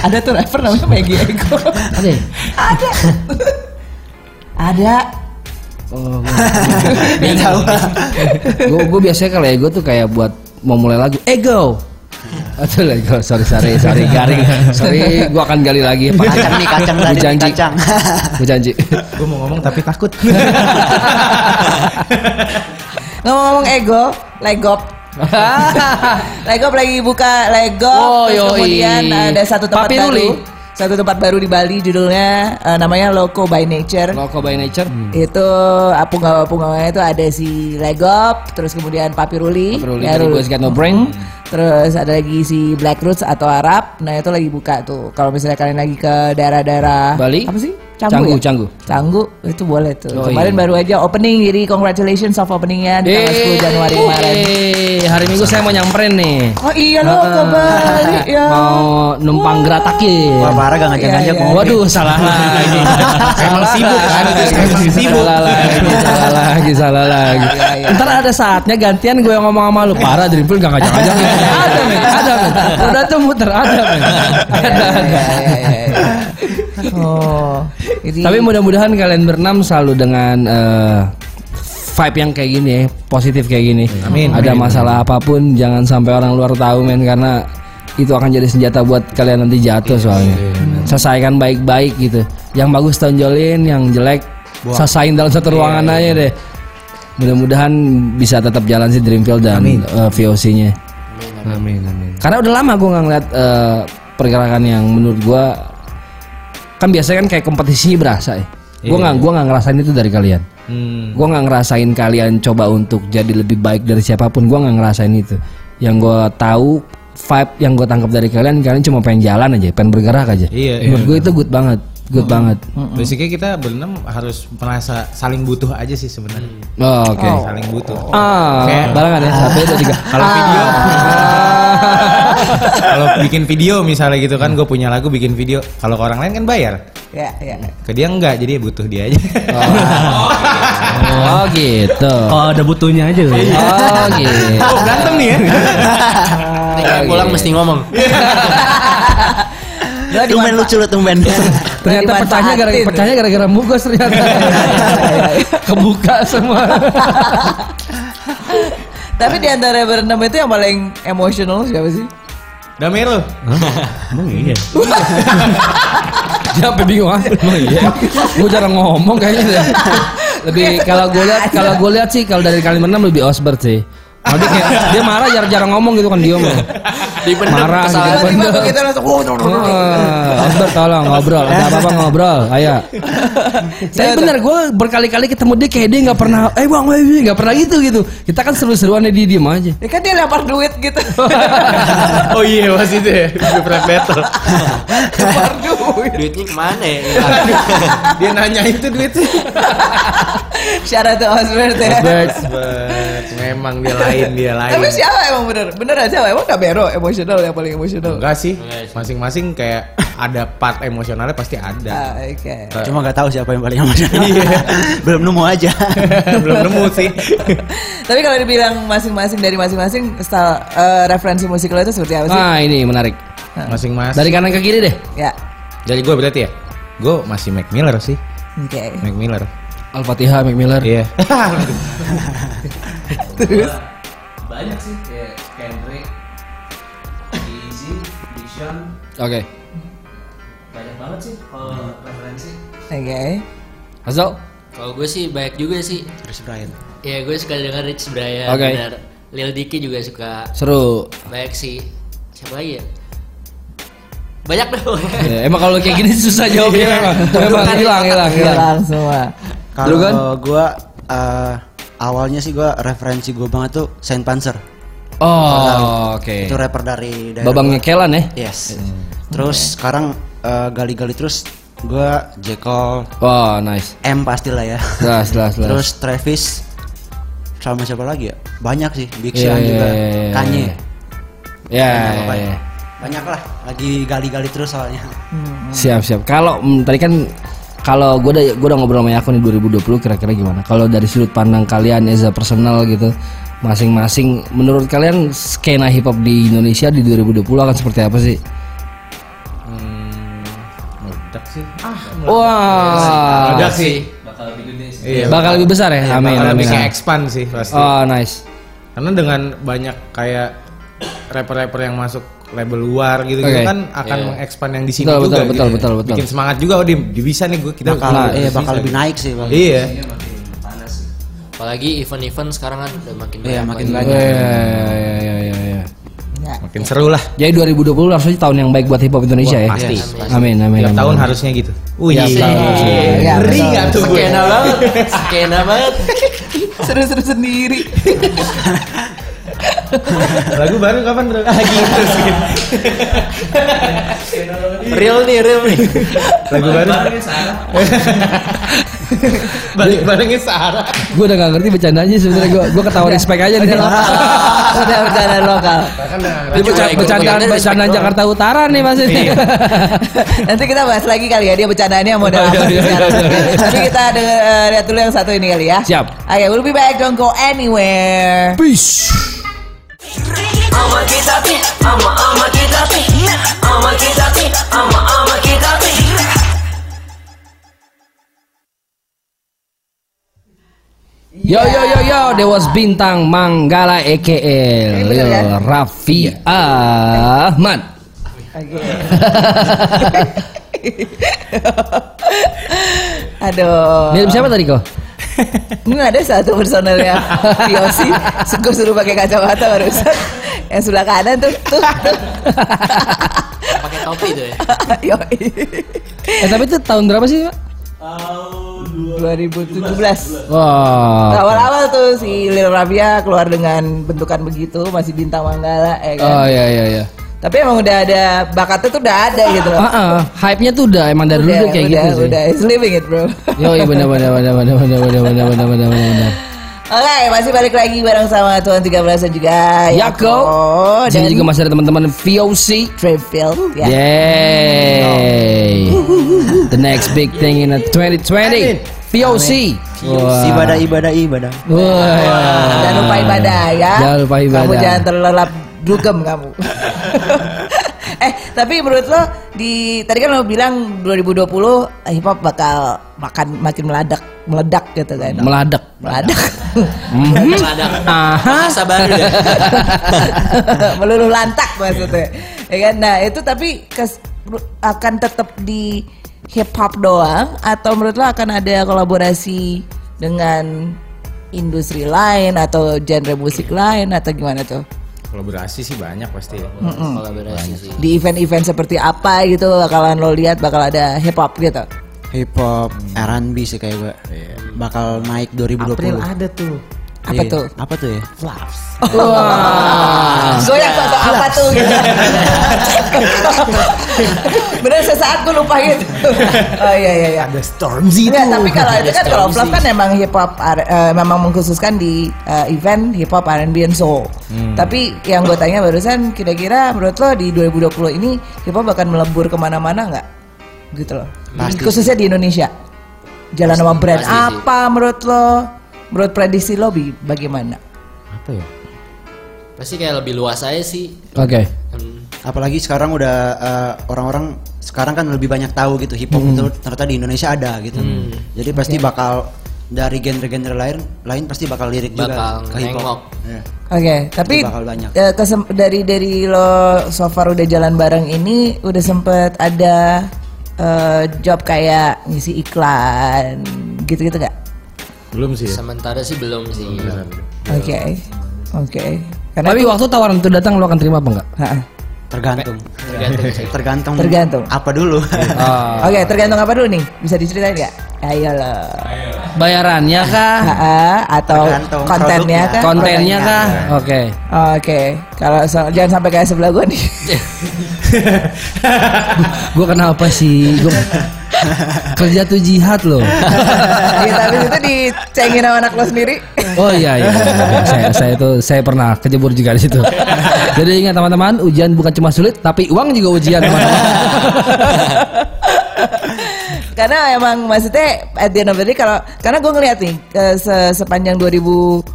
C: Ada tuh rapper namanya Maggie Ego.
B: Ada. ya?
C: Ada. <laughs> Ada.
B: Oh, gue gue biasanya kalau ego tuh kayak buat mau mulai lagu ego Aduh lah, ego. sorry sorry sorry garing sorry gue akan gali lagi Pak.
J: Kacang nih, kacang tadi
B: Gua
J: nih,
B: janji
J: kacang.
B: Gua janji
F: Gue mau ngomong tapi
B: <laughs>
F: takut.
C: Ngomong-ngomong ego,
B: <laughs>
C: legop. legop lagi buka legop.
B: Oh,
C: terus
B: yoi.
C: kemudian ada satu tempat
B: Papi
C: baru.
B: Ruli.
C: Satu tempat baru di Bali judulnya eh, namanya Loco by Nature.
B: Loko by nature
C: Itu ah, punggawa-punggawanya itu ada si Legop, terus kemudian Papi Ruli,
B: Perlu
C: Ya,
B: dari
C: Ruli.
B: gue got no brain
C: Terus ada lagi si Black Roots atau Arab. Nah, itu lagi buka tuh. Kalau misalnya kalian lagi ke daerah-daerah
B: Bali?
C: Apa sih?
B: Canggu,
C: Canggu, ya?
B: Canggu.
C: Canggu, itu boleh tuh.
B: Oh,
C: Kemarin
B: iya.
C: baru aja opening jadi congratulations of openingnya di tanggal 10 Januari
B: Yeay.
C: kemarin.
B: Eh, hari minggu saya mau nyamperin nih
C: Oh iya lo ke Bali
B: <laughs>
C: ya.
B: Ah. mau numpang geratakin
J: Wah parah gak ngajak-ngajak
C: Iya,
J: mau.
C: iya.
B: Waduh, salah <laughs> lagi.
F: Emang sibuk kan? Emang sibuk.
B: Salah lagi, salah lagi, salah lagi. Ntar ada saatnya gantian gue yang ngomong sama lu. Parah, dribble gak ngajak-ngajak. <laughs> Ada, men. Ada, men. Udah tuh muter, ada, men. Ada, ada.
C: Iya, iya, iya, iya.
B: <laughs>
C: Oh. Jadi
B: Tapi mudah-mudahan kalian berenam selalu dengan eh, vibe yang kayak gini ya, positif kayak gini.
F: Amin.
B: Ada masalah apapun jangan sampai orang luar tahu men karena itu akan jadi senjata buat kalian nanti jatuh
F: Iya,
B: soalnya. Selesaikan baik-baik gitu. Yang bagus tonjolin, yang jelek selesaiin dalam satu ruangan
F: Iya,
B: aja deh. Mudah-mudahan bisa tetap jalan sih Dreamfield dan eh, VOC-nya.
G: Amin amin.
B: Karena udah lama gue nggak ngeliat eh, pergerakan yang menurut gue kan biasanya kan kayak kompetisi berasa ya. Gue nggak gua nggak ngerasain itu dari kalian.
F: Iya, Hmm.
B: Gue nggak ngerasain kalian coba untuk jadi lebih baik dari siapapun. Gue nggak ngerasain itu. Yang gue tahu vibe yang gue tangkap dari kalian kalian cuma pengen jalan aja, pengen bergerak aja.
F: Iya, Hmm.
B: menurut gue itu good banget, good banget.
F: Basically kita berenam harus merasa saling butuh aja sih sebenarnya.
B: Oh, Oke.
F: Saling butuh.
B: Ah, barengan ya satu dua
F: <laughs>
B: tiga.
F: Kalau video, kalau bikin video misalnya gitu kan, gue punya lagu bikin video. Kalau ke orang lain kan bayar,
C: ya ya.
F: ke dia enggak, jadi butuh dia aja. <laughs>
B: Oh gitu.
G: Oh ada butuhnya aja ya. loh.
B: Oh gitu.
F: <laughs> Oh, berantem nih ya?
E: Nih,
J: Eh,
B: Oh,
E: kayak pulang
B: iya,
E: mesti ngomong.
B: <laughs>
C: Lo
J: Tumben lucu lo tumben.
B: Ternyata
C: Dimanfaatin.
B: pecahnya gara
C: <laughs>
B: pecahnya gara-gara mugos ternyata.
C: Iya,
B: Kebuka semua.
C: Tapi di antara berenam itu yang paling emosional siapa sih?
F: Damero.
G: Emang iya.
B: Dia sampai bingung ah. Emang iya. Gue jarang ngomong
C: Iya,
B: kayaknya. deh. Lebih kalau gue lihat kalau gue lihat sih kalau dari kalian enam lebih Osbert sih. Oh, dia, kayak- dia marah jarang-jarang ngomong gitu kan dia mah.
E: Dipendam
B: marah
E: kesalahan.
B: dipendam.
C: Tiba-tiba begitu langsung, wow, wow, wow, wow.
B: Heeh, Albert tolong ngobrol, ada apa-apa ngobrol,
C: <laughs>
B: ayo.
C: Iya,
B: Tapi bener gue berkali-kali ketemu dia kayak dia nggak pernah, eh bang, eh, eh," nggak pernah gitu gitu. Kita kan seru-seruan dia diem aja.
C: Ya kan dia lempar duit gitu.
F: oh iya mas itu ya Gue pernah battle
C: lempar duit.
E: Duitnya kemana ya?
F: <laughs> Dia nanya itu duitnya
C: Syarat tuh Osbert ya.
F: <laughs> Osbert Memang dia lain Dia lain
C: Tapi siapa emang bener? Bener aja emang Kabero emosional yang paling emosional.
F: Enggak sih Masing-masing kayak Ada part emosionalnya pasti
C: Ah,
F: ada
C: Oke.
J: <laughs> Cuma nggak tahu siapa yang paling
B: <laughs>
J: emosional.
B: Iya.
J: Belum nemu <laughs> aja.
F: <laughs> Belum nemu sih
C: Tapi kalau dibilang masing-masing dari masing-masing style eh, referensi musik lo itu seperti apa sih?
B: Nah ini menarik.
F: Masing-masing
B: Dari kanan ke kiri deh.
C: Ya.
F: Dari gue berarti ya Gue masih Mac Miller sih
C: Oke.
F: Mac Miller
B: Al-Fatihah, Mac Miller.
F: Iya
C: Terus
G: Banyak sih kayak Kendrick, Easy, Diction,
B: Oke.
G: banyak banget sih kalau referensi.
C: oke.
B: Azal.
E: Kalau gue sih banyak juga sih.
J: Chris Brian.
E: Ya gue suka denger Rich Brian.
B: Oke.
E: benar. Lil Dicky juga suka.
B: Seru.
E: Banyak sih. Siapa lagi ya? Banyak dong.
B: Ya, emang kalau kayak gini susah jawabnya memang. Memang hilang, hilang, hilang.
C: Hilang semua.
B: Lu kan?
J: Kalau gue awalnya sih gue referensi gue banget tuh Saint Panzer.
B: Oh, oke.
J: Itu rapper dari daerah gua.
B: Babang ngekelan ya.
J: Yes. Terus sekarang eh, gali-gali terus gue Jekyll
B: Wah, nice.
J: M pastilah
B: <laughs>
J: ya.
B: Jelas, jelas, jelas.
J: Terus Travis sama siapa lagi ya? Banyak sih, Big
B: Iya,
J: Sean
B: iya,
J: juga,
B: iya, iya,
J: Kanye.
B: iya. Ya,
J: Banyak,
B: ya, ya.
H: Hmm.
J: banyak. Banyak lah, lagi gali-gali terus soalnya.
B: siap, siap. Kalau mm, tadi kan kalau gue udah gue udah ngobrol sama Yakun di 2020 kira-kira gimana? Kalau dari sudut pandang kalian Eza personal gitu, masing-masing menurut kalian skena hip hop di Indonesia di 2020 akan seperti apa sih?
F: Hmm, Meledak sih ah,
B: Wah,
F: Meledak sih
G: Bakal lebih gede sih.
F: Iya,
B: bakal lebih besar ya? Amin,
F: bakal
B: amin.
F: bisa
B: amin.
F: Nah, expand sih pasti
B: Oh, nice.
F: karena dengan banyak kayak rapper-rapper yang masuk label luar gitu
B: Oke.
F: kan akan mengekspand yang di sini
B: Betul,
F: juga
B: betul, betul,
F: gitu.
B: betul, betul.
F: bikin semangat juga oh dia bisa nih gue kita
J: Bakal,
B: Nah,
J: eh,
F: bisa
J: bakal
F: nih.
J: lebih naik sih. Bang.
F: iya
E: Apalagi event-event sekarang kan udah makin
J: Iya, makin
E: lagi.
J: banyak.
B: Ya, ya, ya, ya, ya.
C: Ya.
F: makin seru lah
B: Jadi 2020 harusnya tahun yang baik buat hip hop Indonesia
F: Wah,
B: ya.
F: pasti.
B: Amin, amin.
F: tiap
B: amin,
F: tahun
B: amin.
F: harusnya gitu wih
B: Tiap tahun.
C: Iya,
F: ngeri
C: betul.
F: nggak tuh gue
E: Skena banget. Skena banget.
C: Seru-seru sendiri.
F: lagu baru kapan
B: <laughs>
F: bro Ah, gitu sih
E: Real nih, real nih.
F: lagu baru <laughs> balik barengnya Sarah
B: Gue udah gak ngerti bercandanya sebenarnya gue gue ketawa respect aja nih.
C: Udah bercanda lokal.
B: Ini bercanda- bercandaan bercandaan Jakarta Utara nih mas ini.
F: Iya.
C: Nanti kita bahas lagi kali ya dia bercandaannya modal
B: Oh, iya,
C: apa sih sekarang. Tapi kita denger, eh, lihat dulu yang satu ini kali ya.
B: Siap.
C: Oke, we'll be back. Don't go anywhere.
B: Peace. Yo yo yo yo, Dewas Bintang Manggala EKE
C: Iya,
B: Lil
C: kan?
B: Raffi Ahmad.
C: Aduh.
B: Mirip siapa tadi kok?
C: Ini ada satu personelnya Yosi Gue suruh pakai kacamata barusan Yang sebelah kanan tuh tuh, tuh.
E: Pakai topi tuh ya.
C: Yoi.
B: Eh tapi itu tahun berapa sih? Pak?
C: 2017
B: Wah.
C: Awal-awal tuh si Lil Rabia keluar dengan bentukan begitu Masih bintang manggala ya kan?
B: Oh iya iya iya.
C: Tapi emang udah ada Bakatnya tuh udah ada gitu loh
B: Ah, ah, hype-nya tuh udah emang dari dulu
C: Udah,
B: tuh kayak
C: Iya, udah,
B: gitu sih.
C: udah. He's living it
B: <laughs>
C: bro
B: Yo, iya benar benar benar benar benar benar benar benar benar benar.
C: Oke, masih balik lagi bareng sama Tuan 13 dan juga
B: Yako. Dan Ya, juga masih ada teman-teman VOC.
C: Dreamfield ya.
B: Yay. The next big thing in the 2020. VOC. Wah.
J: Ibadah, ibadah, ibadah.
B: Wah.
C: Jangan lupa ibadah ya.
B: Jangan lupa
C: Kamu
B: ibadah.
C: jangan terlelap dugem
B: <laughs>
C: kamu. eh, tapi menurut lo di tadi kan lo bilang 2020 eh, hip hop bakal makan makin meledak, meledak gitu kan.
B: Meladak.
C: meledak.
B: <laughs> Mhm.
E: Ada.
B: Aha.
E: Bahasa baru ya.
C: <laughs> Meluluh lantak maksudnya. Ya kan? Nah, itu tapi kes- akan tetap di hip hop doang atau menurut lo akan ada kolaborasi dengan industri lain atau genre musik lain atau gimana tuh?
F: Kolaborasi sih banyak pasti ya.
C: Mm-mm.
E: Kolaborasi sih.
C: Di event-event seperti apa gitu bakalan lo lihat bakal ada hip hop gitu.
J: Hip hop, R&B sih kayak gue. Bakal naik 2020.
C: April ada tuh. Apa
J: Iya.
C: tuh?
J: Apa tuh ya?
C: Flaps. Gue yang foto apa
F: <laughs>
C: tuh? gitu. Bener sesaat gue lupa gitu. Oh iya iya iya.
F: Ada Stormzy
C: Enggak,
F: tuh.
C: tapi kalau
F: Ada
C: itu kan kalau
F: Stormzy.
C: flop kan emang hip hop R- eh, memang mengkhususkan di eh, event hip hop R&B and soul.
F: Hmm.
C: Tapi yang gue tanya barusan kira-kira menurut lo di 2020 ini hip hop akan melebur kemana-mana nggak? Gitu loh.
J: Pasti.
C: Khususnya di Indonesia. Jalan sama brand
J: pasti sih.
C: apa menurut lo? Menurut prediksi lo bi- bagaimana?
F: Apa ya?
E: Pasti kayak lebih luas aja sih.
B: Oke.
J: Apalagi sekarang udah eh, orang-orang sekarang kan lebih banyak tahu gitu hip hop
B: Hmm.
J: itu ternyata di Indonesia ada gitu.
E: Hmm.
J: Jadi pasti bakal dari genre-genre lain lain pasti bakal lirik
E: Bakal
J: juga ke hip hop.
E: nengok.
J: Iya.
C: Oke, tapi
J: Itu bakal banyak.
C: eh, kesem- dari dari lo so far udah jalan bareng ini udah sempet ada eh, job kayak ngisi iklan gitu-gitu gak?
F: Belum sih.
E: Sementara sih belum sih.
C: Oke, oke. Kan- Karena
B: Tapi
C: itu-
B: waktu tawaran itu datang lo akan terima apa enggak?
J: Tergantung. Tergantung.
C: Tergantung.
J: Apa dulu?
B: Ah.
C: Oke, tergantung apa dulu nih? Bisa diceritain gak? Ayo lo.
B: Bayarannya kah?
C: atau
B: Tergantung
C: kontennya
B: produknya.
C: kah?
B: Kontennya kah?
C: Produknya.
B: Oke.
C: Oke, kalau so- jangan sampai kayak sebelah gue nih.
B: Gue kenapa sih? Gua... Kerja tuh jihad loh.
C: Gitu, habis itu dicengin sama anak lo sendiri.
B: Oh iya iya. iya. saya saya itu saya pernah kejebur juga di situ. Jadi ingat teman-teman, ujian bukan cuma sulit, tapi uang juga ujian teman-teman.
C: karena emang maksudnya at the end of the day kalau karena gue ngeliat nih eh, se- sepanjang 2019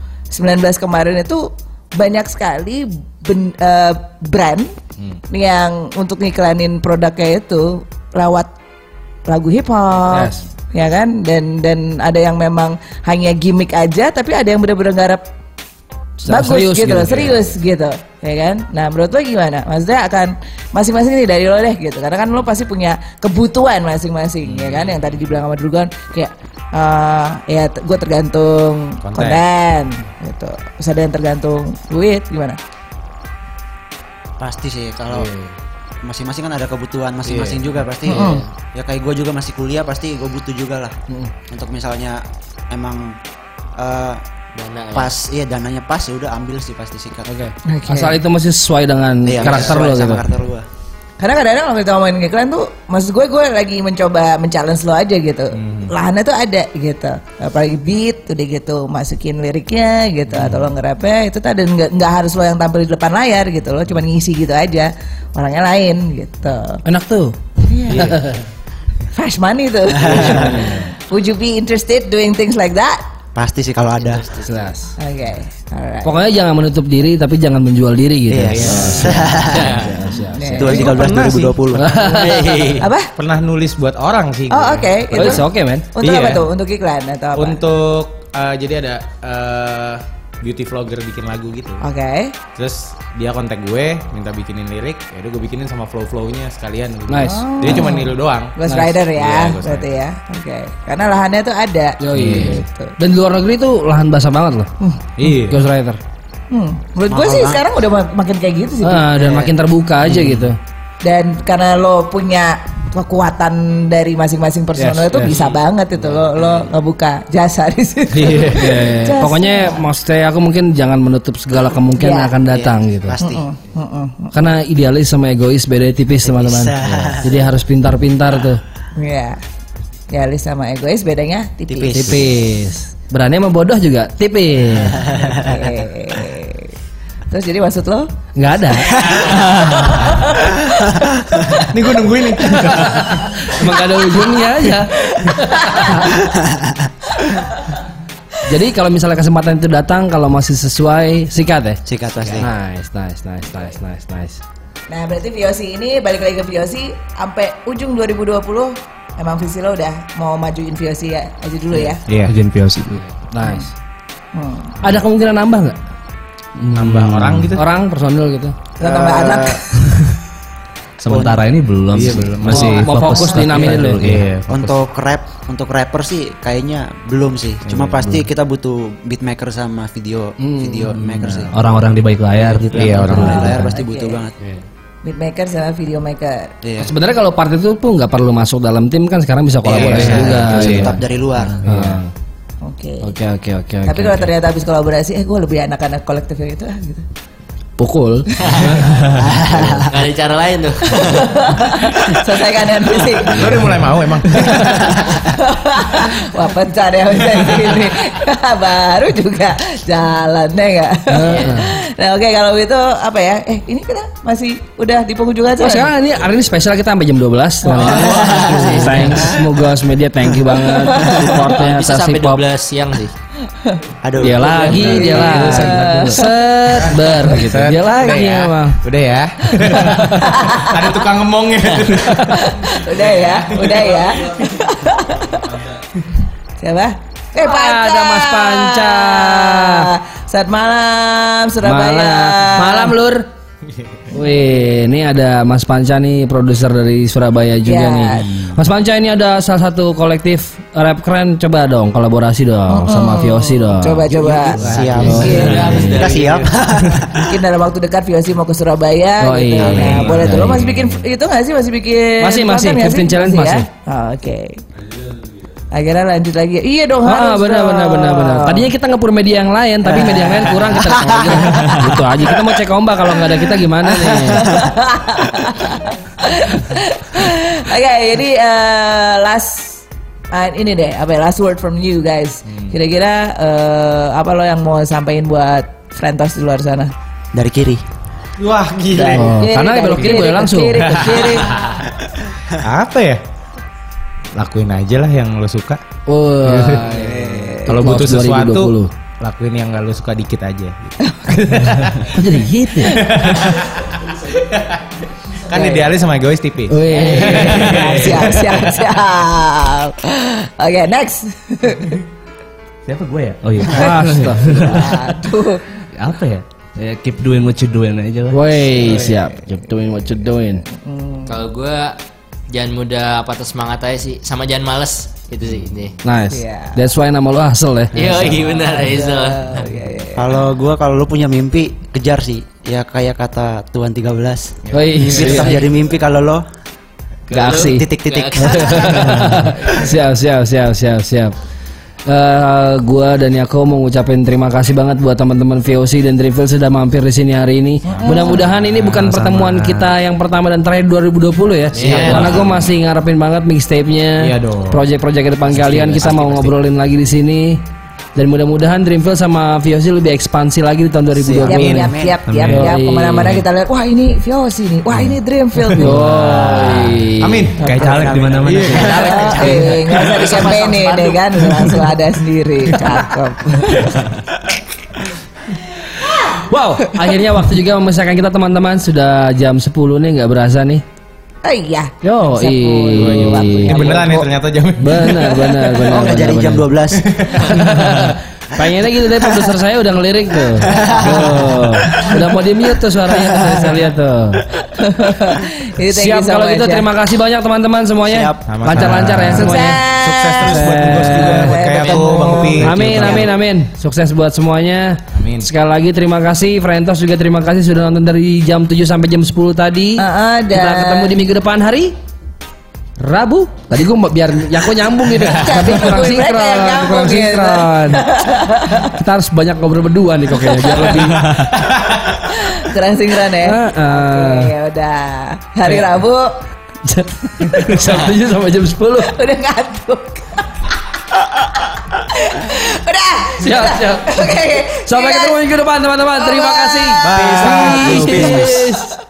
C: kemarin itu banyak sekali ben- eh, brand yang untuk ngiklanin produknya itu lewat lagu hip hop
B: Yes.
C: ya kan dan dan ada yang memang hanya gimmick aja tapi ada yang bener-bener garap
B: Secara
C: bagus
B: serius
C: gitu,
B: gitu,
C: loh,
B: ya.
C: serius gitu ya kan nah menurut lo gimana maksudnya akan masing-masing nih dari lo deh gitu karena kan lo pasti punya kebutuhan masing-masing ya kan yang tadi dibilang sama Drugon kayak eh, ya gue tergantung
F: Konten.
C: konten gitu terus ada yang tergantung duit gimana
J: Pasti sih kalau masing-masing kan ada kebutuhan masing-masing
F: Iya.
J: juga pasti.
C: Mm-mm.
J: Ya kayak gue juga masih kuliah pasti gue butuh juga lah. Untuk misalnya emang eh,
E: Dana ya.
J: pas iya dananya pas ya udah ambil sih Iya, pasti sikat. Oke.
B: Asal itu masih sesuai dengan
F: Iya,
B: karakter lo gitu.
J: Karakter gua.
C: Karena kadang-kadang kalau kita ngomongin iklan tuh Maksud gue, gue lagi mencoba men-challenge lo aja gitu Lahannya tuh ada gitu Apalagi beat, udah gitu masukin liriknya gitu Atau lo ngerapnya itu tuh ada nggak nggak harus lo yang tampil di depan layar gitu Lo cuma ngisi gitu aja Orangnya lain gitu Iya.
B: Enak tuh.
C: <laughs> Fresh money tuh Would you be interested doing things like that?
J: Pasti sih kalau ada.
B: Jelas.
C: Oke, alright
B: Pokoknya jangan menutup diri tapi jangan menjual diri gitu.
J: Iya.
C: Nih.
J: Dua tiga belas dua ribu dua puluh.
C: Apa?
F: Pernah nulis buat orang sih.
C: Oh
F: gue.
C: oke
B: Oh, it's okay, man.
C: Untuk
F: Iya.
C: apa tuh? Untuk iklan atau apa?
F: Untuk eh, jadi ada eh, beauty vlogger bikin lagu gitu.
C: Oke
F: Terus dia kontak gue, minta bikinin lirik, ya udah gue bikinin sama flow flownya sekalian. gitu.
B: Nice.
F: Dia cuma niru doang.
C: Ghost
F: Nice.
C: Rider
F: Iya,
C: ya,
F: Ghost
C: berarti ya. Oke. Karena lahannya tuh ada.
B: Yoi.
C: Gitu.
B: Dan di luar negeri itu lahan basah banget loh.
F: Iya.
B: Ghostwriter.
C: Hmm. Menurut gue sih sekarang udah mak- makin kayak gitu sih.
B: Ah, dan makin terbuka aja gitu.
C: Dan karena lo punya kekuatan dari masing-masing personal
B: Yes,
C: itu
B: yes.
C: bisa banget itu lo lo ngebuka jasa di situ.
B: Iya.
C: <laughs> Jasa.
B: Pokoknya maksudnya aku mungkin jangan menutup segala kemungkinan
C: Iya.
B: akan datang gitu.
J: Pasti.
C: Mm-mm.
B: Karena idealis sama egois beda tipis teman-teman. Jadi harus pintar-pintar tuh.
C: Iya. Ya, Lis sama egois bedanya tipis.
J: Tipis.
B: Tipis. Berani sama bodoh juga tipis.
C: Oke. Terus jadi maksud lo?
B: Nggak ada.
F: <laughs> Ini gue nungguin nih.
B: Emang nggak ada ujungnya aja. Jadi kalau misalnya kesempatan itu datang kalau masih sesuai sikat ya.
J: Sikat pasti.
B: Nice, nice, nice, nice, nice, nice.
C: Nah, berarti VOC ini balik lagi ke VOC sampai ujung 2020 emang visi lo udah mau majuin VOC ya aja dulu ya.
G: Iya. Ujian POC.
B: Nice.
C: Hmm.
B: Ada kemungkinan nambah nggak?
G: Hmm.
F: Nambah orang gitu.
B: Orang personil gitu.
C: Lo tambah anak.
G: Sementara ini belum
F: Iya,
G: sih.
F: belum.
G: Masih
B: Oh,
F: Mau- mau fokus di
G: tapi
F: Nami
G: kita
F: dulu.
G: Iya,
F: Iya,
G: fokus.
J: untuk rap untuk rapper sih kayaknya belum sih cuma
G: Iya,
J: pasti
G: belum.
J: kita butuh beatmaker sama video video maker sih
G: Orang-orang di balik layar.
J: Iya,
G: Iya,
J: orang
G: orang-orang
J: di
G: di
J: layar
G: balik
J: pasti butuh banget Iya.
C: Beatmaker sama video maker.
B: Ya, Sebenarnya kalau part itu pun nggak perlu masuk dalam tim kan sekarang bisa kolaborasi
J: Iya,
B: juga.
J: itu sih,
B: gitu.
J: tetap dari luar.
B: Iya.
C: Oke.
B: Oke oke oke.
C: Tapi
B: oke,
C: kalau
B: oke.
C: ternyata habis kolaborasi, eh gue lebih anak-anak kolektif yang itu ah gitu. <laughs>
B: pukul.
E: Gak ada cara lain tuh.
C: Selesaikan
B: <laughs>
C: dengan fisik.
F: Lo udah mulai mau emang. <laughs>
C: Wah pencar ya bisa
B: <laughs>
C: ini. <laughs> Baru juga jalannya enggak. <laughs> nah oke kalau itu apa ya? Eh ini kita masih udah di penghujung aja. kan?
B: Oh, sekarang ini hari ini spesial kita sampai jam 12 teman-teman. Thanks, semoga media thank you banget supportnya
E: <laughs> Bisa
B: atas
E: sampai Iya,
B: hip hop.
E: 12 siang sih.
J: Aduh. Iya.
B: Dia lagi, dia lagi. Set ber gitu. Dia
F: Udah
B: lagi
F: ya.
B: emang.
F: Udah ya. Ada tukang ngomongnya.
C: Udah ya, udah
B: <laughs>
C: ya. <laughs> Siapa? Eh, Panca.
B: ada Mas Panca.
C: Saat malam Surabaya.
B: Malam, malam lur. Wih, ini ada Mas Panca nih, produser dari Surabaya juga
C: Ya.
B: nih. Mas Panca ini ada salah satu kolektif rap keren, coba dong kolaborasi dong sama Viosi dong.
C: Coba coba.
B: iya.
J: siap
C: Iya.
J: kita siap
C: Mungkin dalam waktu dekat Viosi mau ke Surabaya
B: Oh,
C: gitu.
B: iya.
C: Nah, boleh tuh. Lo
B: Iya.
C: masih bikin itu nggak sih? Masih bikin
B: Masih, masih.
C: konten nggak
B: 15
C: sih?
B: challenge
C: ya?
B: masih.
C: Oh, Oke. Akhirnya lanjut lagi. Iya dong
B: Ah,
C: harus.
B: benar
C: dong.
B: benar benar benar. Tadinya <laughs> kita ngepur media yang lain, tapi media yang lain kurang kita <laughs> gitu aja. Kita mau cek ombak kalau nggak ada kita gimana <laughs> nih.
C: <laughs> Oke, jadi eh, last ah, ini deh apa ya, last word from you guys.
B: Hmm.
C: Kira-kira eh, apa lo yang mau sampaikan buat Frentos di luar sana?
J: dari kiri
F: Wah gila.
B: Oh,
C: Kiri,
B: karena
C: dari
B: belok kiri boleh
C: ke
B: langsung.
C: Kiri, ke kiri.
B: <laughs>
F: Apa ya? Lakuin aja lah yang lo suka.
B: Wah.
F: Eh, Kalau
B: Close
F: butuh sesuatu,
B: 2020.
F: lakuin yang gak lo suka dikit aja. Gitu.
B: <laughs> Kok jadi gitu. ya?
F: <laughs>
B: Iya,
F: Kan idealis sama egois tipis.
B: Oh, Wih.
C: siap, siap, siap. Oke, next.
F: Siapa gue ya?
G: Oh iya.
C: Aduh.
G: <laughs> Apa ya? Ya, keep doing what you doing aja lah.
B: Woi, siap. Keep doing what you doing.
E: Kalau gue jangan mudah patah semangat aja sih, sama jangan males itu sih ini.
B: Nice.
C: Iya.
B: That's why nama lo hasil ya.
E: Iya, iya benar Hazel.
J: <laughs> kalau gua kalau lu punya mimpi kejar sih ya kayak kata Tuhan 13
B: Woi,
J: mimpi tetap jadi mimpi kalau lo
B: gak aksi.
J: titik-titik
E: Iya.
B: Iya, <laughs> siap, siap, siap, siap, siap. Eh, gua dan Yako mau ngucapin terima kasih banget buat teman-teman VOC dan Trivial sudah mampir di sini hari ini. Mudah-mudahan ini bukan pertemuan kita yang pertama dan terakhir 2020 ya. Karena gue masih ngarepin banget mixtape-nya,
F: Iya dong.
B: project-project ke depan kalian. Kita mau ngobrolin lagi di sini. Dan mudah-mudahan Dreamville sama VOC lebih ekspansi lagi di tahun 2020.
C: Tiap, tiap, tiap, tiap, tiap.
B: Amin.
C: Kemana-mana kita lihat, wah ini Viosi nih, wah ini Dreamfield nih.
B: Yoi.
F: Amin. Iya.
G: Kayak caleg di mana-mana.
C: Eh, nggak usah dikampanyein deh kan, langsung ada sendiri. Cakep.
F: <laughs>
B: Wow, akhirnya waktu juga memisahkan kita teman-teman sudah jam 10 nih nggak berasa nih.
C: Oh iya.
B: Yo,
C: Sepuluh waktunya.
F: Ini
C: <laughs>
F: beneran ya ternyata jamnya.
B: Benar, benar, benar.
J: oh nggak jadi
B: Iya,
J: jam 12
B: <laughs> Pengennya gitu deh produser saya udah ngelirik tuh. Tuh. Udah mau di mute tuh suaranya tuh, saya lihat tuh.
C: Jadi thank you
B: Siap
C: so
B: kalau
C: much
B: gitu
C: ya.
B: terima kasih banyak teman-teman semuanya.
F: Siap. Sama-sama.
B: Lancar-lancar ya semuanya.
C: Sukses.
F: Sukses terus buat Bungkus juga, buat kayak aku, Bang Upi.
B: Amin, amin, amin. Sukses buat semuanya.
F: Amin.
B: Sekali lagi terima kasih. Frentos juga terima kasih sudah nonton dari jam 7 sampai jam 10 tadi.
C: Ah, ah, dan-
B: Kita ketemu di minggu depan hari Rabu. Tadi gue biar Yako nyambung
C: <laughs>
B: gitu. Tapi kurang
C: tungguin mereka
B: sinkron,
C: yang nyambung
B: kurang
C: gitu.
B: sinkron. Kita harus banyak ngobrol berdua nih kok
C: <laughs>
B: kayaknya biar lebih.
C: <laughs> Kurang sinkron ya.
B: Ah, ah.
C: Oke, ya udah. Hari Rabu
B: jam 7 sampai jam 10.
C: udah ngantuk. <laughs> udah.
B: Siap, siap.
C: Oke.
B: Sampai ketemu minggu depan teman-teman. Terima
C: Bye-bye.
B: kasih.
C: Bye.
B: Peace.